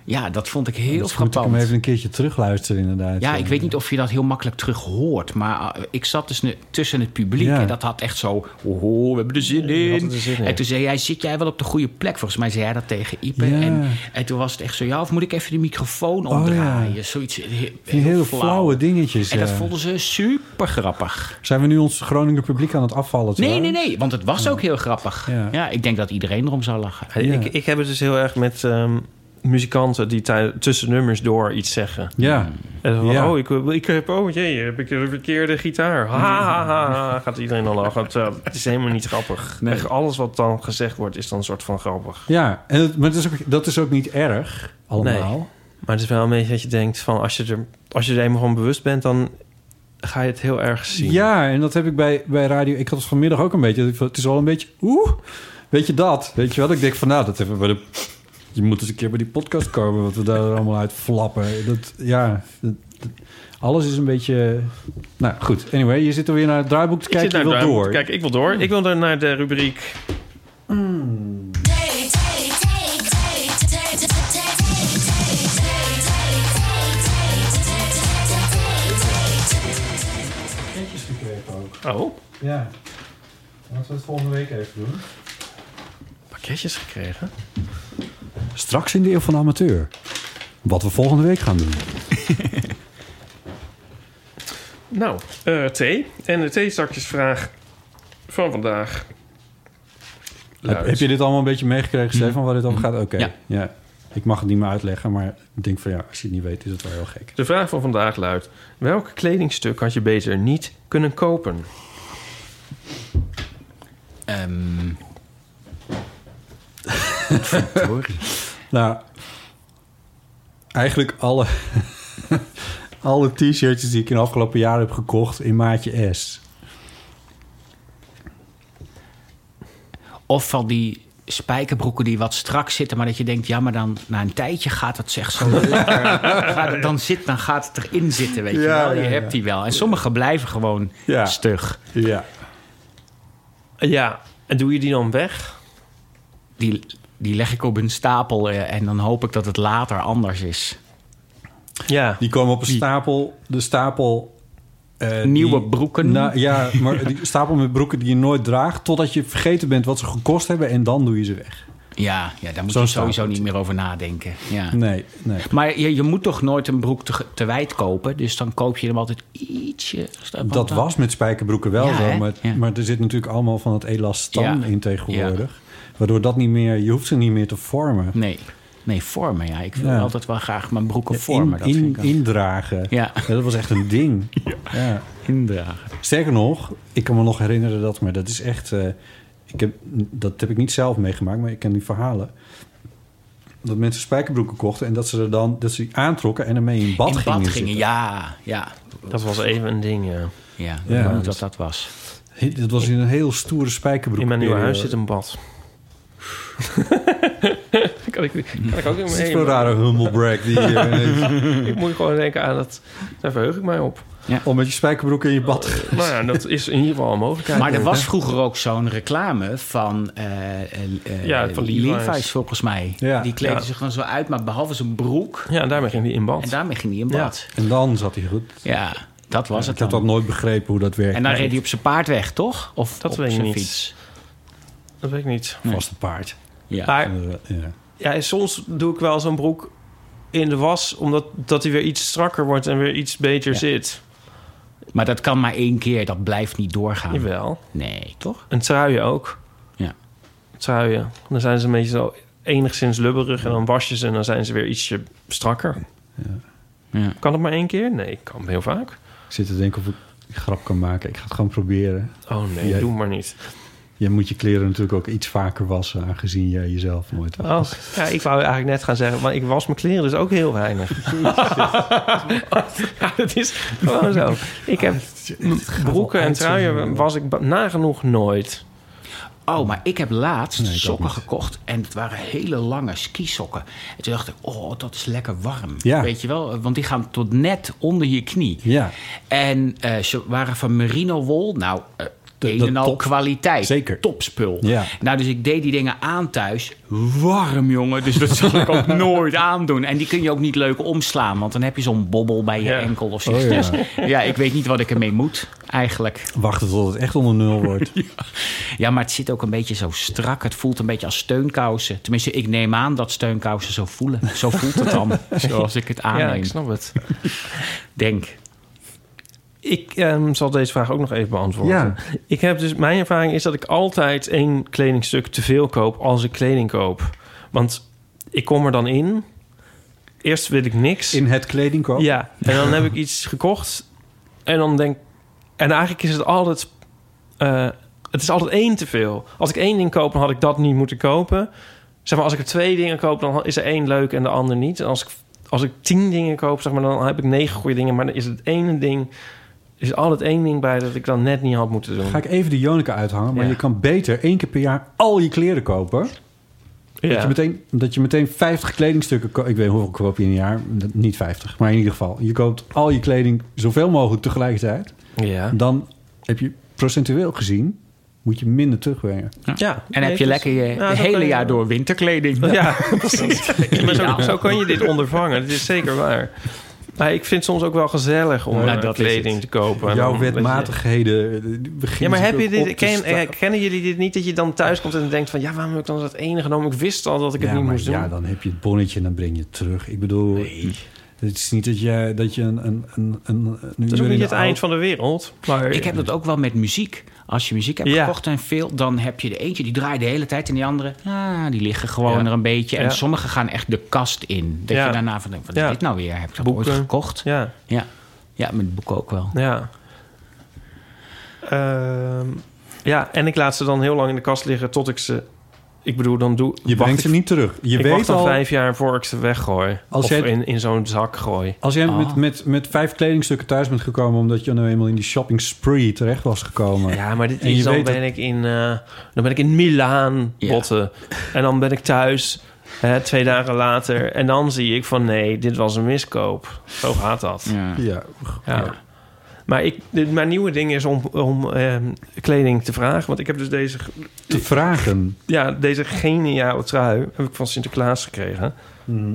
Speaker 2: Ja, dat vond ik heel
Speaker 1: Dus moet ik
Speaker 2: frappant.
Speaker 1: hem even een keertje terugluisteren, inderdaad.
Speaker 2: Ja, ik weet niet of je dat heel makkelijk terug hoort. Maar eh, ik zat dus ne- tussen het publiek
Speaker 1: Ja.
Speaker 2: en dat had echt zo... Oh, we hebben er zin in.
Speaker 3: hadden er zin in.
Speaker 2: En toen zei jij, zit jij wel op de goede plek? Volgens mij zei hij dat tegen Ipe.
Speaker 1: Ja. Oh,
Speaker 2: En, en toen was het echt zo, ja, of moet ik even de microfoon
Speaker 1: ja.
Speaker 2: omdraaien? Zoiets he- heel,
Speaker 1: Die hele flauwe dingetjes. eh.
Speaker 2: En dat
Speaker 1: ja.
Speaker 2: vonden ze super grappig.
Speaker 1: Zijn we nu ons Groningen publiek aan het afvallen?
Speaker 2: Nee,
Speaker 1: trouwens?
Speaker 2: nee, nee, want het was ook heel grappig.
Speaker 1: Ja.
Speaker 2: Ja. ik denk dat iedereen erom zou lachen.
Speaker 1: Ja.
Speaker 3: Ik, ik heb het dus heel erg met ehm, muzikanten die tij- tussen nummers door iets zeggen.
Speaker 1: Ja,
Speaker 3: En van,
Speaker 1: Ja.
Speaker 3: oh, ik, ik heb, oh jee, heb ik de verkeerde gitaar. Ha, ha, ha, ha. Gaat iedereen al lachen. Terwijl, het is helemaal niet grappig.
Speaker 2: Nee.
Speaker 3: Echt alles wat dan gezegd wordt, is dan een soort van grappig.
Speaker 1: ja. En dat, maar dat is, ook, dat is ook niet erg, allemaal.
Speaker 3: Maar het is wel een beetje dat je denkt van... als je er, als je er eenmaal van bewust bent, dan ga je het heel erg zien.
Speaker 1: Ja, en dat heb ik bij, bij radio. Ik had het vanmiddag ook een beetje. Het is wel een beetje. Oeh, weet je dat? Weet je wat? Ik denk van nou, dat hebben we. bij De, je moet eens een keer bij die podcast komen, wat we daar allemaal uit flappen. Dat, ja, dat- dat- alles is een beetje. Nou goed, anyway, je zit alweer naar het draaiboek te
Speaker 3: Ik
Speaker 1: kijken.
Speaker 3: zit
Speaker 1: Je
Speaker 3: naar
Speaker 1: wil
Speaker 3: de-
Speaker 1: door.
Speaker 3: Kijk, ik wil door. Ik wil dan naar de rubriek... Oh,
Speaker 1: Ja. Laten we het volgende week even doen.
Speaker 3: pakketjes gekregen.
Speaker 1: Straks in de Eeuw van de Amateur. Wat we volgende week gaan doen.
Speaker 3: Nou, eh, thee. En de theezakjesvraag van vandaag.
Speaker 1: Heb,
Speaker 3: Luid.
Speaker 1: heb je dit allemaal een beetje meegekregen, Stefan, waar dit om gaat? Oké.
Speaker 2: Mm. Ja.
Speaker 1: ja. Ik mag het niet meer uitleggen, maar ik denk van ja, als je het niet weet, is het wel heel gek.
Speaker 3: De vraag van vandaag luidt... Welk kledingstuk had je beter niet kunnen kopen?
Speaker 2: Ehm,
Speaker 1: Nou, eigenlijk alle, alle t-shirtjes die ik in de afgelopen jaren heb gekocht in maatje S.
Speaker 2: Of van die spijkerbroeken die wat strak zitten, maar dat je denkt, ja, maar dan na een tijdje gaat het echt zo lekker. Gaat het dan, zit, dan gaat het erin zitten, weet je
Speaker 1: Ja,
Speaker 2: wel. Je
Speaker 1: ja, ja.
Speaker 2: hebt die wel. En sommige blijven gewoon
Speaker 1: Ja.
Speaker 2: stug.
Speaker 1: Ja.
Speaker 3: Ja, en doe je die dan weg?
Speaker 2: Die, die leg ik op een stapel eh, en dan hoop ik dat het later anders is.
Speaker 3: Ja.
Speaker 1: Die komen op een stapel, de stapel... eh,
Speaker 2: Nieuwe broeken.
Speaker 1: Nou, ja, maar die stapel met broeken die je nooit draagt... totdat je vergeten bent wat ze gekost hebben en dan doe je ze weg.
Speaker 2: Ja, ja daar moet
Speaker 1: Zo'n
Speaker 2: je sowieso
Speaker 1: stapeltje.
Speaker 2: niet meer over nadenken. Ja.
Speaker 1: Nee, nee.
Speaker 2: Maar je, je moet toch nooit een broek te, te wijd kopen? Dus dan koop je hem altijd ietsje...
Speaker 1: Dat was met spijkerbroeken wel
Speaker 2: Ja,
Speaker 1: zo,
Speaker 2: hè?
Speaker 1: maar,
Speaker 2: Ja.
Speaker 1: maar er zit natuurlijk allemaal van het elastan
Speaker 2: Ja.
Speaker 1: in tegenwoordig. Waardoor dat niet meer, je hoeft ze niet meer te vormen.
Speaker 2: Nee, nee vormen, ja. Ik wil
Speaker 1: Ja.
Speaker 2: altijd wel graag mijn broeken
Speaker 1: Ja,
Speaker 2: vormen.
Speaker 1: in-
Speaker 2: dat vind
Speaker 1: in-
Speaker 2: ik wel-
Speaker 1: indragen.
Speaker 2: Ja.
Speaker 1: Dat was echt een ding. Ja.
Speaker 2: Indragen.
Speaker 1: Sterker nog, ik kan me nog herinneren dat, maar dat is echt. eh, ik heb, dat heb ik niet zelf meegemaakt, maar ik ken die verhalen. Dat mensen spijkerbroeken kochten en dat ze er dan dat ze die aantrokken en ermee in bad
Speaker 2: in
Speaker 1: gingen.
Speaker 2: bad
Speaker 1: zitten.
Speaker 2: gingen, ja, ja.
Speaker 3: Dat was even een ding, ja.
Speaker 2: Ja, ik
Speaker 1: Ja,
Speaker 2: weet niet
Speaker 1: dat-
Speaker 2: wat dat was.
Speaker 1: He- Dat was in een heel stoere spijkerbroek. eh,
Speaker 3: In mijn nieuwe huis zit
Speaker 1: zitten.
Speaker 3: een bad. kan, ik, kan ik ook in
Speaker 1: Wat is
Speaker 3: mijn
Speaker 1: dit voor een rare humblebrag die je
Speaker 3: Ik moet gewoon denken aan dat. Daar verheug ik mij op.
Speaker 1: om met je spijkerbroek in je bad. ge-
Speaker 3: Nou ja, dat is in ieder geval een mogelijkheid.
Speaker 2: Maar er was vroeger ook zo'n reclame van, eh, eh,
Speaker 3: Ja,
Speaker 2: eh,
Speaker 3: van Levi's.
Speaker 2: volgens mij.
Speaker 1: Ja.
Speaker 2: die kleden
Speaker 3: Ja.
Speaker 2: zich gewoon zo uit, maar behalve zijn broek.
Speaker 3: Ja, en daarmee ging die in bad.
Speaker 2: En daarmee ging hij in bad.
Speaker 1: En dan zat hij goed.
Speaker 2: Ja, dat was
Speaker 1: ik
Speaker 2: het
Speaker 1: heb
Speaker 2: dan.
Speaker 1: dat nooit begrepen hoe dat werkt.
Speaker 2: En dan
Speaker 1: Nee,
Speaker 2: reed hij op zijn paard weg, toch? Of
Speaker 3: Dat
Speaker 2: op
Speaker 3: weet ik
Speaker 2: zijn
Speaker 3: niet.
Speaker 2: fiets.
Speaker 3: Dat weet ik niet.
Speaker 1: vast een paard. Eh,
Speaker 2: Ja.
Speaker 3: Maar
Speaker 1: Ja.
Speaker 3: ja, en soms doe ik wel zo'n broek in de was, omdat dat hij weer iets strakker wordt en weer iets beter
Speaker 2: Ja.
Speaker 3: zit.
Speaker 2: Maar dat kan maar één keer, dat blijft niet doorgaan.
Speaker 3: Jawel.
Speaker 2: Nee, toch?
Speaker 3: Een truien ook.
Speaker 2: Ja.
Speaker 3: Truien. Dan zijn ze een beetje zo enigszins lubberig en dan was je ze en dan zijn ze weer ietsje strakker.
Speaker 2: Ja.
Speaker 3: Kan het maar één keer? Nee, kan heel vaak.
Speaker 1: Ik zit te denken of ik een grap kan maken. Ik ga het gewoon proberen.
Speaker 3: Oh nee,
Speaker 1: Jij-
Speaker 3: doe maar niet.
Speaker 1: Je moet je kleren natuurlijk ook iets vaker wassen, aangezien jij jezelf nooit was.
Speaker 3: Oh, ja, ik wou eigenlijk net gaan zeggen, maar ik was mijn kleren dus ook heel weinig. ja, dat is gewoon zo. Ik heb broeken en truien was ik ba- nagenoeg nooit.
Speaker 2: Oh, maar ik heb laatst
Speaker 1: ik ook
Speaker 2: sokken
Speaker 1: niet.
Speaker 2: gekocht. En het waren hele lange skisokken. En toen dacht ik, oh, dat is lekker warm.
Speaker 1: Ja.
Speaker 2: Weet je wel? Want die gaan tot net onder je knie.
Speaker 1: Ja,
Speaker 2: En eh, ze waren van merino wol. Nou, eh een
Speaker 1: dat
Speaker 2: en al
Speaker 1: top.
Speaker 2: kwaliteit.
Speaker 1: Zeker.
Speaker 2: Topspul.
Speaker 1: Ja.
Speaker 2: Nou, dus ik deed die dingen aan thuis. Warm, jongen. Dus dat zal ik ook nooit aandoen. En die kun je ook niet leuk omslaan. Want dan heb je zo'n bobbel bij je
Speaker 3: Ja.
Speaker 2: enkel of zo.
Speaker 1: Oh, ja.
Speaker 2: Dus, ja, ik weet niet wat ik ermee moet, eigenlijk.
Speaker 1: wachten tot het echt onder nul wordt.
Speaker 2: Ja, maar het zit ook een beetje zo strak. Het voelt een beetje als steunkousen. Tenminste, ik neem aan dat steunkousen zo voelen. Zo voelt het dan, zoals ik het
Speaker 3: ja,
Speaker 2: aanneem.
Speaker 3: ik snap het.
Speaker 2: Denk.
Speaker 3: Ik ehm, zal deze vraag ook nog even beantwoorden.
Speaker 1: Ja.
Speaker 3: Ik heb dus, mijn ervaring is dat ik altijd één kledingstuk te veel koop als ik kleding koop. Want ik kom er dan in. Eerst wil ik niks.
Speaker 1: In het kledingkoop?
Speaker 3: Ja, en dan heb ik iets gekocht. En dan denk En eigenlijk is het altijd... eh, het is altijd één te veel. Als ik één ding koop, dan had ik dat niet moeten kopen. Zeg maar, als ik er twee dingen koop, dan is er één leuk en de ander niet. En als ik, als ik tien dingen koop, zeg maar, dan heb ik negen goede dingen. Maar dan is het ene ding... Er is altijd één ding bij dat ik dan net niet had moeten doen.
Speaker 1: Ga ik even de Jonica uithangen, maar
Speaker 3: Ja.
Speaker 1: je kan beter één keer per jaar al je kleren kopen. Dat,
Speaker 3: ja.
Speaker 1: je meteen, dat je meteen 50 kledingstukken koopt. Ik weet hoeveel koop je in een jaar. Niet 50, maar in ieder geval. Je koopt al je kleding zoveel mogelijk tegelijkertijd.
Speaker 3: ja.
Speaker 1: Dan heb je procentueel gezien, moet je minder terugbrengen.
Speaker 3: Ja.
Speaker 2: En heb je lekker je
Speaker 3: Ja, Nou, dat kan
Speaker 2: hele
Speaker 3: je
Speaker 2: jaar
Speaker 3: wel.
Speaker 2: door winterkleding.
Speaker 3: Ja, maar zo, zo kan je dit ondervangen. Dat is zeker waar. Maar ik vind het soms ook wel gezellig om
Speaker 2: Ja,
Speaker 1: Nou,
Speaker 3: eh,
Speaker 2: dat is
Speaker 3: kleding
Speaker 2: het.
Speaker 3: te kopen. En
Speaker 1: Jouw
Speaker 3: dan-
Speaker 1: wetmatigheden eh, die
Speaker 3: Ja,
Speaker 1: beginnen
Speaker 3: maar heb
Speaker 1: zich
Speaker 3: je
Speaker 1: ook op
Speaker 3: dit,
Speaker 1: te
Speaker 3: ken,
Speaker 1: stapelen.
Speaker 3: eh, kennen jullie dit niet? Dat je dan thuis komt en denkt van... ja, waarom heb ik dan dat ene genomen? Ik wist al dat ik het
Speaker 1: ja,
Speaker 3: niet
Speaker 1: maar
Speaker 3: moest
Speaker 1: ja,
Speaker 3: doen.
Speaker 1: dan heb je het bonnetje en dan breng je het terug. Ik bedoel, het is niet dat je, dat je een, een, een, een, een
Speaker 3: Dat
Speaker 1: uur
Speaker 3: is ook
Speaker 1: in
Speaker 3: niet
Speaker 1: de
Speaker 3: het
Speaker 1: auto-
Speaker 3: eind van de wereld. Maar
Speaker 2: Ik heb dat ook wel met muziek. Als je muziek hebt
Speaker 3: Ja.
Speaker 2: gekocht en veel, dan heb je de eentje die draait de hele tijd en die andere, ah, die liggen gewoon
Speaker 3: Ja.
Speaker 2: er een beetje. En
Speaker 3: Ja.
Speaker 2: sommige gaan echt de kast in. Dat
Speaker 3: Ja.
Speaker 2: je daarna van denkt, wat
Speaker 3: Ja.
Speaker 2: is dit nou weer? Heb ik dat
Speaker 3: Boeken.
Speaker 2: ooit gekocht?
Speaker 3: Ja,
Speaker 2: Ja. ja, met boeken ook wel.
Speaker 3: ja. Ehm, ja, en ik laat ze dan heel lang in de kast liggen tot ik ze... Ik bedoel, dan doe...
Speaker 1: Je
Speaker 3: wacht
Speaker 1: brengt
Speaker 3: ik-
Speaker 1: ze niet terug. Je
Speaker 3: ik wacht
Speaker 1: weet
Speaker 3: dan
Speaker 1: al,
Speaker 3: vijf jaar voor ik ze weggooi.
Speaker 1: Als
Speaker 3: of
Speaker 1: jij-
Speaker 3: in, in zo'n zak gooi.
Speaker 1: als jij
Speaker 2: Ah.
Speaker 1: met, met, met vijf kledingstukken thuis bent gekomen... omdat je nou eenmaal in die shopping spree terecht was gekomen.
Speaker 3: Ja, maar dit
Speaker 1: En je
Speaker 3: is, dan,
Speaker 1: weet
Speaker 3: ben ik in, eh, dan ben ik in Milaan
Speaker 2: Ja.
Speaker 3: botten. En dan ben ik thuis hè, twee dagen later. En dan zie ik van nee, dit was een miskoop. Zo gaat dat. Ja.
Speaker 2: Ja.
Speaker 1: Ja.
Speaker 3: Maar ik, dit, mijn nieuwe ding is om, om ehm, kleding te vragen. Want ik heb dus deze, g-
Speaker 1: Te vragen.
Speaker 3: ja, deze geniale trui heb ik van Sinterklaas gekregen.
Speaker 2: Mhm.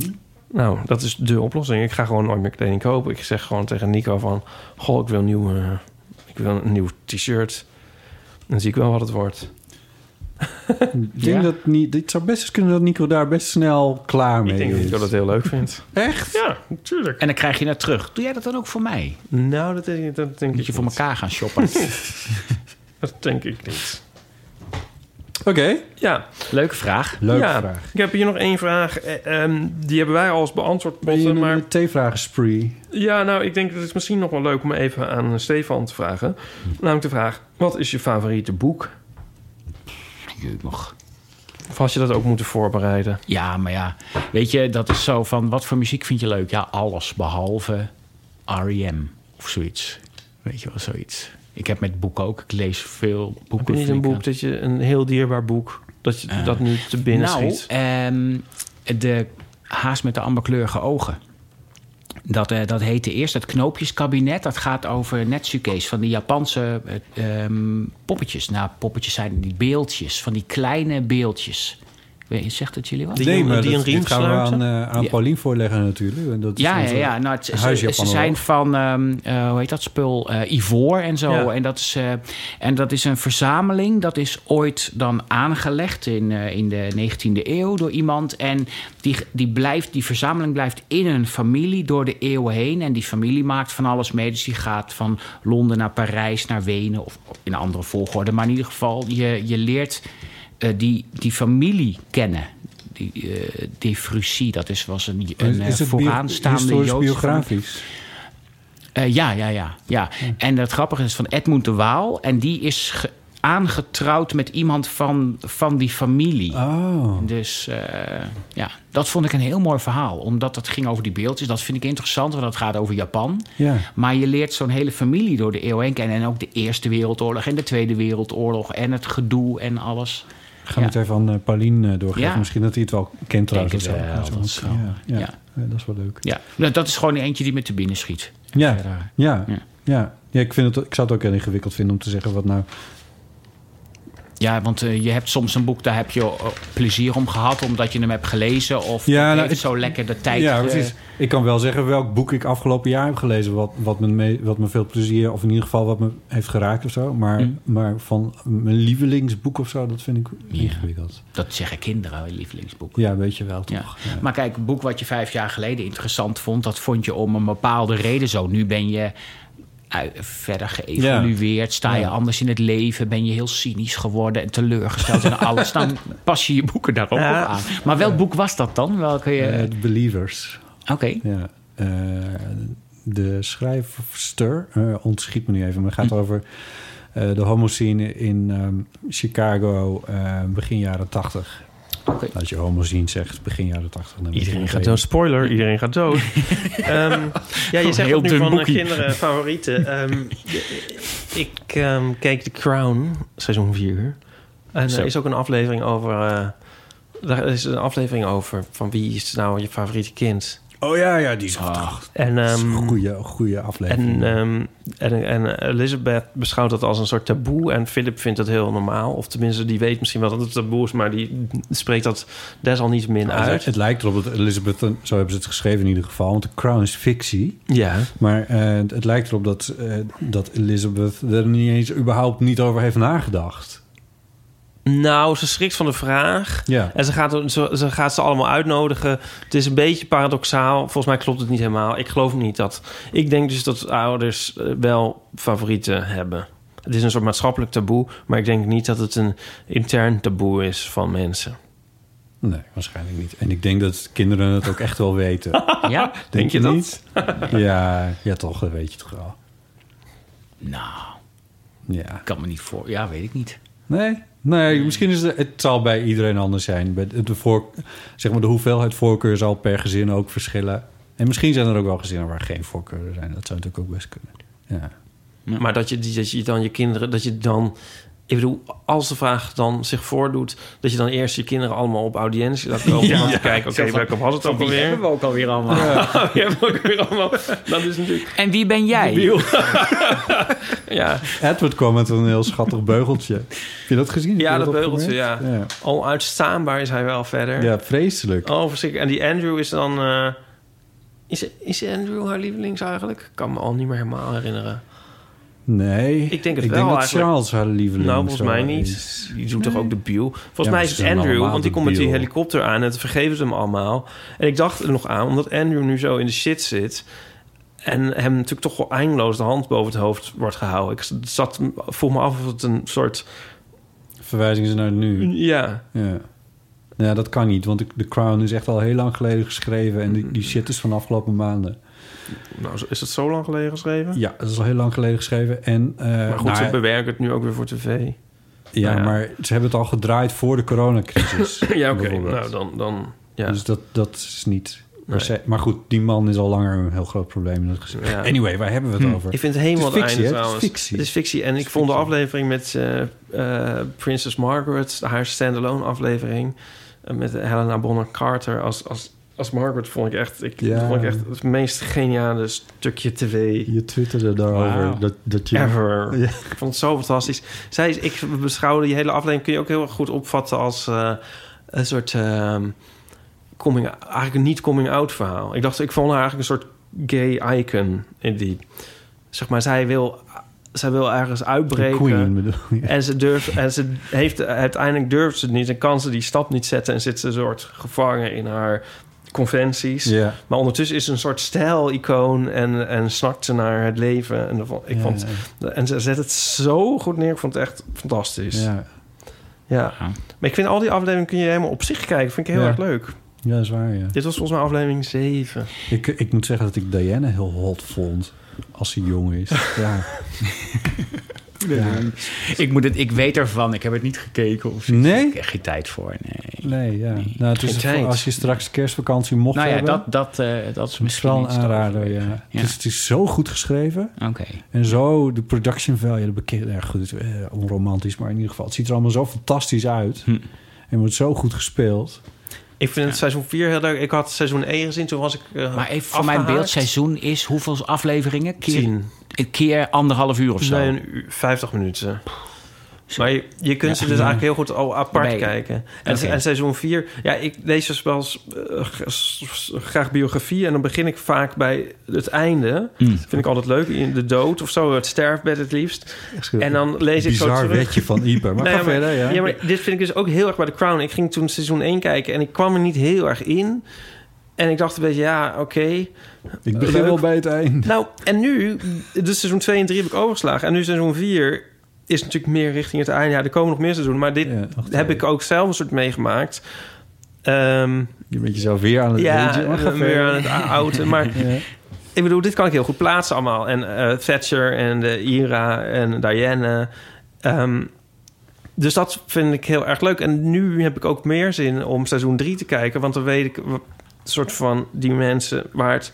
Speaker 3: Nou, dat is de oplossing. Ik ga gewoon nooit meer kleding kopen. Ik zeg gewoon tegen Nico van... Goh, ik wil een nieuw, eh, ik wil een nieuw t-shirt. Dan zie ik wel wat het wordt.
Speaker 1: Ik denk dat niet. Dit zou best eens kunnen dat Nico daar best snel klaar mee
Speaker 3: Ik denk dat
Speaker 1: is.
Speaker 3: Nico dat heel leuk vindt.
Speaker 1: Echt?
Speaker 3: Ja, natuurlijk.
Speaker 2: En dan krijg je naar terug. Doe jij dat dan ook voor mij?
Speaker 3: Nou, dat denk ik, dat denk
Speaker 2: Moet
Speaker 3: ik
Speaker 2: je voor
Speaker 3: niet.
Speaker 2: elkaar gaan shoppen.
Speaker 3: Dat denk ik niet.
Speaker 1: Oké.
Speaker 3: Ja,
Speaker 2: Leuke vraag.
Speaker 1: Leuke
Speaker 3: ja.
Speaker 1: vraag.
Speaker 3: Ik heb hier nog één vraag. Eh, ehm, die hebben wij al eens beantwoord,
Speaker 1: Ben je
Speaker 3: Botte, maar...
Speaker 1: een eh, T-vragen spree?
Speaker 3: Ja, nou, ik denk dat het misschien nog wel leuk om even aan eh, Stefan te vragen. Namelijk de vraag, wat is je favoriete boek?
Speaker 2: Jeuk nog.
Speaker 3: Of had je dat ook moeten voorbereiden?
Speaker 2: Ja, maar ja. Weet je, dat is zo van... Wat voor muziek vind je leuk? Ja, alles behalve R.E.M. of zoiets. Weet je wel, zoiets. Ik heb met boeken ook... Ik lees veel boeken.
Speaker 3: Heb je niet
Speaker 2: vind
Speaker 3: een
Speaker 2: ik
Speaker 3: boek
Speaker 2: leuk.
Speaker 3: dat je een heel dierbaar boek dat je dat nu te binnen
Speaker 2: Eh, nou,
Speaker 3: schiet?
Speaker 2: ehm, de haas met de amberkleurige ogen. Dat, eh, dat heette eerst het knoopjeskabinet. Dat gaat over netsukees van die Japanse eh, ehm, poppetjes. Nou, poppetjes zijn die beeldjes, van die kleine beeldjes. Weet je, Zegt dat jullie wat?
Speaker 3: Die jongen die
Speaker 1: dat,
Speaker 3: een riem
Speaker 1: dit gaan we aan,
Speaker 3: sluiten?
Speaker 1: eh, aan
Speaker 2: Ja.
Speaker 1: Paulien voorleggen natuurlijk. En dat is
Speaker 2: Ja, ja,
Speaker 1: onze
Speaker 2: ja. Nou, het, ze,
Speaker 1: huisjapanoloog.
Speaker 2: ze zijn van, ehm, eh, hoe heet dat spul? Eh, ivoor en zo.
Speaker 3: Ja.
Speaker 2: En, dat is, eh, en dat is een verzameling. Dat is ooit dan aangelegd in, eh, in de 19e eeuw door iemand. En die, die, blijft, die verzameling blijft in een familie door de eeuwen heen. En die familie maakt van alles mee. Dus die gaat van Londen naar Parijs, naar Wenen. Of in een andere volgorde. Maar in ieder geval, je, je leert eh, die, die familie kennen. Die, eh Defrusie, dat is, was een, een eh,
Speaker 1: Is het bio-
Speaker 2: vooraanstaande
Speaker 1: historisch
Speaker 2: Joodse
Speaker 1: biografisch?
Speaker 2: eh, ja, ja, ja, ja. En het grappige is van Edmund de Waal. En die is ge- aangetrouwd met iemand van, van die familie.
Speaker 1: Oh.
Speaker 2: Dus eh, ja, dat vond ik een heel mooi verhaal. Omdat dat ging over die beeldjes. Dat vind ik interessant, want dat gaat over Japan.
Speaker 1: Ja.
Speaker 2: Maar je leert zo'n hele familie door de eeuw heen kennen. En ook de Eerste Wereldoorlog en de Tweede Wereldoorlog. En het gedoe en alles.
Speaker 1: Gaan
Speaker 2: Ja.
Speaker 1: we het even aan eh, Paulien eh, doorgeven.
Speaker 2: Ja.
Speaker 1: Misschien dat hij het wel kent trouwens.
Speaker 2: Denk
Speaker 1: of
Speaker 2: het wel,
Speaker 1: zo.
Speaker 2: dat is wel-
Speaker 1: Ja, ja.
Speaker 2: ja.
Speaker 1: Ja, dat is wel leuk.
Speaker 2: Ja, nou, dat is gewoon eentje die me te binnen schiet.
Speaker 1: Ja,
Speaker 2: Verder.
Speaker 1: ja,
Speaker 2: Ja.
Speaker 1: ja. ja. ik, vind het, ik zou het ook heel ingewikkeld vinden om te zeggen wat nou...
Speaker 2: Ja, want eh, je hebt soms een boek, daar heb je eh, plezier om gehad... omdat je hem hebt gelezen of
Speaker 1: Ja,
Speaker 2: het
Speaker 1: nou,
Speaker 2: heeft
Speaker 1: het-
Speaker 2: zo lekker de tijd...
Speaker 1: ja,
Speaker 2: eh,
Speaker 1: precies. Ik kan wel zeggen welk boek ik afgelopen jaar heb gelezen... wat, wat, me, mee- wat me veel plezier, of in ieder geval wat me heeft geraakt of zo. Maar,
Speaker 2: Mm.
Speaker 1: maar van mijn lievelingsboek of zo, dat vind ik ingewikkeld.
Speaker 2: dat zeggen kinderen, hun lievelingsboek.
Speaker 1: Ja, weet je wel,
Speaker 2: Ja.
Speaker 1: toch? Ja.
Speaker 2: Maar kijk, een boek wat je vijf jaar geleden interessant vond... dat vond je om een bepaalde reden zo. Nu ben je ui- verder geëvolueerd, sta je
Speaker 1: Ja.
Speaker 2: anders in het leven... ben je heel cynisch geworden en teleurgesteld en alles. Dan pas je je boeken daar ook
Speaker 3: Ja.
Speaker 2: op aan. Maar welk boek was dat dan? Welke je...
Speaker 1: Eh, The Believers.
Speaker 2: Oké.
Speaker 1: Ja. eh, de schrijfster, eh, ontschiet me nu even, maar het gaat over eh, de homoscene in ehm, Chicago eh, begin jaren tachtig.
Speaker 2: Oké.
Speaker 1: Als je homoscene zegt, begin jaren tachtig. dan
Speaker 3: Iedereen
Speaker 1: weet je
Speaker 3: gaat
Speaker 1: wel.
Speaker 3: dood. Spoiler, iedereen gaat dood. Ehm, ja, je zegt
Speaker 2: Heel
Speaker 3: dat nu
Speaker 2: dun
Speaker 3: van eh,
Speaker 2: boekie.
Speaker 3: kinderen favorieten. Ehm, ik ehm, keek The Crown, seizoen 4. En
Speaker 2: Zo.
Speaker 3: er is ook een aflevering over... eh, daar is een aflevering over van wie is nou je favoriete kind.
Speaker 1: Oh ja, ja, die is
Speaker 3: En, ehm,
Speaker 1: een goede, goede
Speaker 3: en,
Speaker 1: aflevering.
Speaker 3: ehm, en, en Elizabeth beschouwt dat als een soort taboe. En Philip vindt dat heel normaal. Of tenminste, die weet misschien wel dat het taboe is... maar die spreekt dat desalniettemin
Speaker 1: Nou, het, lijkt-
Speaker 3: uit.
Speaker 1: het lijkt erop dat Elizabeth, een- zo hebben ze het geschreven in ieder geval, want de crown is fictie.
Speaker 3: Ja.
Speaker 1: Maar eh, het lijkt erop dat, eh, dat Elizabeth er niet eens überhaupt niet over heeft nagedacht.
Speaker 3: Nou, ze schrikt van de vraag...
Speaker 1: Ja.
Speaker 3: En ze gaat, ze, ze gaat ze allemaal uitnodigen. Het is een beetje paradoxaal. Volgens mij klopt het niet helemaal. Ik geloof niet dat. Ik denk dus dat ouders eh, wel favorieten hebben. Het is een soort maatschappelijk taboe. Maar ik denk niet dat het een intern taboe is van mensen.
Speaker 1: Nee, waarschijnlijk niet. En ik denk dat kinderen het ook echt wel weten. Denk,
Speaker 2: Ja?
Speaker 3: Denk je dat?
Speaker 1: niet? Ja, ja, toch, dat weet je toch wel.
Speaker 2: Nou,
Speaker 1: Ja.
Speaker 2: kan me niet voor... Ja, weet ik niet.
Speaker 1: Nee? Nee, misschien is het, het zal bij iedereen anders zijn. Bij De, de, voor, zeg maar, de hoeveelheid voorkeur zal per gezin ook verschillen. En misschien zijn er ook wel gezinnen waar geen voorkeuren zijn. Dat zou natuurlijk ook best kunnen. Ja.
Speaker 3: Maar dat je, die- dat je dan je kinderen... Dat je dan... Ik bedoel, als de vraag dan zich voordoet... dat je dan eerst je kinderen allemaal op audiëntie laat komen... om te kijken, oké, welke was het ook
Speaker 2: Die
Speaker 3: alweer?
Speaker 2: hebben we ook alweer allemaal.
Speaker 3: Die hebben we ook weer allemaal. Dat is natuurlijk...
Speaker 2: En wie ben jij?
Speaker 3: Ja,
Speaker 1: Edward kwam met een heel schattig beugeltje. Heb je dat gezien?
Speaker 3: Ja,
Speaker 1: Heb je
Speaker 3: dat beugeltje,
Speaker 1: opgemerkt?
Speaker 3: ja. onuitstaanbaar is hij wel verder.
Speaker 1: Ja. Ja, vreselijk.
Speaker 3: Oh, verschrikkelijk. En die Andrew is dan... eh, is, is Andrew haar lievelings eigenlijk? Ik kan me al niet meer helemaal herinneren.
Speaker 1: Nee.
Speaker 3: Ik denk het
Speaker 1: ik
Speaker 3: wel
Speaker 1: denk dat
Speaker 3: eigenlijk.
Speaker 1: Charles haar lieveling
Speaker 3: Nou, volgens
Speaker 1: zo
Speaker 3: mij
Speaker 1: is.
Speaker 3: niet. Die doet toch ook de biel. Volgens
Speaker 1: Ja,
Speaker 3: mij
Speaker 1: maar
Speaker 3: is
Speaker 1: ze
Speaker 3: het
Speaker 1: zijn
Speaker 3: Andrew,
Speaker 1: allemaal
Speaker 3: want die komt met die
Speaker 1: debiel.
Speaker 3: helikopter aan... en het vergeven ze hem allemaal. En ik dacht er nog aan, omdat Andrew nu zo in de shit zit... en hem natuurlijk toch wel eindeloos de hand boven het hoofd wordt gehouden. Ik zat, voel me af of het een soort...
Speaker 1: Verwijzing is naar nu.
Speaker 3: Ja.
Speaker 1: Ja. Nou, ja, dat kan niet, want ik- The Crown is echt al heel lang geleden geschreven... en die, die shit is van de afgelopen maanden.
Speaker 3: Nou, is het zo lang geleden geschreven?
Speaker 1: Ja, dat is al heel lang geleden geschreven. En, eh,
Speaker 3: maar goed,
Speaker 1: nou,
Speaker 3: ze bewerken het nu ook weer voor tv.
Speaker 1: ja,
Speaker 3: nou ja.
Speaker 1: maar ze hebben het al gedraaid voor de coronacrisis.
Speaker 3: ja, oké.
Speaker 1: bijvoorbeeld.
Speaker 3: Nou, dan... dan ja.
Speaker 1: Dus dat, dat is niet... per
Speaker 3: Nee.
Speaker 1: se- Maar goed, die man is al langer een heel groot probleem in het gezin.
Speaker 3: Ja.
Speaker 1: Anyway, waar hebben we het
Speaker 3: Hm.
Speaker 1: over?
Speaker 3: Ik vind het helemaal
Speaker 1: Het
Speaker 3: het
Speaker 1: is fictie,
Speaker 3: einde
Speaker 1: hè? Het is
Speaker 3: trouwens.
Speaker 1: fictie.
Speaker 3: Het is fictie. En ik vond de aflevering met eh eh, Princess Margaret, haar standalone aflevering, eh, met Helena Bonham Carter als, als, als Margaret, vond ik echt, ik,
Speaker 1: Ja.
Speaker 3: vond ik echt het meest geniale stukje tv.
Speaker 1: Je twitterde daarover
Speaker 3: Wauw.
Speaker 1: dat, dat je...
Speaker 3: Ever.
Speaker 1: Ja.
Speaker 3: Ik vond het zo fantastisch. Zij is, ik beschouwde die hele aflevering, kun je ook heel erg goed opvatten als eh, een soort ehm, coming, eigenlijk een niet coming out verhaal. Ik dacht, ik vond haar eigenlijk een soort gay icon in die. Zeg maar, zij wil, zij wil ergens
Speaker 1: De
Speaker 3: uitbreken.
Speaker 1: queen, bedoel je.
Speaker 3: En ze, durft, en ze heeft, uiteindelijk durft ze het niet en kan ze die stap niet zetten en zit ze een soort gevangen in haar conventies.
Speaker 1: Ja.
Speaker 3: Maar ondertussen is ze een soort stijl-icoon en, en snakt ze naar het leven. En, dat vond- ik
Speaker 1: Ja,
Speaker 3: vond, en ze zet het zo goed neer. Ik vond het echt fantastisch. Ja.
Speaker 1: Ja.
Speaker 3: Maar ik vind al die afleveringen kun je helemaal op zich kijken. Vind ik heel
Speaker 1: Ja.
Speaker 3: erg leuk.
Speaker 1: ja, dat is waar, ja.
Speaker 3: Dit was volgens mij aflevering 7.
Speaker 1: Ik, ik moet zeggen dat ik Diana heel hot vond. Als ze jong is. Ja.
Speaker 2: Ik, moet het, ik weet ervan, ik heb het niet gekeken. Of zoiets.
Speaker 1: Nee?
Speaker 2: Ik heb echt geen tijd voor, nee.
Speaker 1: Nee, ja. Nou, het is
Speaker 3: Geen
Speaker 1: voor-
Speaker 3: tijd.
Speaker 1: als je straks kerstvakantie mocht
Speaker 2: nou ja,
Speaker 1: hebben...
Speaker 2: dat, dat, eh, dat is
Speaker 1: is
Speaker 2: misschien
Speaker 1: wel een
Speaker 2: iets te
Speaker 1: aanrader, ja.
Speaker 2: overwegen. Ja.
Speaker 1: Dus het is zo goed geschreven.
Speaker 2: Oké.
Speaker 1: En zo, de production value, de bekende, ja, goed, eh, onromantisch, maar in ieder geval, het ziet er allemaal zo fantastisch uit.
Speaker 2: Hm.
Speaker 1: En wordt zo goed gespeeld.
Speaker 3: Ik vind het seizoen 4 heel leuk. Ik had seizoen 1 gezien. Toen was ik eh,
Speaker 2: Maar even voor mijn
Speaker 3: afgehaakt.
Speaker 2: beeld, seizoen is hoeveel afleveringen? Keer,
Speaker 3: Tien.
Speaker 2: Een keer anderhalf uur of zo.
Speaker 3: Nee, een uur, 50 minuten. Maar je, je kunt
Speaker 2: Ja.
Speaker 3: ze dus eigenlijk heel goed al apart
Speaker 2: Nee.
Speaker 3: kijken. En,
Speaker 2: Oké.
Speaker 3: en seizoen 4, ja, ik lees dus wel eens, eh, g- s- graag biografie. En dan begin ik vaak bij het einde.
Speaker 2: Mm.
Speaker 3: Vind ik altijd leuk. In de dood of zo, het sterfbed het liefst. En dan lees ik zo
Speaker 1: Bizar
Speaker 3: terug.
Speaker 1: wetje van Ieper. Maar
Speaker 3: Nee,
Speaker 1: ga verder, ja.
Speaker 3: Ja, maar dit vind ik dus ook heel erg bij The Crown. Ik ging toen seizoen 1 kijken en ik kwam er niet heel erg in. En ik dacht een beetje, ja, oké.
Speaker 1: ik begin
Speaker 3: leuk.
Speaker 1: wel bij het eind.
Speaker 3: Nou, en nu, dus seizoen 2 en 3 heb ik overgeslagen. En nu seizoen 4 is natuurlijk meer richting het einde. Ja, er komen nog meer seizoenen. Maar dit
Speaker 1: Ja, nog twee.
Speaker 3: heb ik ook zelf een soort meegemaakt. Ehm,
Speaker 1: Je bent jezelf weer aan het
Speaker 3: ja,
Speaker 1: eentje, maar ga
Speaker 3: weer
Speaker 1: verder.
Speaker 3: aan het outen. Maar
Speaker 1: Ja.
Speaker 3: ik bedoel, dit kan ik heel goed plaatsen allemaal. En eh, Thatcher en de Ira en Diane. Ehm, dus dat vind ik heel erg leuk. En nu heb ik ook meer zin om seizoen 3 te kijken. Want dan weet ik een soort van die mensen waar het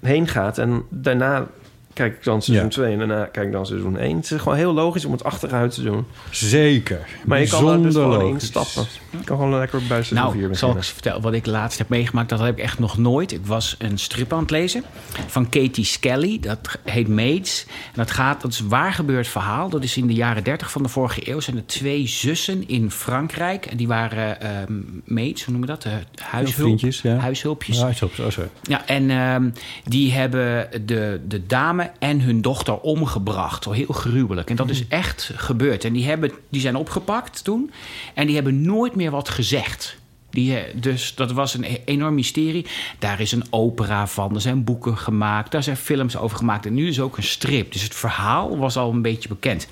Speaker 3: heen gaat. En daarna kijk ik dan seizoen
Speaker 1: Ja.
Speaker 3: 2 en daarna kijk ik dan seizoen 1. Het is gewoon heel logisch om het achteruit te doen.
Speaker 1: Zeker.
Speaker 3: Maar je kan er dus
Speaker 1: Bijzonder
Speaker 3: gewoon
Speaker 1: logisch.
Speaker 3: instappen. Je kan gewoon lekker bij seizoen 4
Speaker 2: Nou,
Speaker 3: beginnen.
Speaker 2: zal ik eens vertellen wat ik laatst heb meegemaakt. Dat heb ik echt nog nooit. Ik was een strip aan het lezen van Katie Skelly. Dat heet Maids. En dat gaat, dat is een waar gebeurd verhaal. Dat is in de jaren 30 van de vorige eeuw. Zijn er twee zussen in Frankrijk. En die waren ehm maids, hoe noemen we dat? Eh, huishulp,
Speaker 1: vriendjes, ja. oh,
Speaker 2: Huishulpjes.
Speaker 1: Ja, zo, zo, zo.
Speaker 2: Ja, en ehm, die hebben de, de dame en hun dochter omgebracht. Heel gruwelijk. En dat is echt gebeurd. En die, hebben, die zijn opgepakt toen. En die hebben nooit meer wat gezegd. Die, eh, dus dat was een e- enorm mysterie. Daar is een opera van, er zijn boeken gemaakt, daar zijn films over gemaakt. En nu is ook een strip. Dus het verhaal was al een beetje bekend.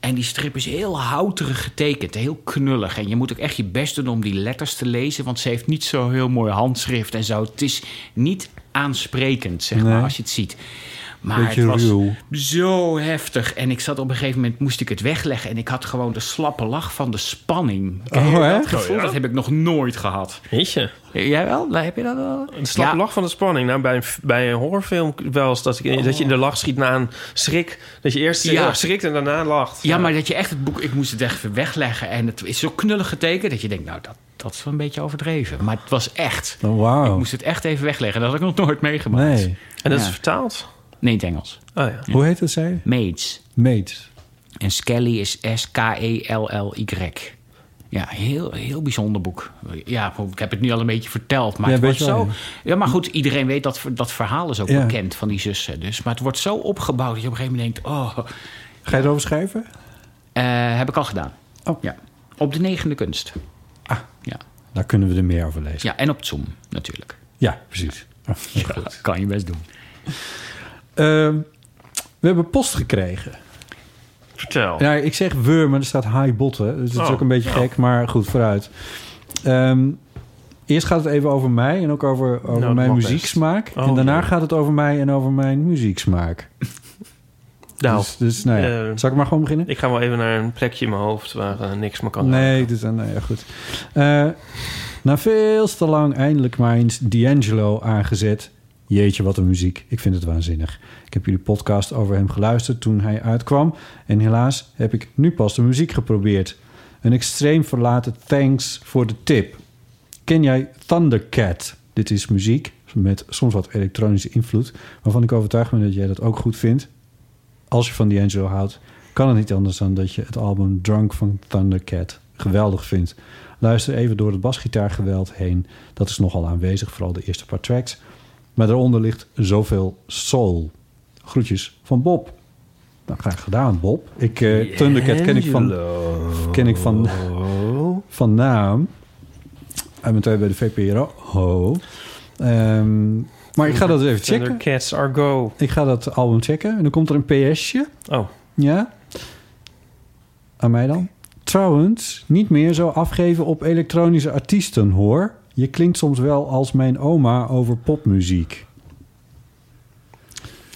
Speaker 2: En die strip is heel houterig getekend, heel knullig. En je moet ook echt je best doen om die letters te lezen, want ze heeft niet zo heel mooi handschrift en zo. Het is niet aansprekend, zeg maar,
Speaker 1: Nee.
Speaker 2: als je het ziet. Maar
Speaker 1: Beetje
Speaker 2: het was
Speaker 1: ruw.
Speaker 2: zo heftig. En ik zat op een gegeven moment, moest ik het wegleggen. En ik had gewoon de slappe lach van de spanning. Ken je
Speaker 1: Oh,
Speaker 2: dat
Speaker 1: hè?
Speaker 2: gevoel? Dat heb ik nog nooit gehad.
Speaker 3: Weet je?
Speaker 2: Jij wel? Heb je dat wel?
Speaker 3: Een
Speaker 2: Ja.
Speaker 3: slappe lach van de spanning. Nou, bij een, bij een horrorfilm wel eens dat, ik, dat je in de lach schiet na een schrik. Dat je eerst heel
Speaker 2: Oh. Ja.
Speaker 3: erg schrikt en daarna lacht.
Speaker 2: Ja, maar dat je echt het boek... Ik moest het echt even wegleggen. En het is zo knullig getekend dat je denkt... Nou, dat, dat is wel een beetje overdreven. Maar het was echt.
Speaker 1: Oh, Wauw.
Speaker 2: Ik moest het echt even wegleggen. Dat had ik nog nooit meegemaakt.
Speaker 1: Nee.
Speaker 3: En dat
Speaker 2: Ja.
Speaker 3: is vertaald.
Speaker 2: Nee, in het Engels.
Speaker 3: Oh ja.
Speaker 1: Hoe heet dat, zij?
Speaker 2: Maids.
Speaker 1: Meet.
Speaker 2: E En Skelly is S-K-E-L-L-Y. Ja, heel, heel bijzonder boek. Ja, ik heb het nu al een beetje verteld, maar
Speaker 1: Ja,
Speaker 2: het wordt
Speaker 1: weet je wel,
Speaker 2: zo... Ja, maar goed, iedereen weet dat, dat verhaal is ook
Speaker 1: Ja.
Speaker 2: bekend van die zussen. Dus, maar het wordt zo opgebouwd dat je op een gegeven moment denkt... Oh,
Speaker 1: Ga je erover schrijven?
Speaker 2: eh, heb ik al gedaan.
Speaker 1: Oh.
Speaker 2: Ja. Op de negende kunst.
Speaker 1: Daar kunnen we er meer over lezen.
Speaker 2: Ja, en op Zoom natuurlijk.
Speaker 1: Ja, precies. Oh,
Speaker 2: Dat kan je best doen.
Speaker 1: Ehm, we hebben post gekregen.
Speaker 5: Vertel.
Speaker 1: Ja, ik zeg we, maar er staat hi botten. Dus dat is
Speaker 5: Oh.
Speaker 1: ook een beetje gek, maar goed, vooruit. Ehm, eerst gaat het even over mij en ook over, over
Speaker 5: Nou, dat
Speaker 1: mijn
Speaker 5: mag best.
Speaker 1: muzieksmaak.
Speaker 5: Oh,
Speaker 1: en daarna
Speaker 5: jee.
Speaker 1: gaat het over mij en over mijn muzieksmaak.
Speaker 5: Nou,
Speaker 1: Dus, dus nou ja,
Speaker 5: eh,
Speaker 1: zal ik maar gewoon beginnen?
Speaker 5: ik ga wel even naar een plekje in mijn hoofd waar eh, niks meer kan.
Speaker 1: Nee, dus, eh, nou ja, goed. Eh, na veel te lang eindelijk maar eens D'Angelo aangezet. Jeetje, wat een muziek. Ik vind het waanzinnig. Ik heb jullie podcast over hem geluisterd toen hij uitkwam. En helaas heb ik nu pas de muziek geprobeerd. Een extreem verlaten thanks voor de tip. Ken jij Thundercat? Dit is muziek met soms wat elektronische invloed... waarvan ik overtuigd ben dat jij dat ook goed vindt als je van D'Angelo houdt, kan het niet anders dan dat je het album Drunk van Thundercat geweldig vindt. Luister even door het basgitaargeweld heen. Dat is nogal aanwezig, vooral de eerste paar tracks. Maar daaronder ligt zoveel soul. Groetjes van Bob. Nou, graag gedaan, Bob. Ik, eh, Thundercat ken ik van, ken ik van, van naam. Hij bent bij de VPRO. Ho. Ehm, maar ik ga dat even checken.
Speaker 5: Cats are go.
Speaker 1: Ik ga dat album checken. En dan komt er een PS'je.
Speaker 5: Oh,
Speaker 1: Ja. Aan mij dan? Trouwens, niet meer zo afgeven op elektronische artiesten, hoor. Je klinkt soms wel als mijn oma over popmuziek.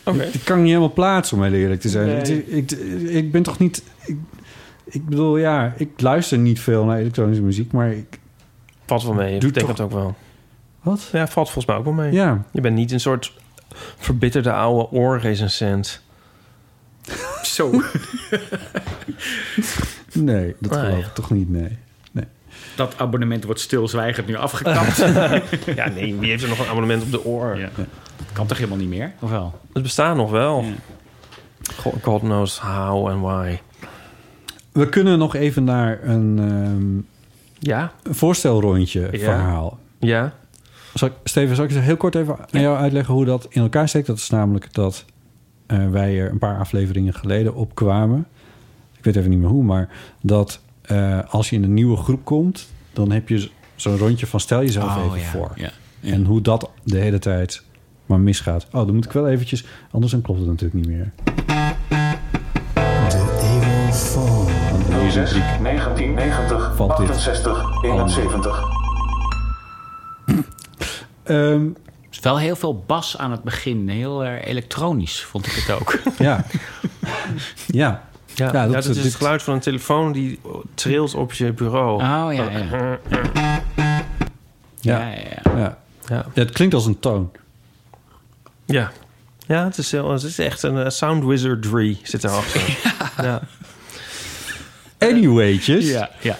Speaker 5: oké.
Speaker 1: Ik, ik kan niet helemaal plaatsen, om heel eerlijk te zijn.
Speaker 5: Nee.
Speaker 1: Ik, ik, ik ben toch niet... Ik, ik bedoel, ja, ik luister niet veel naar elektronische muziek, maar ik...
Speaker 5: Valt wel mee.
Speaker 1: Doe
Speaker 5: Ik denk dat ook wel.
Speaker 1: Wat?
Speaker 5: Ja, valt volgens mij ook wel mee.
Speaker 1: Ja,
Speaker 5: Je bent niet een soort verbitterde oude oorrecensent.
Speaker 2: Zo.
Speaker 1: nee, dat
Speaker 5: Ah,
Speaker 1: geloof
Speaker 5: ja.
Speaker 1: ik toch niet, nee.
Speaker 2: Dat abonnement wordt stilzwijgend nu afgekapt.
Speaker 5: Ja, nee, wie heeft er nog een abonnement op de oor?
Speaker 2: Ja. Dat kan toch helemaal niet meer? Of wel?
Speaker 5: Het bestaat nog wel. God, God knows how and why.
Speaker 1: We kunnen nog even naar een ehm,
Speaker 5: Ja,
Speaker 1: een voorstelrondje
Speaker 5: Ja.
Speaker 1: verhaal.
Speaker 5: ja.
Speaker 1: Zal ik, Steven, zal ik eens heel kort even aan jou uitleggen hoe dat in elkaar steekt? Dat is namelijk dat eh, wij er een paar afleveringen geleden op kwamen. Ik weet even niet meer hoe, maar dat eh, als je in een nieuwe groep komt, dan heb je z- zo'n rondje van stel jezelf even voor.
Speaker 2: Oh, Ja.
Speaker 1: En hoe dat de hele tijd maar misgaat. Oh, dan moet ik wel eventjes, anders dan klopt het natuurlijk niet meer.
Speaker 6: 06 1990
Speaker 1: Valt dit
Speaker 6: 68 71.
Speaker 1: Ehm,
Speaker 2: Het is wel heel veel bas aan het begin. Heel eh, elektronisch vond ik het ook.
Speaker 1: ja. ja.
Speaker 5: Ja,
Speaker 1: Ja,
Speaker 5: ja,
Speaker 1: dat-
Speaker 5: dat, is
Speaker 1: dit-
Speaker 5: het geluid van een telefoon die trilt op je bureau.
Speaker 2: Oh ja, ja. ja.
Speaker 1: Ja. Ja.
Speaker 2: ja, ja.
Speaker 1: ja.
Speaker 5: Ja.
Speaker 1: Het klinkt als een toon.
Speaker 5: ja. Ja, het is, heel, het is echt een eh, sound wizardry zit erachter. ja. ja.
Speaker 1: Anywaytjes.
Speaker 2: Ja, ja.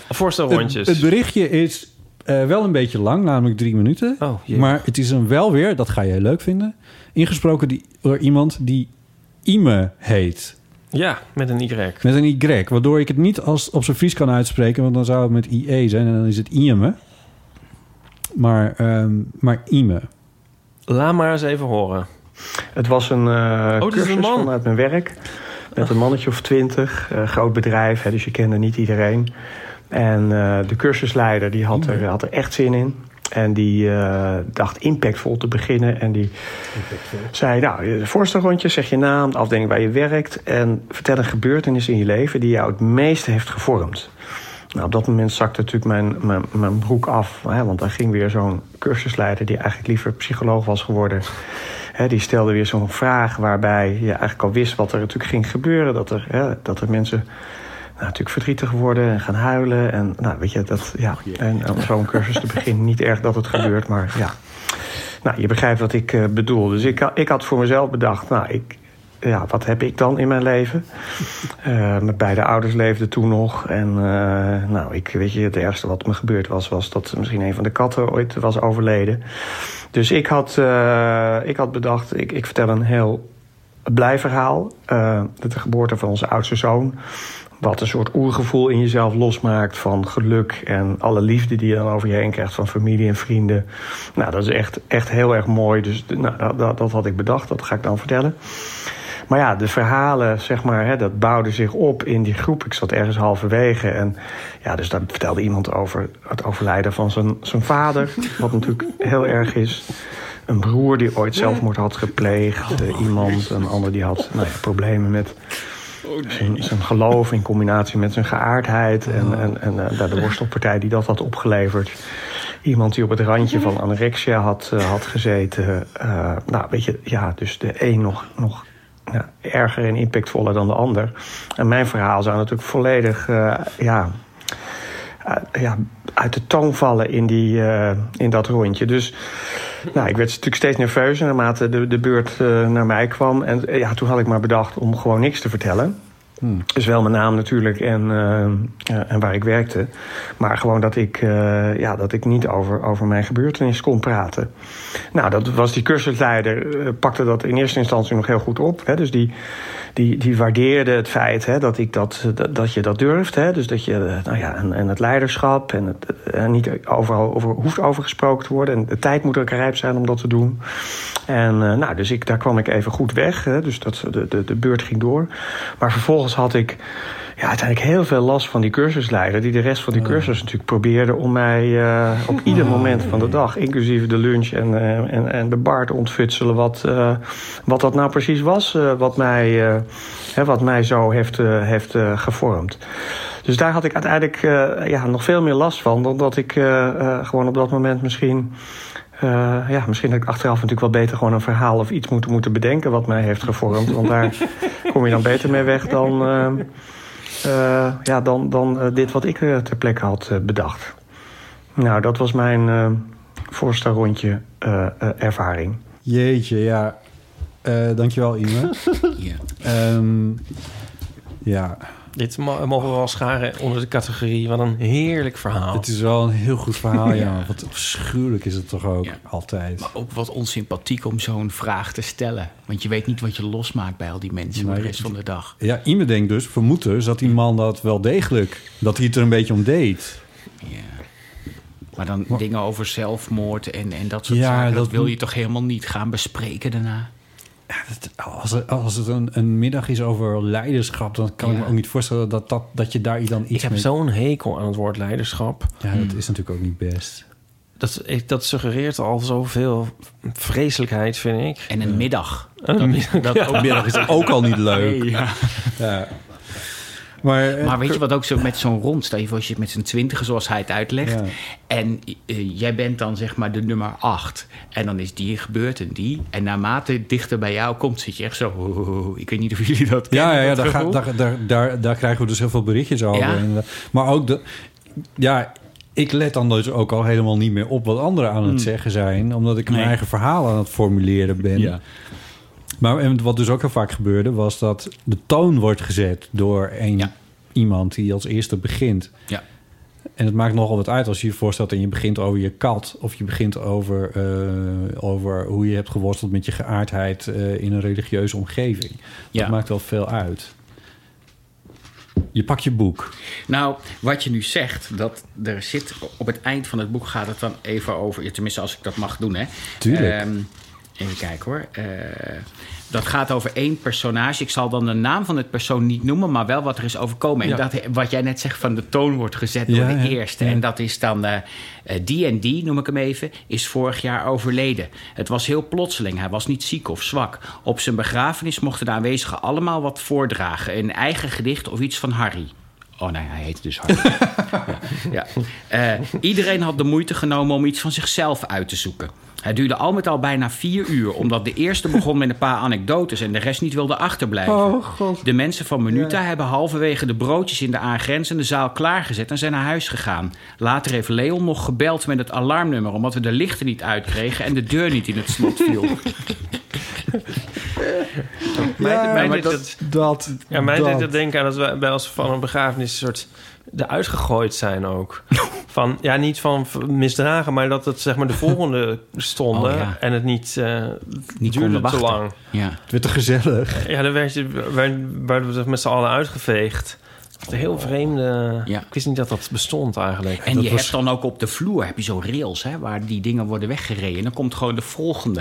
Speaker 1: Het,
Speaker 5: Voorstelrondjes.
Speaker 1: het berichtje is eh, wel een beetje lang, namelijk drie minuten.
Speaker 5: Oh, jee.
Speaker 1: maar het is een wel weer, dat ga jij leuk vinden. Ingesproken die, door iemand die Ime heet.
Speaker 5: ja, met een Y.
Speaker 1: Met een Y. Waardoor ik het niet als op zijn Fries kan uitspreken. Want dan zou het met IE zijn en dan is het Ime. Maar, ehm, maar Ime.
Speaker 5: Laat maar eens even horen. Oh,
Speaker 6: Het was een eh
Speaker 5: dit is
Speaker 6: cursus
Speaker 5: een man.
Speaker 6: vanuit mijn werk. Met een mannetje of twintig. eh, groot bedrijf, hè, dus je kende niet iedereen. En eh, de cursusleider die had, er, had er echt zin in. En die eh, dacht impactvol te beginnen. En die zei, nou, eh, voorstelrondje, zeg je naam, de afdeling waar je werkt... en vertel een gebeurtenis in je leven die jou het meeste heeft gevormd. Nou, op dat moment zakte natuurlijk mijn, mijn, mijn broek af. Hè, want daar ging weer zo'n cursusleider die eigenlijk liever psycholoog was geworden. Hè, die stelde weer zo'n vraag waarbij je eigenlijk al wist wat er natuurlijk ging gebeuren. Dat er, hè, dat er mensen nou, natuurlijk verdrietig worden en gaan huilen. En nou, weet je, dat, ja. En eh, om zo'n cursus te beginnen, niet erg dat het gebeurt, maar ja. Nou, je begrijpt wat ik eh, bedoel. Dus ik, ha- ik had voor mezelf bedacht, nou, ik, ja, wat heb ik dan in mijn leven? Eh, mijn beide ouders leefden toen nog. En eh, nou, ik, weet je, het ergste wat me gebeurd was, was dat misschien een van de katten ooit was overleden. Dus ik had, eh, ik had bedacht, ik, ik vertel een heel blijverhaal. eh de geboorte van onze oudste zoon. Wat een soort oergevoel in jezelf losmaakt van geluk en alle liefde die je dan over je heen krijgt van familie en vrienden. Nou, dat is echt, echt heel erg mooi. Dus de- nou, dat- dat, dat had ik bedacht, dat ga ik dan vertellen. Maar ja, de verhalen, zeg maar, hè, dat bouwde zich op in die groep. Ik zat ergens halverwege en ja, dus daar vertelde iemand over het overlijden van zijn, zijn vader. Wat natuurlijk heel erg is. Een broer die ooit zelfmoord had gepleegd. eh, iemand, een ander die had nou ja, problemen met zijn, zijn geloof in combinatie met zijn geaardheid. En, en, en eh, daar de worstelpartij die dat had opgeleverd. Iemand die op het randje van anorexia had, eh, had gezeten. Eh, nou, weet je, ja, dus de een nog, nog ja, erger en impactvoller dan de ander. En mijn verhaal zou natuurlijk volledig eh, ja, eh, ja, uit de toon vallen in, die, eh, in dat rondje. Dus nou, ik werd natuurlijk steeds nerveuzer naarmate de, de beurt eh, naar mij kwam. En eh, ja, toen had ik maar bedacht om gewoon niks te vertellen. Dus wel mijn naam natuurlijk en, eh, ja, en waar ik werkte. Maar gewoon dat ik, eh, ja, dat ik niet over, over mijn gebeurtenis kon praten. Nou, dat was die cursusleider, eh, pakte dat in eerste instantie nog heel goed op. Hè? Dus die, die, die waardeerde het feit hè, dat, ik dat, eh, dat, dat je dat durft. Hè? Dus dat je, eh, nou ja, en, en het leiderschap en het, eh, en niet overal over hoeft over gesproken te worden. En de tijd moet ook rijp zijn om dat te doen. En eh, nou, dus ik, daar kwam ik even goed weg. Hè? Dus dat, de, de, de beurt ging door. Maar vervolgens had ik ja, uiteindelijk heel veel last van die cursusleider. Die de rest van die
Speaker 1: Eh,
Speaker 6: cursus natuurlijk probeerde om mij eh, op ieder moment van de dag, inclusief de lunch en, eh, en, en de bar, te ontfutselen. Wat, eh, wat dat nou precies was, eh, wat, mij, eh, hè, wat mij zo heeft, eh, heeft eh, gevormd. Dus daar had ik uiteindelijk eh, ja, nog veel meer last van. Dan dat ik eh, eh, gewoon op dat moment misschien. eh, ja, misschien dat ik achteraf natuurlijk wel beter gewoon een verhaal of iets moet moeten bedenken wat mij heeft gevormd. Want daar kom je dan beter mee weg dan, eh, eh, ja, dan, dan eh, dit wat ik eh, ter plekke had eh, bedacht. Nou, dat was mijn eh voorste rondje eh, eh, ervaring.
Speaker 1: Jeetje, ja. Eh, dankjewel, Ime.
Speaker 2: Ja.
Speaker 1: Ehm, ja,
Speaker 5: Dit mo- mogen we wel scharen onder de categorie. Wat een heerlijk verhaal.
Speaker 1: het is wel een heel goed verhaal, ja.
Speaker 2: Ja.
Speaker 1: Wat afschuwelijk is het toch ook,
Speaker 2: Ja.
Speaker 1: altijd.
Speaker 2: Maar ook wat onsympathiek om zo'n vraag te stellen. Want je weet niet wat je losmaakt bij al die mensen voor de rest van de dag.
Speaker 1: Ja, Ime denkt dus, vermoedt dus, dat die man dat wel degelijk... dat hij het er een beetje om deed.
Speaker 2: Ja. Maar dan dingen over zelfmoord en, en dat soort
Speaker 1: Ja,
Speaker 2: zaken. Dat,
Speaker 1: dat
Speaker 2: wil
Speaker 1: moet-
Speaker 2: je toch helemaal niet gaan bespreken daarna?
Speaker 1: Dat- oh, Als, er- als het een, een middag is over leiderschap... dan kan ik
Speaker 2: Ja.
Speaker 1: me ook niet voorstellen dat, dat, dat je daar dan iets
Speaker 5: Ik heb
Speaker 1: mee...
Speaker 5: zo'n hekel aan het woord leiderschap.
Speaker 1: Ja, dat is natuurlijk ook niet best.
Speaker 5: Dat, ik- dat suggereert al zoveel vreselijkheid, vind ik. Ehm,
Speaker 2: En een middag.
Speaker 5: Een-
Speaker 2: Dat ook...
Speaker 1: Middag is ook al niet leuk.
Speaker 2: Ja.
Speaker 1: Ja. Maar, eh,
Speaker 2: Maar weet je wat ook zo met zo'n rond, stel je voor als je het met z'n twintigen zoals hij het uitlegt.
Speaker 1: Ja.
Speaker 2: En eh, jij bent dan zeg maar de nummer acht. En dan is die gebeurd en die. En naarmate het dichter bij jou komt, zit je echt zo. "Oh, "Ho, ho, ho." Ik weet niet of jullie dat
Speaker 1: Ja, ja, ja
Speaker 2: dat
Speaker 1: daar, ga-
Speaker 2: gevoel?
Speaker 1: daar, daar, daar, daar krijgen we dus heel veel berichtjes over.
Speaker 2: Ja.
Speaker 1: inderdaad. Maar ook, de, ja, ik let dan dus ook al helemaal niet meer op wat anderen aan het
Speaker 2: Hmm.
Speaker 1: zeggen zijn. Omdat ik mijn eigen verhaal aan het formuleren ben.
Speaker 2: Ja.
Speaker 1: Maar en wat dus ook heel vaak gebeurde, was dat de toon wordt gezet door een,
Speaker 2: Ja.
Speaker 1: iemand die als eerste begint.
Speaker 2: Ja.
Speaker 1: En het maakt nogal wat uit als je je voorstelt en je begint over je kat. Of je begint over, eh, over hoe je hebt geworsteld met je geaardheid eh, in een religieuze omgeving.
Speaker 2: Ja.
Speaker 1: Dat maakt wel veel uit. Je pakt je boek.
Speaker 2: Nou, wat je nu zegt, dat er zit op het eind van het boek gaat het dan even over. ja, Tenminste, als ik dat mag doen, hè?
Speaker 1: Tuurlijk.
Speaker 2: Ehm, even kijken hoor. Eh, dat gaat over één personage. Ik zal dan de naam van het persoon niet noemen, maar wel wat er is overkomen. En dat, wat jij net zegt van de toon wordt gezet door
Speaker 1: Ja,
Speaker 2: de
Speaker 1: ja,
Speaker 2: eerste.
Speaker 1: ja.
Speaker 2: En dat is dan eh, eh, die en die, noem ik hem even, is vorig jaar overleden. Het was heel plotseling. Hij was niet ziek of zwak. Op zijn begrafenis mochten de aanwezigen allemaal wat voordragen. Een eigen gedicht of iets van Harry. Oh nee, hij heette dus Harry. Ja. Eh, iedereen had de moeite genomen om iets van zichzelf uit te zoeken. Het duurde al met al bijna vier uur, omdat de eerste begon met een paar anekdotes en de rest niet wilde achterblijven. De mensen van Minuta hebben halverwege de broodjes in de aangrenzende zaal klaargezet en zijn naar huis gegaan. Later heeft Leon nog gebeld met het alarmnummer, omdat we de lichten niet uitkregen en de deur niet in het slot viel.
Speaker 1: Ja,
Speaker 3: Mij- mij
Speaker 1: maar
Speaker 3: deed
Speaker 1: dat, dat,
Speaker 3: Ja, mij
Speaker 1: dat.
Speaker 3: deed het denken aan dat wij bij als van een begrafenis een soort eruit gegooid zijn ook. Van, ja, niet van v- misdragen, maar dat het zeg maar de volgende stonden
Speaker 2: Oh, ja.
Speaker 3: en het niet, eh
Speaker 2: Niet
Speaker 3: duurde
Speaker 2: konden
Speaker 3: te
Speaker 2: wachten.
Speaker 3: lang.
Speaker 2: Ja.
Speaker 1: Het werd te gezellig.
Speaker 3: Ja, dan werd je, werden werden we met z'n allen uitgeveegd. Wat een heel vreemde...
Speaker 2: Ja.
Speaker 3: Ik wist niet dat dat bestond eigenlijk.
Speaker 2: En
Speaker 3: dat
Speaker 2: je hebt dan ook op de vloer heb je zo rails hè, waar die dingen worden weggereden. En dan komt gewoon de volgende.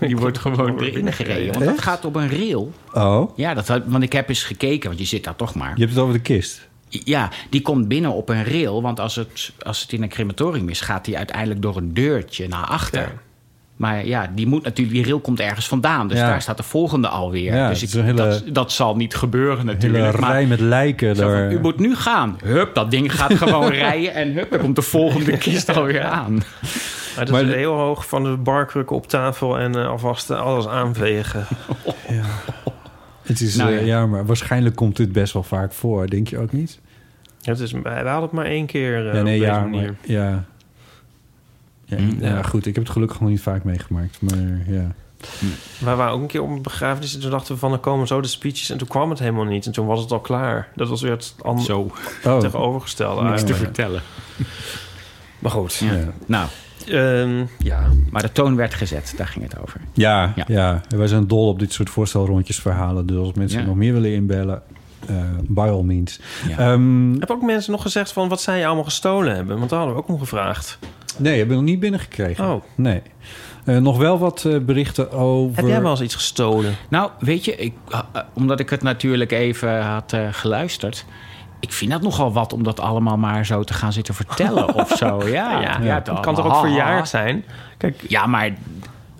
Speaker 2: Die wordt gewoon erin gereden. Want dat gaat op een rail.
Speaker 1: Oh,
Speaker 2: Ja, dat, had- want ik heb eens gekeken, want je zit daar toch maar.
Speaker 1: je hebt het over de kist.
Speaker 2: Ja, die komt binnen op een rail. Want als het, als het in een crematorium is, gaat die uiteindelijk door een deurtje naar achter.
Speaker 3: Ja.
Speaker 2: Maar ja, die, moet natuurlijk, die rail komt ergens vandaan. Dus
Speaker 1: Ja.
Speaker 2: daar staat de volgende alweer.
Speaker 1: Ja,
Speaker 2: dus
Speaker 1: het
Speaker 2: ik,
Speaker 1: is een hele-
Speaker 2: dat, dat zal niet gebeuren
Speaker 1: Een hele
Speaker 2: natuurlijk. Maar
Speaker 1: rij met lijken.
Speaker 2: zo van,
Speaker 1: Daar.
Speaker 2: u moet nu gaan. Hup, dat ding gaat gewoon rijden. En hup, dan komt de volgende kist alweer aan.
Speaker 3: Maar dat
Speaker 1: Maar
Speaker 3: is
Speaker 1: de-
Speaker 3: heel hoog van de barkruk op tafel en eh, alvast eh, alles aanvegen.
Speaker 1: Het is,
Speaker 2: Nou
Speaker 1: eh,
Speaker 2: ja.
Speaker 1: ja, maar waarschijnlijk komt dit best wel vaak voor, denk je ook niet?
Speaker 3: Het is, we hadden het maar één keer eh
Speaker 1: ja, nee,
Speaker 3: op deze
Speaker 1: ja,
Speaker 3: manier.
Speaker 1: maar, ja.
Speaker 2: Hmm,
Speaker 1: Ja, ja, goed. Ik heb het gelukkig nog niet vaak meegemaakt, maar ja.
Speaker 3: Wij waren ook een keer op een begrafenis en toen dachten we van, er komen zo de speeches. En toen kwam het helemaal niet en toen was het al klaar. Dat was weer het andere
Speaker 2: Zo,
Speaker 1: Oh,
Speaker 3: tegenovergestelde.
Speaker 1: Niks te
Speaker 3: eigenlijk.
Speaker 2: vertellen.
Speaker 3: Maar goed.
Speaker 2: Ja.
Speaker 1: Ja.
Speaker 2: Nou,
Speaker 3: Ehm, ja.
Speaker 2: maar de toon werd gezet. Daar ging het over.
Speaker 1: ja,
Speaker 2: Ja.
Speaker 1: ja, En Wij zijn dol op dit soort voorstelrondjes verhalen. Dus als mensen
Speaker 2: Ja.
Speaker 1: nog meer willen inbellen, eh by all means.
Speaker 2: Ja.
Speaker 1: Ehm,
Speaker 3: Heb ook mensen nog gezegd van wat zij allemaal gestolen hebben? Want daar hadden we ook om gevraagd.
Speaker 1: nee, hebben we nog niet binnengekregen.
Speaker 3: Oh.
Speaker 1: Nee. Eh, nog wel wat eh, berichten over...
Speaker 3: Heb jij wel eens iets gestolen?
Speaker 2: Nou, weet je, ik, ah, ah, omdat ik het natuurlijk even had eh, geluisterd. Ik vind dat nogal wat om dat allemaal maar zo te gaan zitten vertellen of zo. Ja, ja,
Speaker 3: het kan toch ook verjaard zijn? Kijk,
Speaker 2: Ja, maar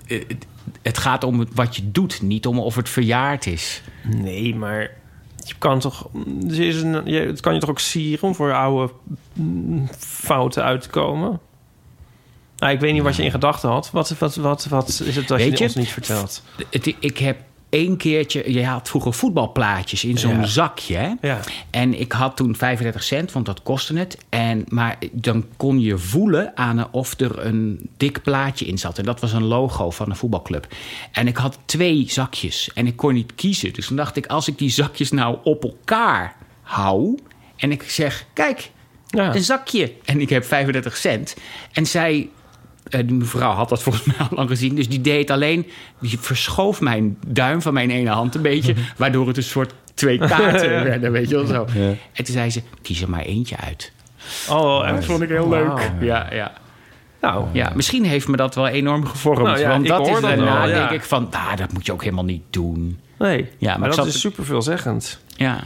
Speaker 2: eh, het- het gaat om het- wat je doet, niet om of het verjaard is.
Speaker 3: nee, maar je kan toch, er is een, je, het kan je toch ook sieren om voor oude mm, fouten uit te komen? Nou, ik weet niet wat je in gedachten had. Wat, wat, wat, wat is het dat
Speaker 2: Weet
Speaker 3: je,
Speaker 2: je?
Speaker 3: ons niet vertelt?
Speaker 2: Het- ik heb één keertje... Je had vroeger voetbalplaatjes in zo'n
Speaker 3: Ja.
Speaker 2: zakje. hè?
Speaker 3: Ja.
Speaker 2: En ik had toen 35 cent, want dat kostte het. En, maar dan kon je voelen aan of er een dik plaatje in zat. En dat was een logo van een voetbalclub. En ik had twee zakjes en ik kon niet kiezen. Dus toen dacht ik, als ik die zakjes nou op elkaar hou... en ik zeg, kijk,
Speaker 3: Ja.
Speaker 2: een zakje. En ik heb 35 cent. En zij, eh, die mevrouw had dat volgens mij al lang gezien. Dus die deed alleen, die verschoof mijn duim van mijn ene hand een beetje. waardoor het een soort twee kaarten werden, weet je wel zo. En toen zei ze, kies er maar eentje uit.
Speaker 3: Oh, echt?
Speaker 2: Dat vond ik heel
Speaker 3: Wauw.
Speaker 2: leuk. Ja, ja.
Speaker 3: Nou,
Speaker 2: ja, misschien heeft me dat wel enorm gevormd.
Speaker 3: Nou ja,
Speaker 2: want
Speaker 3: ik
Speaker 2: dat
Speaker 3: hoor
Speaker 2: is
Speaker 3: dat
Speaker 2: daarna,
Speaker 3: wel, ja.
Speaker 2: denk ik, van, ah, dat moet je ook helemaal niet doen.
Speaker 3: nee.
Speaker 2: Ja, maar
Speaker 3: maar
Speaker 2: ik
Speaker 3: dat
Speaker 2: zat-
Speaker 3: is super veelzeggend.
Speaker 2: Ja,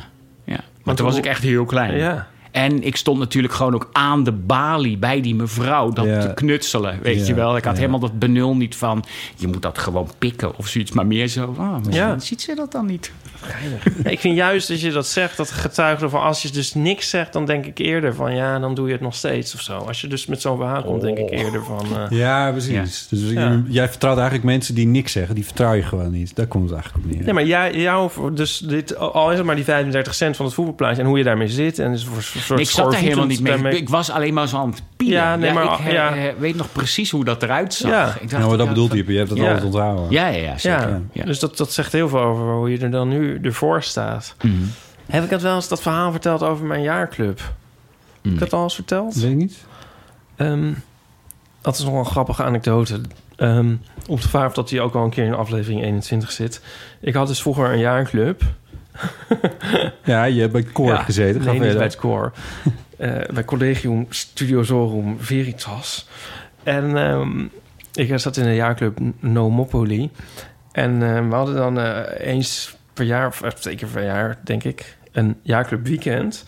Speaker 2: ja. Maar toen was
Speaker 3: hoe-
Speaker 2: ik echt heel klein.
Speaker 3: Ja.
Speaker 2: En ik stond natuurlijk gewoon ook aan de balie bij die mevrouw dat
Speaker 1: Ja.
Speaker 2: te knutselen. Weet
Speaker 1: Ja,
Speaker 2: je wel, ik had
Speaker 1: ja.
Speaker 2: helemaal dat benul niet van je moet dat gewoon pikken of zoiets, maar meer zo. Ah, maar
Speaker 3: Ja.
Speaker 2: dan ziet ze dat dan niet?
Speaker 3: Ja, ik vind juist dat je dat zegt, dat getuigt ervan. Als je dus niks zegt, dan denk ik eerder van ja, dan doe je het nog steeds of zo. Als je dus met zo'n verhaal komt, denk
Speaker 2: Oh.
Speaker 3: ik eerder van. eh,
Speaker 1: Ja, precies. Dus
Speaker 3: Ja.
Speaker 1: jij vertrouwt eigenlijk mensen die niks zeggen. Die vertrouw je gewoon niet. Daar komt het eigenlijk op neer.
Speaker 3: Nee, maar jij, jou, dus dit, al is het maar die 35 cent van het voetbalplaatje en hoe je daarmee zit. En dus voor een soort
Speaker 2: Nee, ik zat daar helemaal niet mee.
Speaker 3: daarmee-
Speaker 2: Ik was alleen maar zo aan het pielen.
Speaker 3: Ja, nee, maar-
Speaker 2: ik eh,
Speaker 3: ja.
Speaker 2: eh, weet nog precies hoe dat eruit zag. ik
Speaker 3: Ja.
Speaker 2: dacht,
Speaker 1: Nou, maar dat
Speaker 2: ja,
Speaker 1: bedoelt
Speaker 2: van-
Speaker 1: je. Je hebt dat
Speaker 3: Ja.
Speaker 1: altijd onthouden.
Speaker 2: Ja, ja, ja. zeker.
Speaker 3: Ja,
Speaker 2: Ja.
Speaker 3: dus dat, dat zegt heel veel over hoe je er dan nu ervoor staat.
Speaker 2: Mhm.
Speaker 3: Heb ik het wel eens dat verhaal verteld over mijn jaarclub? Heb
Speaker 2: Mm.
Speaker 3: ik dat al eens verteld?
Speaker 1: Weet ik niet.
Speaker 3: Ehm, dat is nog wel een grappige anekdote. Ehm, om te vragen of dat die ook al een keer in aflevering 21 zit. Ik had dus vroeger een jaarclub.
Speaker 1: Ja, je hebt bij koor
Speaker 3: Ja,
Speaker 1: gezeten. Ga
Speaker 3: Nee, niet
Speaker 1: verder.
Speaker 3: bij het koor. Eh, bij Collegium Studiosorum Veritas. En ehm, ik zat in de jaarclub Nomopoly. En ehm, we hadden dan eh, eens per jaar, of eh, twee keer per jaar, denk ik, een jaarclub weekend.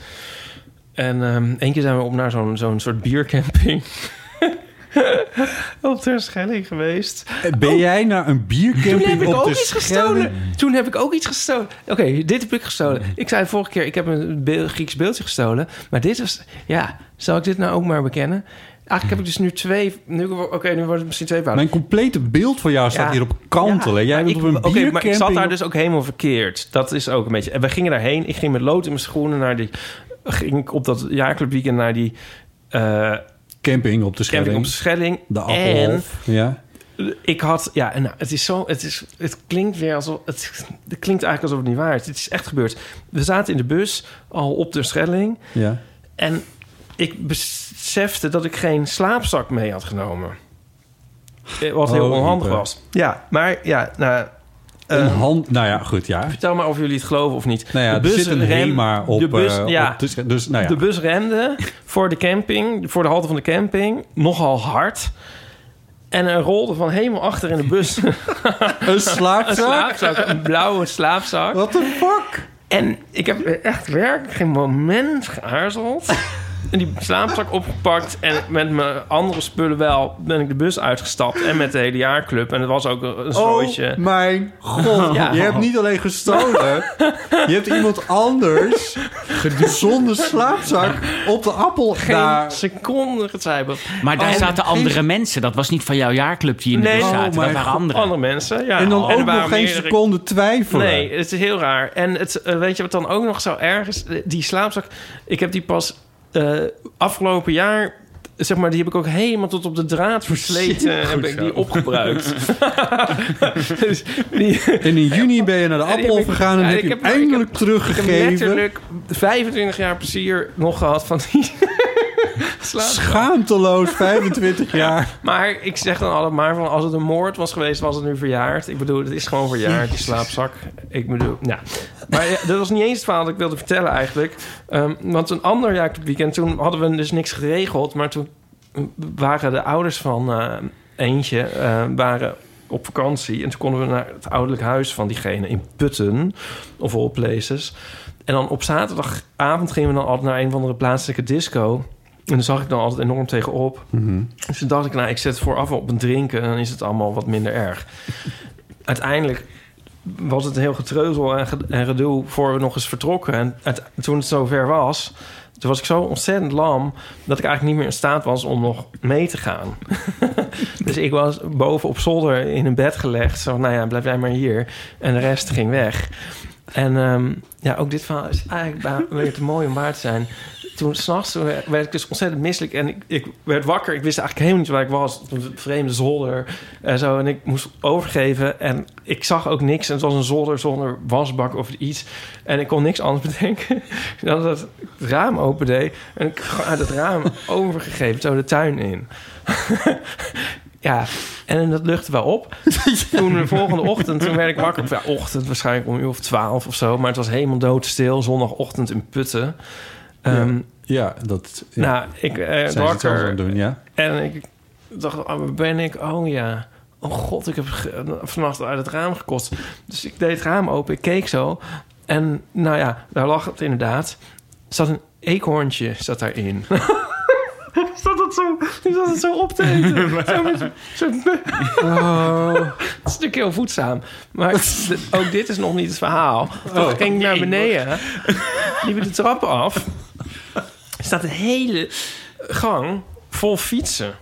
Speaker 3: En ehm één keer zijn we op naar zo'n zo'n soort biercamping. op Terschelling geweest.
Speaker 1: Eh, Ben jij naar een biercamping
Speaker 3: Oh. Toen heb ik
Speaker 1: op
Speaker 3: ook
Speaker 1: de
Speaker 3: iets
Speaker 1: Schelde?
Speaker 3: gestolen. Toen heb ik ook iets gestolen. Oké, dit heb ik gestolen. Ik zei vorige keer, ik heb een be- Grieks beeldje gestolen. Maar dit was... Ja, zal ik dit nou ook maar bekennen? Eigenlijk heb ik dus nu twee... nu- Oké, nu worden het misschien twee fouten.
Speaker 1: Mijn complete beeld van jou staat
Speaker 3: dus- Ja.
Speaker 1: hier op kantelen.
Speaker 3: Ja,
Speaker 1: Jij
Speaker 3: maar
Speaker 1: bent
Speaker 3: ik-
Speaker 1: op een
Speaker 3: oké,
Speaker 1: biercamping.
Speaker 3: maar ik zat daar dus ook helemaal verkeerd. Dat is ook een beetje... En we gingen daarheen. Ik ging met lood in mijn schoenen naar die... Ging ik op dat jaarclubweekend naar die... eh
Speaker 1: Camping op de Schelde.
Speaker 3: camping op de Schelling.
Speaker 1: De
Speaker 3: en
Speaker 1: Appelhof. Ja.
Speaker 3: ik had, ja, en nou, het is zo, het, is, het klinkt weer alsof, het, het klinkt eigenlijk alsof het niet waar is. Het is echt gebeurd. We zaten in de bus, al op de Schelling.
Speaker 1: Ja.
Speaker 3: En ik besefte dat ik geen slaapzak mee had genomen. Eh, Wat heel
Speaker 1: Oh,
Speaker 3: onhandig
Speaker 1: Ieper.
Speaker 3: was. Ja, maar ja, nou... eh,
Speaker 1: Een hand, nou ja, goed, ja.
Speaker 3: Vertel maar of jullie het geloven of niet.
Speaker 1: Nou ja, er zit een
Speaker 3: rem-
Speaker 1: HEMA op.
Speaker 3: de bus,
Speaker 1: eh,
Speaker 3: ja,
Speaker 1: op dus, dus, nou ja.
Speaker 3: de bus rende voor de camping, voor de halte van de camping, nogal hard. En er rolde van helemaal achter in de bus
Speaker 1: een slaapzak.
Speaker 3: een slaapzak, een blauwe slaapzak.
Speaker 1: What the fuck?
Speaker 3: En ik heb echt werk, geen moment geaarzeld. En die slaapzak opgepakt en met mijn andere spullen wel ben ik de bus uitgestapt. En met de hele jaarclub. En het was ook een strooitje.
Speaker 1: Oh mijn god.
Speaker 3: Ja.
Speaker 1: Je hebt niet alleen gestolen. je hebt iemand anders zonder slaapzak op de appel
Speaker 3: geen
Speaker 1: daar.
Speaker 3: seconde getwijfeld.
Speaker 2: Maar daar
Speaker 3: Oh,
Speaker 2: zaten
Speaker 1: geen-
Speaker 2: andere mensen. Dat was niet van jouw jaarclub die in de
Speaker 3: Nee.
Speaker 2: bus
Speaker 3: Oh
Speaker 2: zaten.
Speaker 1: mijn
Speaker 2: dat waren
Speaker 1: God.
Speaker 2: anderen.
Speaker 3: Andere mensen, ja.
Speaker 1: en dan
Speaker 3: er
Speaker 1: ook
Speaker 3: waren
Speaker 1: nog geen
Speaker 3: meerdere-
Speaker 1: seconde twijfelen.
Speaker 3: Nee, het is heel raar. En het, eh, weet je wat dan ook nog zo erg is? Eh, Die slaapzak, ik heb die pas eh, afgelopen jaar... Zeg maar, die heb ik ook helemaal tot op de draad versleten. en heb ik die opgebruikt. dus die,
Speaker 1: En in juni ben je naar de
Speaker 3: die
Speaker 1: appel
Speaker 3: heb ik-
Speaker 1: gegaan en
Speaker 3: ja,
Speaker 1: heb
Speaker 3: ik
Speaker 1: je
Speaker 3: heb-
Speaker 1: hem eindelijk
Speaker 3: ik heb
Speaker 1: teruggegeven.
Speaker 3: letterlijk 25 jaar plezier nog gehad van die slaapzak.
Speaker 1: Schaamteloos, 25 jaar.
Speaker 3: Maar ik zeg dan allemaal van als het een moord was geweest, was het nu verjaard. Ik bedoel, het is gewoon verjaard, die slaapzak. Ik bedoel, ja. Maar ja, dat was niet eens het verhaal dat ik wilde vertellen eigenlijk. Ehm, want een ander jaar weekend, toen hadden we dus niks geregeld. Maar toen waren de ouders van eh, eentje eh, waren op vakantie. En toen konden we naar het ouderlijk huis van diegene in Putten, of all places. En dan op zaterdagavond gingen we dan altijd naar een of andere plaatselijke disco. En daar zag ik dan altijd enorm tegenop. Dus toen dacht ik, nou, ik zet het vooraf wel op een drinken... en dan is het allemaal wat minder erg. Uiteindelijk was het heel getreuzel en, ge- en gedoe... voor we nog eens vertrokken. En het- toen het zover was... toen was ik zo ontzettend lam... dat ik eigenlijk niet meer in staat was om nog mee te gaan. dus ik was boven op zolder in een bed gelegd. Zo, nou ja, blijf jij maar hier. En de rest ging weg. En ehm, ja, ook dit verhaal is eigenlijk ba- weer te mooi om waar te zijn. Toen s'nachts werd ik dus ontzettend misselijk en ik, ik werd wakker. Ik wist eigenlijk helemaal niet waar ik was. Op een vreemde zolder en zo. En ik moest overgeven en ik zag ook niks. En het was een zolder zonder wasbak of iets. En ik kon niks anders bedenken dan dat ik het raam opendeed. En ik uit het raam overgegeven, zo de tuin in. Ja, en dat luchtte wel op. toen de volgende ochtend, toen werd ik wakker. Of Ja, ochtend waarschijnlijk om een uur of twaalf of zo. Maar het was helemaal doodstil, zondagochtend in Putten. Ehm,
Speaker 1: Ja, dat ja,
Speaker 3: Nou, ik eh
Speaker 1: zijn ze het zelf aan
Speaker 3: wakker
Speaker 1: het doen, ja.
Speaker 3: en ik dacht, oh, waar ben ik? Oh ja. Oh god, ik heb ge- vannacht uit het raam gekost. Dus ik deed het raam open, ik keek zo. En nou ja, daar lag het inderdaad. Er zat een eekhoorntje zat daarin. zat dat zo, die zat het zo op te eten. Zo met zo'n- zo'n
Speaker 1: Oh.
Speaker 3: het is natuurlijk heel voedzaam. Maar de- ook dit is nog niet het verhaal. Toen
Speaker 1: Oh,
Speaker 3: ging ik naar beneden. Liep de trappen af. Er staat een hele gang vol fietsen.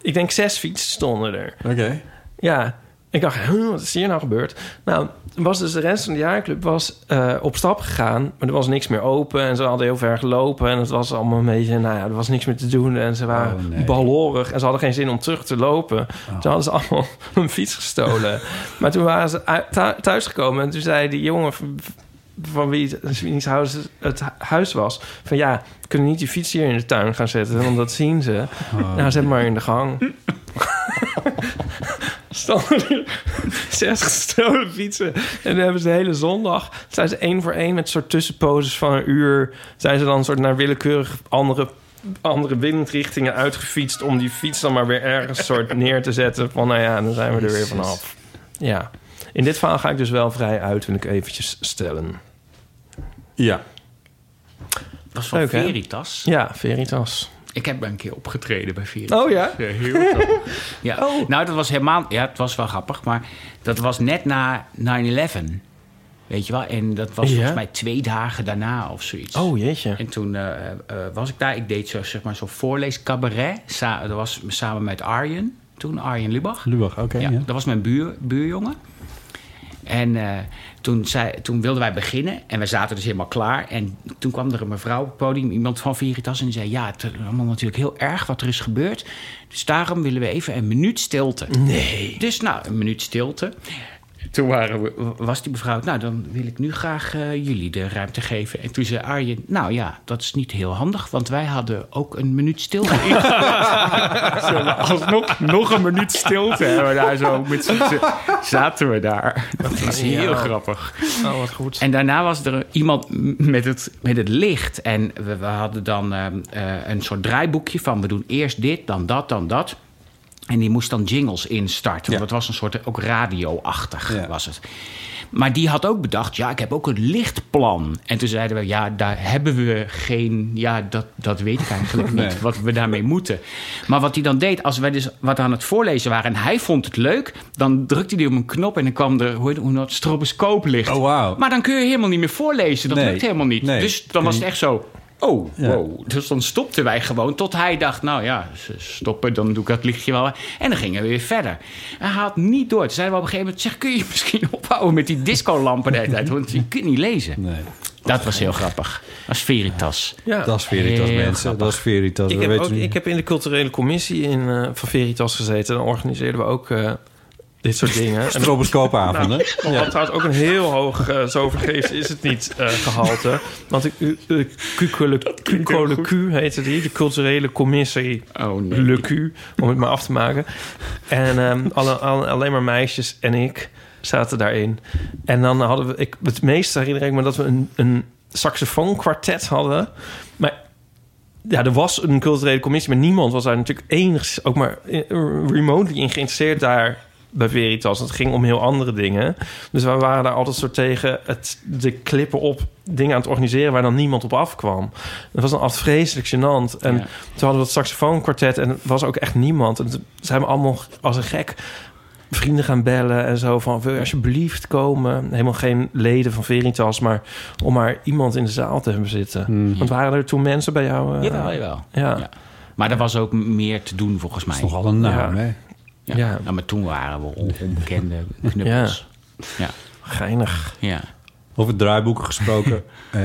Speaker 3: Ik denk zes fietsen stonden er.
Speaker 1: Oké.
Speaker 3: Ja, ik dacht, huh, wat is hier nou gebeurd? Nou, toen was dus de rest van de jaarclub was, eh, op stap gegaan. Maar er was niks meer open en ze hadden heel ver gelopen. En het was allemaal een beetje, nou ja, er was niks meer te doen. En ze waren
Speaker 1: Oh, nee. Oh.
Speaker 3: ballorig en ze hadden geen zin om terug te lopen. Toen hadden ze allemaal hun fiets gestolen. maar toen waren ze uit- thu- thuisgekomen en toen zei die jongen... van- van wie het, wiens huis het hu- huis was. Van ja, we kunnen niet die fiets hier in de tuin gaan zetten, want dat zien ze.
Speaker 1: Oh.
Speaker 3: Nou, zet maar in de gang. stonden er zes gestolen fietsen. En dan hebben ze de hele zondag... zijn ze één voor één met soort tussenposes van een uur... zijn ze dan soort naar willekeurig andere, andere windrichtingen uitgefietst... om die fiets dan maar weer ergens soort neer te zetten. Van nou ja, dan zijn we er weer vanaf. Ja. In dit verhaal ga ik dus wel vrij uit, wil ik eventjes stellen.
Speaker 1: Ja.
Speaker 2: Dat was van
Speaker 3: Leuk, hè?
Speaker 2: Veritas.
Speaker 3: Ja, Veritas.
Speaker 2: Ik heb een keer opgetreden bij Veritas.
Speaker 3: Oh ja?
Speaker 2: Ja.
Speaker 3: Oh.
Speaker 2: Nou, dat was helemaal... Ja, het was wel grappig, maar dat was net na 9-11. Weet je wel? En dat was
Speaker 3: Ja.
Speaker 2: volgens mij twee dagen daarna of zoiets.
Speaker 3: Oh jeetje.
Speaker 2: En toen eh, eh, was ik daar. Ik deed zo, zeg maar, zo'n voorleescabaret. Sa- dat was samen met Arjen. Toen Arjen Lubach.
Speaker 1: Lubach, oké.
Speaker 2: Ja,
Speaker 1: ja.
Speaker 2: dat was mijn buur, buurjongen. En eh, toen, zei, toen wilden wij beginnen en we zaten dus helemaal klaar. En toen kwam er een mevrouw op het podium, iemand van Veritas, en die zei... ja, het is allemaal natuurlijk heel erg wat er is gebeurd. Dus daarom willen we even een minuut stilte. Nee. Dus nou, een minuut stilte. Toen waren we, was die mevrouw, nou dan wil ik nu graag eh, jullie de ruimte geven. En toen zei Arjen, nou ja, dat is niet heel handig, want wij hadden ook een minuut stilte. Zullen we alsnog nog een minuut stilte hebben daar zo met z'n- z'n- zaten we daar. Dat is heel
Speaker 3: Ja.
Speaker 2: grappig.
Speaker 3: Oh, wat goed.
Speaker 2: En daarna was er iemand m- met het, met het licht. En we, we hadden dan ehm, eh, een soort draaiboekje van... we doen eerst dit, dan dat, dan dat. En die moest dan jingles instarten. Want het was een soort ook radioachtig was het. Maar die had ook bedacht, ja, ik heb ook een lichtplan. En toen zeiden we, ja, daar hebben we geen... Ja, dat, dat weet ik eigenlijk
Speaker 1: Nee.
Speaker 2: niet, wat we daarmee moeten. Maar wat hij dan deed, als wij dus wat aan het voorlezen waren... en hij vond het leuk, dan drukte hij op een knop... en dan kwam er, hoe heet hoe dat, stroboscooplicht.
Speaker 1: Oh, wauw.
Speaker 2: Maar dan kun je helemaal niet meer voorlezen. Dat
Speaker 1: Nee.
Speaker 2: lukt helemaal niet.
Speaker 1: Nee.
Speaker 2: Dus dan was het echt zo... Oh,
Speaker 1: Ja.
Speaker 2: wow. Dus dan stopten wij gewoon tot hij dacht... nou ja, ze stoppen, dan doe ik dat lichtje wel. aan. En dan gingen we weer verder. Hij had niet door. Toen zeiden we op een gegeven moment... zeg, kun je misschien ophouden met die discolampen de hele tijd? Want je kunt niet lezen.
Speaker 1: Nee.
Speaker 2: Dat was heel grappig. Als Veritas.
Speaker 3: Ja.
Speaker 1: Dat is Veritas,
Speaker 2: Heel
Speaker 1: mensen.
Speaker 2: grappig.
Speaker 1: Dat is Veritas.
Speaker 3: Ik
Speaker 1: We
Speaker 3: heb,
Speaker 1: weten
Speaker 3: ook,
Speaker 1: niet-
Speaker 3: ik heb in de culturele commissie in, eh, van Veritas gezeten. Dan organiseerden we ook eh, dit soort dingen. En
Speaker 1: Stroboscoopavonden.
Speaker 3: dat had trouwens ook een heel hoog, eh, zo vergeefs is het niet, eh, gehalte. Want de uh, QQLQ heette die, de culturele commissie.
Speaker 2: Oh nee.
Speaker 3: Le Q, om het maar af te maken. En ehm, alle, alle- alleen maar meisjes en ik zaten daarin. En dan hadden we... Ik, het meeste herinner ik me dat we een, een saxofoonkwartet hadden. Maar ja, er was een culturele commissie... maar niemand was daar natuurlijk enigszins... ook maar eh, remotely in geïnteresseerd daar bij Veritas. Het ging om heel andere dingen. Dus we waren daar altijd zo tegen het, de klippen op dingen aan het organiseren... waar dan niemand op afkwam. Dat was dan altijd vreselijk gênant. En
Speaker 2: Ja.
Speaker 3: toen hadden we dat saxofoonkwartet en er was ook echt niemand. En toen zijn we allemaal als een gek vrienden gaan bellen en zo van... wil je alsjeblieft komen? Helemaal geen leden van Veritas, maar om maar iemand in de zaal te hebben zitten. Want waren er toen mensen bij jou? eh?
Speaker 2: Jawel, jawel.
Speaker 3: Ja.
Speaker 2: Ja. Maar er was ook meer te doen volgens mij.
Speaker 1: Dat is nogal een naam,
Speaker 3: Ja.
Speaker 1: hè?
Speaker 2: Ja.
Speaker 3: Ja.
Speaker 2: Nou, maar toen waren we on- onbekende knuppels. Ja.
Speaker 3: Geinig.
Speaker 2: Ja.
Speaker 1: Over draaiboeken gesproken. Eh,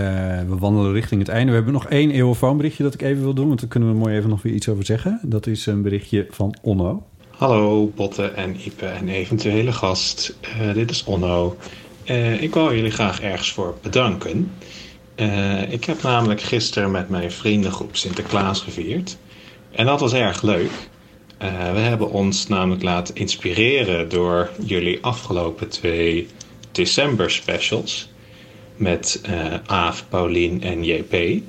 Speaker 1: we wandelen richting het einde. We hebben nog één eeuwenfoonberichtje dat ik even wil doen. Want daar kunnen we mooi even nog weer iets over zeggen. Dat is een berichtje van Onno.
Speaker 6: Hallo Botte en Ipe en eventuele gast. Eh, dit is Onno. Eh, ik wil jullie graag ergens voor bedanken. Eh, ik heb namelijk gisteren met mijn vriendengroep Sinterklaas gevierd. En dat was erg leuk. Eh, we hebben ons namelijk laten inspireren door jullie afgelopen twee december specials. Met eh Aaf, Paulien en JP.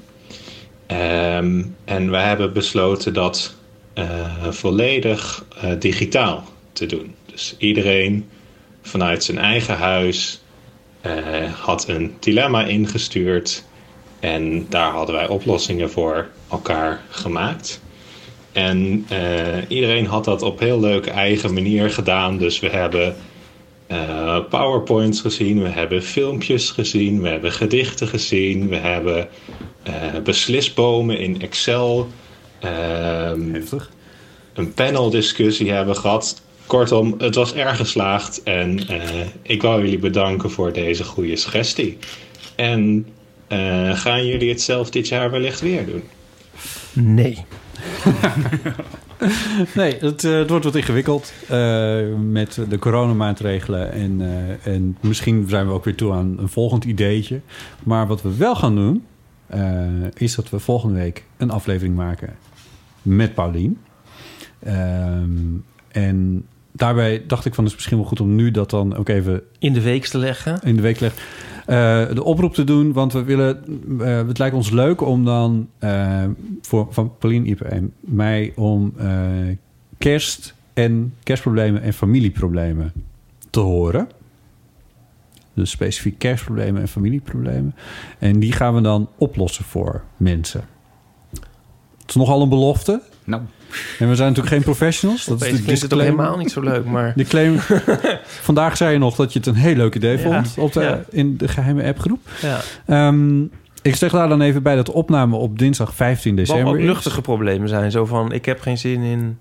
Speaker 6: Ehm, en we hebben besloten dat eh, volledig eh, digitaal te doen. Dus iedereen vanuit zijn eigen huis eh, had een dilemma ingestuurd. En daar hadden wij oplossingen voor elkaar gemaakt. En eh, iedereen had dat op heel leuke eigen manier gedaan. Dus we hebben eh, PowerPoints gezien, we hebben filmpjes gezien, we hebben gedichten gezien, we hebben eh, beslisbomen in Excel. ehm,
Speaker 1: Heftig.
Speaker 6: een paneldiscussie hebben gehad. Kortom, het was erg geslaagd en eh, ik wou jullie bedanken voor deze goede suggestie. En eh, gaan jullie het zelf dit jaar wellicht weer doen?
Speaker 3: Nee.
Speaker 1: Nee, het, eh, het wordt wat ingewikkeld eh, met de coronamaatregelen. En, eh, en misschien zijn we ook weer toe aan een volgend ideetje. Maar wat we wel gaan doen, eh, is dat we volgende week een aflevering maken met Paulien. Ehm, en daarbij dacht ik van, het is misschien wel goed om nu dat dan ook even
Speaker 3: In de week te leggen.
Speaker 1: in de week legt. eh, de oproep te doen, want we willen. eh, het lijkt ons leuk om dan eh, voor, van Pauline Ipe en mij om eh, kerst en kerstproblemen en familieproblemen te horen. Dus specifiek kerstproblemen en familieproblemen. En die gaan we dan oplossen voor mensen. Het is nogal een belofte.
Speaker 2: Nou,
Speaker 1: En we zijn natuurlijk geen professionals. Dat is
Speaker 3: Opeens
Speaker 1: de
Speaker 3: klinkt het ook
Speaker 1: disclaimer.
Speaker 3: helemaal niet zo leuk, maar...
Speaker 1: De claim. Vandaag zei je nog dat je het een heel leuk idee
Speaker 3: Ja.
Speaker 1: vond op de,
Speaker 3: Ja.
Speaker 1: in de geheime appgroep.
Speaker 3: Ja.
Speaker 1: Ehm, ik zeg daar dan even bij dat de opname op dinsdag 15
Speaker 3: Wat
Speaker 1: december
Speaker 3: ook
Speaker 1: is.
Speaker 3: luchtige problemen zijn. Zo van, ik heb geen zin in...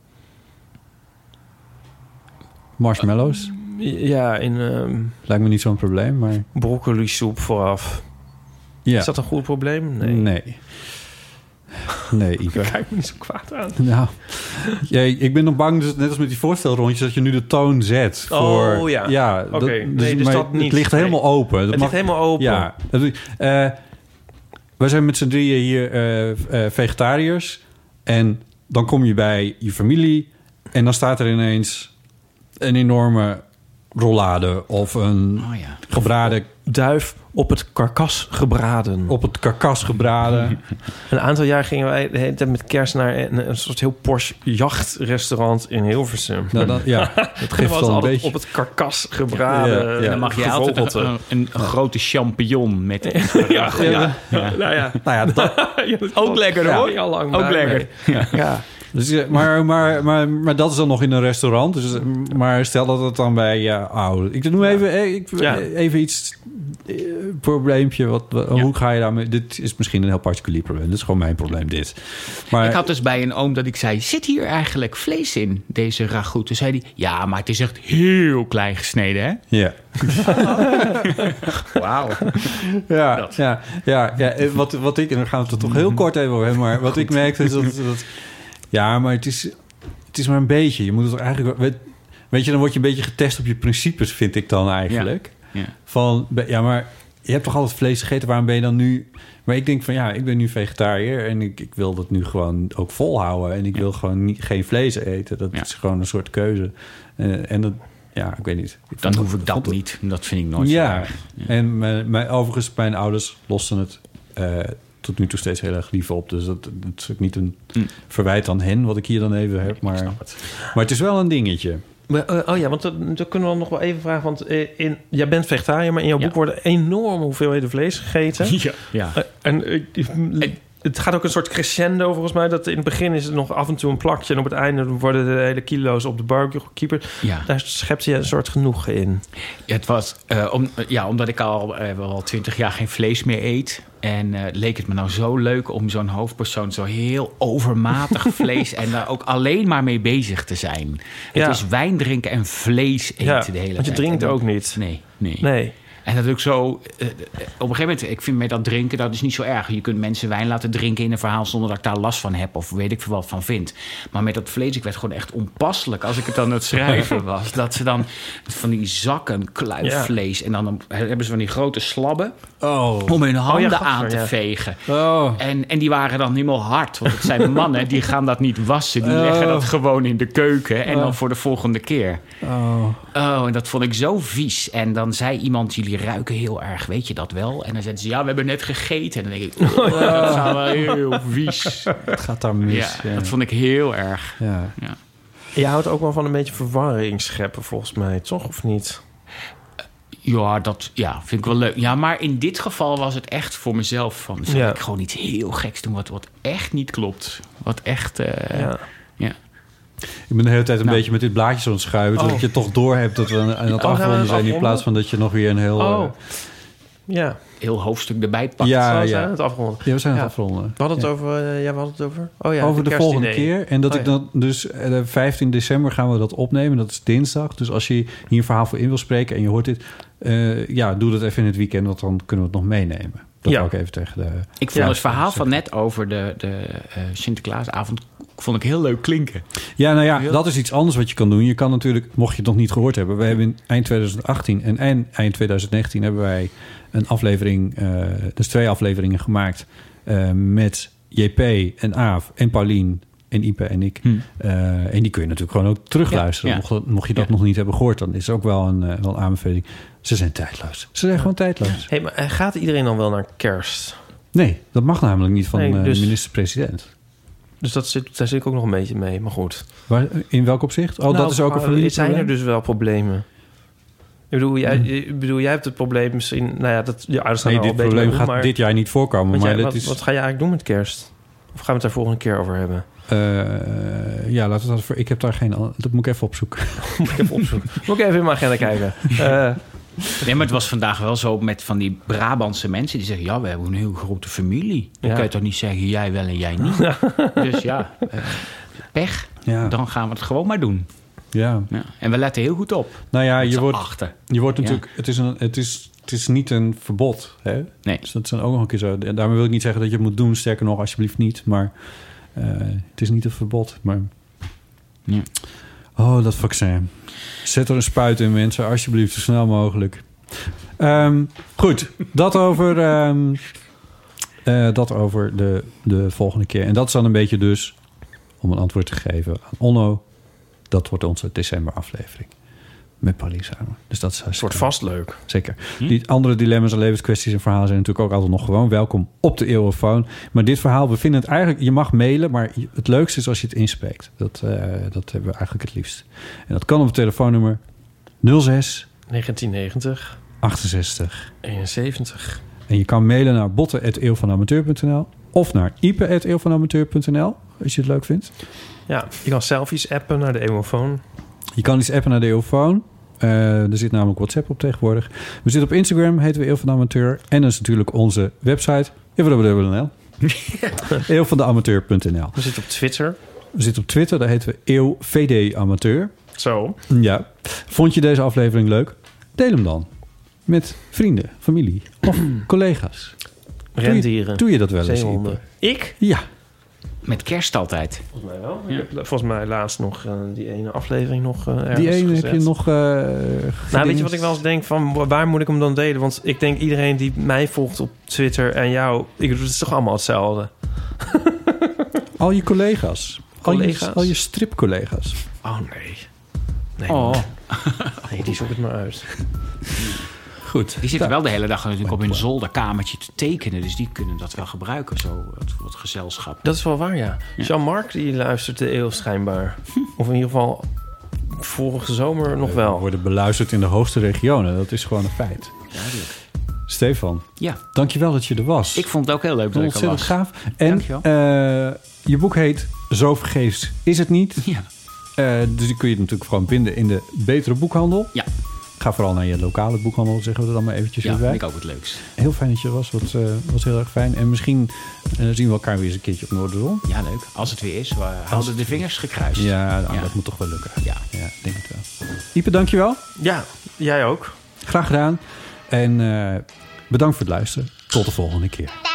Speaker 1: Marshmallows.
Speaker 3: Ja, in...
Speaker 1: Lijkt me niet zo'n probleem, maar...
Speaker 3: Broccoli soep vooraf.
Speaker 1: Ja.
Speaker 3: Is dat een goed probleem? Nee.
Speaker 1: Nee. Nee, Ipe.
Speaker 3: Kijk me niet zo kwaad aan.
Speaker 1: Nou, jij, ik ben nog bang, dus net als met die voorstelrondjes, dat je nu de toon zet.
Speaker 3: Oh,
Speaker 1: Voor,
Speaker 3: ja.
Speaker 1: ja
Speaker 3: Oké,
Speaker 1: dat-
Speaker 3: nee, dus
Speaker 1: maar
Speaker 3: dat niet.
Speaker 1: Het ligt
Speaker 3: Nee.
Speaker 1: helemaal open. Dat
Speaker 3: Het ligt helemaal open.
Speaker 1: Ja. Dat- eh, wij zijn met z'n drieën hier eh, eh, vegetariërs. En dan kom je bij je familie. En dan staat er ineens een enorme rollade of een gebraden...
Speaker 3: Duif op het karkas gebraden.
Speaker 1: Op het karkas gebraden.
Speaker 3: Een aantal jaar gingen wij de hele tijd met kerst naar een, een soort heel Porsche jachtrestaurant in Hilversum.
Speaker 1: Nou, dat- ja, dat
Speaker 3: En er
Speaker 1: geeft
Speaker 3: was
Speaker 1: wel een
Speaker 3: altijd
Speaker 1: beetje-
Speaker 3: op het karkas gebraden.
Speaker 2: En dan mag je altijd een, een, een grote champignon met
Speaker 3: Ja, ja. Nou ja. Ook lekker
Speaker 1: Ja.
Speaker 3: hoor. Ja, lang
Speaker 1: Ook
Speaker 3: blij
Speaker 1: lekker.
Speaker 3: mee. Ja.
Speaker 1: Dus, eh, maar, maar, maar, maar dat is dan nog in een restaurant. Dus, eh, maar stel dat het dan bij ja, oude. Ik doe even, eh, ik,
Speaker 3: Ja.
Speaker 1: eh, even iets. eh, probleempje. Wat, wat- Hoe ga je daarmee? Dit is misschien een heel particulier probleem. Dit is gewoon mijn probleem, dit. Maar,
Speaker 3: Eh,
Speaker 2: Ik had dus bij een oom dat ik zei... zit hier eigenlijk vlees in, deze ragout? Toen zei hij... ja, maar het is echt heel klein gesneden, hè?
Speaker 1: Ja.
Speaker 2: Wauw.
Speaker 1: Ja, ja, ja, ja. eh, Wat, wat ik, en dan gaan we het er toch heel kort even over hebben. Maar wat ik merkte is dat, dat. Ja, maar het is, het is maar een beetje. Je moet het eigenlijk. Weet, weet je, dan word je een beetje getest op je principes, vind ik dan eigenlijk.
Speaker 2: Ja.
Speaker 1: Van, be- ja, maar je hebt toch altijd vlees gegeten? Waarom ben je dan nu... Maar ik denk van, ja, ik ben nu vegetariër... en ik, ik wil dat nu gewoon ook volhouden. En ik wil gewoon niet, geen vlees eten. Dat is gewoon een soort keuze. Eh, en dat... Ja, ik weet niet.
Speaker 2: Dan hoef ik dat niet. Dat vind ik nooit zo
Speaker 1: Ja,
Speaker 2: erg.
Speaker 1: en mijn, mijn, overigens, mijn ouders losten het eh, tot nu toe steeds heel erg lief op. Dus dat, dat is ook niet een
Speaker 2: Hm.
Speaker 1: verwijt aan hen... wat ik hier dan even heb. Maar, maar het is wel een dingetje.
Speaker 3: Maar, eh, oh ja, want dat, dat kunnen we nog wel even vragen. Want eh, in, jij bent vegetariër, maar in jouw boek worden enorme hoeveelheden vlees gegeten.
Speaker 2: Ja. Ja.
Speaker 3: Eh, en eh, ik- het gaat ook een soort crescendo volgens mij. Dat in het begin is het nog af en toe een plakje. En op het einde worden de hele kilo's op de barbecuekeeper.
Speaker 2: Ja.
Speaker 3: Daar schept je een soort genoegen in.
Speaker 2: Het was, eh, om, ja, omdat ik al eh, wel twintig jaar geen vlees meer eet. En eh, leek het me nou zo leuk om zo'n hoofdpersoon zo heel overmatig vlees... en daar ook alleen maar mee bezig te zijn.
Speaker 3: Ja.
Speaker 2: Het is wijn drinken en vlees eten
Speaker 3: Ja,
Speaker 2: de hele tijd.
Speaker 3: want je drinkt
Speaker 2: En dan-
Speaker 3: ook niet.
Speaker 2: Nee, nee.
Speaker 3: Nee.
Speaker 2: En dat ook zo... eh, eh, op een gegeven moment, ik vind met dat drinken, dat is niet zo erg. Je kunt mensen wijn laten drinken in een verhaal... zonder dat ik daar last van heb of weet ik veel wat van vind. Maar met dat vlees, ik werd gewoon echt onpasselijk... als ik het aan het schrijven was. Dat ze dan van die zakken
Speaker 3: Ja.
Speaker 2: kluifvlees... en dan dan hebben ze van die grote slabben...
Speaker 1: Oh.
Speaker 2: om hun handen
Speaker 3: gaffer,
Speaker 2: aan te
Speaker 3: ja.
Speaker 2: vegen.
Speaker 1: Oh.
Speaker 2: En, en die waren dan helemaal hard. Want het zijn mannen, die gaan dat niet wassen. Die leggen dat gewoon in de keuken. En dan voor de volgende keer.
Speaker 1: Oh.
Speaker 2: Oh, en dat vond ik zo vies. En dan zei iemand, jullie ruiken heel erg, weet je dat wel? En dan zeiden ze, ja, we hebben net gegeten. En dan denk ik, oh, dat zou wel heel vies.
Speaker 1: Het gaat daar mis. eh,
Speaker 2: Ja, dat vond ik heel erg.
Speaker 1: Ja.
Speaker 2: Ja.
Speaker 3: Je houdt ook wel van een beetje verwarring scheppen volgens mij, toch? Of niet?
Speaker 2: Ja, dat ja, vind ik wel leuk. Ja, maar in dit geval was het echt voor mezelf van... zou
Speaker 3: Ja.
Speaker 2: ik gewoon iets heel geks doen wat, wat echt niet klopt. Wat echt... eh,
Speaker 3: Ja.
Speaker 2: ja.
Speaker 1: Ik ben de hele tijd een beetje met dit blaadje zo aan het schuiven...
Speaker 3: Nou. Oh.
Speaker 1: dat je toch door hebt dat we aan, aan het
Speaker 3: we aan het
Speaker 1: afronden zijn... in
Speaker 3: afronden?
Speaker 1: plaats van dat je nog weer een heel... eh,
Speaker 3: Oh. Ja.
Speaker 2: Heel hoofdstuk erbij pakt.
Speaker 1: ja,
Speaker 3: Zo
Speaker 1: ja.
Speaker 3: zijn we het afgerond.
Speaker 1: Ja, we zijn aan het
Speaker 3: Ja.
Speaker 1: afronden.
Speaker 3: We hadden het over... eh, ja, we hadden het over... Oh ja,
Speaker 1: Over de, volgende keer. En dat
Speaker 3: Oh
Speaker 1: ik
Speaker 3: ja.
Speaker 1: dan dus eh, 15 december gaan we dat opnemen. Dat is dinsdag. Dus als je hier een verhaal voor in wil spreken en je hoort dit, eh, ja, doe dat even in het weekend, want dan kunnen we het nog meenemen. Dat
Speaker 3: Ja.
Speaker 1: wou ik even tegen de.
Speaker 2: Ik vond
Speaker 1: Ja.
Speaker 2: het verhaal van net over de, de eh, Sinterklaasavond... vond ik heel leuk klinken.
Speaker 1: Ja, nou ja, dat is iets anders wat je kan doen. Je kan natuurlijk, mocht je het nog niet gehoord hebben, we hebben in eind 2018 en eind, eind 2019 hebben wij een aflevering, eh, dus twee afleveringen gemaakt eh, met JP en Aaf en Paulien en Ipe en
Speaker 3: Hm.
Speaker 1: ik. Eh, en die kun je natuurlijk gewoon ook terugluisteren.
Speaker 2: Ja, ja.
Speaker 1: Mocht, dat- mocht je dat nog niet hebben gehoord, dan is het ook wel een, eh, wel een aanbeveling. Ze zijn tijdloos. Ze zijn gewoon tijdloos.
Speaker 3: Hey, maar eh, gaat iedereen dan wel naar kerst?
Speaker 1: Nee, dat mag namelijk niet van
Speaker 3: Nee,
Speaker 1: eh,
Speaker 3: dus-
Speaker 1: de minister-president.
Speaker 3: Dus dat zit, daar zit ik ook nog een beetje mee, maar goed.
Speaker 1: Waar- In welk opzicht? Oh, dat is ook een
Speaker 3: probleem.
Speaker 1: familieprobleem?
Speaker 3: Nou, Zijn er dus wel problemen? Ik bedoel, jij, ik bedoel, jij hebt het probleem misschien... Nou ja, dat, je ouders gaan
Speaker 1: Hmm. Nee,
Speaker 3: er al
Speaker 1: dit
Speaker 3: een
Speaker 1: probleem
Speaker 3: beetje mee om,
Speaker 1: gaat
Speaker 3: maar-
Speaker 1: dit jaar niet voorkomen.
Speaker 3: want
Speaker 1: Maar
Speaker 3: jij-
Speaker 1: dat
Speaker 3: wat,
Speaker 1: is,
Speaker 3: wat ga je eigenlijk doen met kerst? Of gaan we het daar volgende keer over hebben?
Speaker 1: eh, ja, laten we dat voor. Ik heb daar geen. an- Dat moet ik even opzoeken.
Speaker 3: Moet ik even opzoeken. Moet ik even in mijn agenda kijken. Eh,
Speaker 2: Nee, maar het was vandaag wel zo met van die Brabantse mensen die zeggen: Ja, we hebben een heel grote familie. Dan
Speaker 3: Ja.
Speaker 2: kan je toch niet zeggen: jij wel en jij niet. Dus ja, eh, pech.
Speaker 1: Ja.
Speaker 2: Dan gaan we het gewoon maar doen.
Speaker 1: Ja.
Speaker 2: En we letten heel goed op.
Speaker 1: Nou ja,
Speaker 2: Met
Speaker 1: je
Speaker 2: z'n
Speaker 1: wordt,
Speaker 2: achten.
Speaker 1: je wordt
Speaker 2: Ja.
Speaker 1: natuurlijk. Het, is een, het, is, het is niet een verbod. Hè?
Speaker 2: Nee.
Speaker 1: Dus dat zijn ook nog een keer zo. En Daarmee wil ik niet zeggen dat je het moet doen. Sterker nog, alsjeblieft niet. Maar eh, het is niet een verbod. Maar. Oh, dat vaccin. Zet er een spuit in, mensen. Alsjeblieft, zo snel mogelijk. Ehm, goed, dat over. ehm, eh, dat over de, de volgende keer. En dat is dan een beetje dus om een antwoord te geven aan Onno. Dat wordt onze decemberaflevering. Met Pauline samen. Dus dat is wordt
Speaker 3: vast leuk.
Speaker 1: Zeker. Die andere dilemma's en levenskwesties en verhalen zijn natuurlijk ook altijd nog gewoon. Welkom op de Eeuwenfoon. Maar dit verhaal, we vinden het eigenlijk... Je mag mailen, maar het leukste is als je het inspreekt. Dat, eh, dat hebben we eigenlijk het liefst. En dat kan op het telefoonnummer 06
Speaker 3: 1990,
Speaker 1: 68
Speaker 3: 71.
Speaker 1: en je kan mailen naar botten.eeuwvanamateur.nl of naar ipe.eeuwvanamateur.nl als je het leuk vindt.
Speaker 3: Ja, je kan selfies appen naar de emofoon.
Speaker 1: Je kan iets appen naar de Eeuwfoon. Eh, er zit namelijk WhatsApp op tegenwoordig. We zitten op Instagram, heten we Eeuw van de Amateur. En dat is natuurlijk onze website, www.nl. eeuwvandeamateur.nl
Speaker 3: We zitten op Twitter.
Speaker 1: We zitten op Twitter, daar heten we Eeuw VD Amateur.
Speaker 3: Zo.
Speaker 1: Ja. Vond je deze aflevering leuk? Deel hem dan. Met vrienden, familie of collega's. Doe je-
Speaker 3: Rendieren.
Speaker 1: Doe je dat wel eens, Ipe?
Speaker 3: Zeehonden. Ik?
Speaker 1: Ja.
Speaker 2: Met kerst altijd.
Speaker 3: Volgens mij wel. Ik heb volgens mij laatst nog eh, die ene aflevering nog eh, ergens
Speaker 1: Die ene heb
Speaker 3: gezet.
Speaker 1: je nog. eh
Speaker 3: Nou, weet
Speaker 1: gedingst.
Speaker 3: je wat ik wel eens denk? Van, wa- waar moet ik hem dan delen? Want ik denk iedereen die mij volgt op Twitter en jou... Ik, bedoel, het is toch allemaal hetzelfde?
Speaker 1: Al je collega's. Al je,
Speaker 3: Collega's?
Speaker 1: al je stripcollega's.
Speaker 3: Oh, nee. Nee,
Speaker 2: Oh.
Speaker 3: man. nee die zoek het maar uit.
Speaker 1: Goed.
Speaker 2: Die zitten wel de hele dag natuurlijk op hun zolderkamertje te tekenen. Dus die kunnen dat wel gebruiken, zo wat, wat gezelschap.
Speaker 3: Dat is wel waar, ja. Jean-Marc die luistert de eeuw schijnbaar. Of in ieder geval vorige zomer nog
Speaker 1: We
Speaker 3: wel.
Speaker 1: Eh, worden beluisterd in de hoogste regionen. Dat is gewoon een feit. Stefan,
Speaker 2: Ja,
Speaker 1: dankjewel dat je er was.
Speaker 2: ik vond het ook heel leuk dat ik er
Speaker 1: Ontzettend
Speaker 2: was.
Speaker 1: gaaf. En eh, je boek heet Zo vergeefs is het niet.
Speaker 2: Ja.
Speaker 1: Eh, dus die kun je natuurlijk gewoon vinden in de betere boekhandel.
Speaker 2: Ja.
Speaker 1: Ga vooral naar je lokale boekhandel, zeggen we er dan maar eventjes
Speaker 2: Ja,
Speaker 1: bij.
Speaker 2: vind ik ook het leukst.
Speaker 1: Heel fijn dat je er was. Dat eh, was heel erg fijn. En misschien eh, zien we elkaar weer eens een keertje op Noorderzon.
Speaker 2: Ja, leuk. Als het weer is, we houden de vingers gekruist.
Speaker 1: Ja, nou, dat moet toch wel lukken.
Speaker 2: Ja.
Speaker 1: Ja, ik denk het wel. Ipe, dankjewel.
Speaker 3: Ja, jij ook.
Speaker 1: Graag gedaan. En eh, bedankt voor het luisteren. Tot de volgende keer.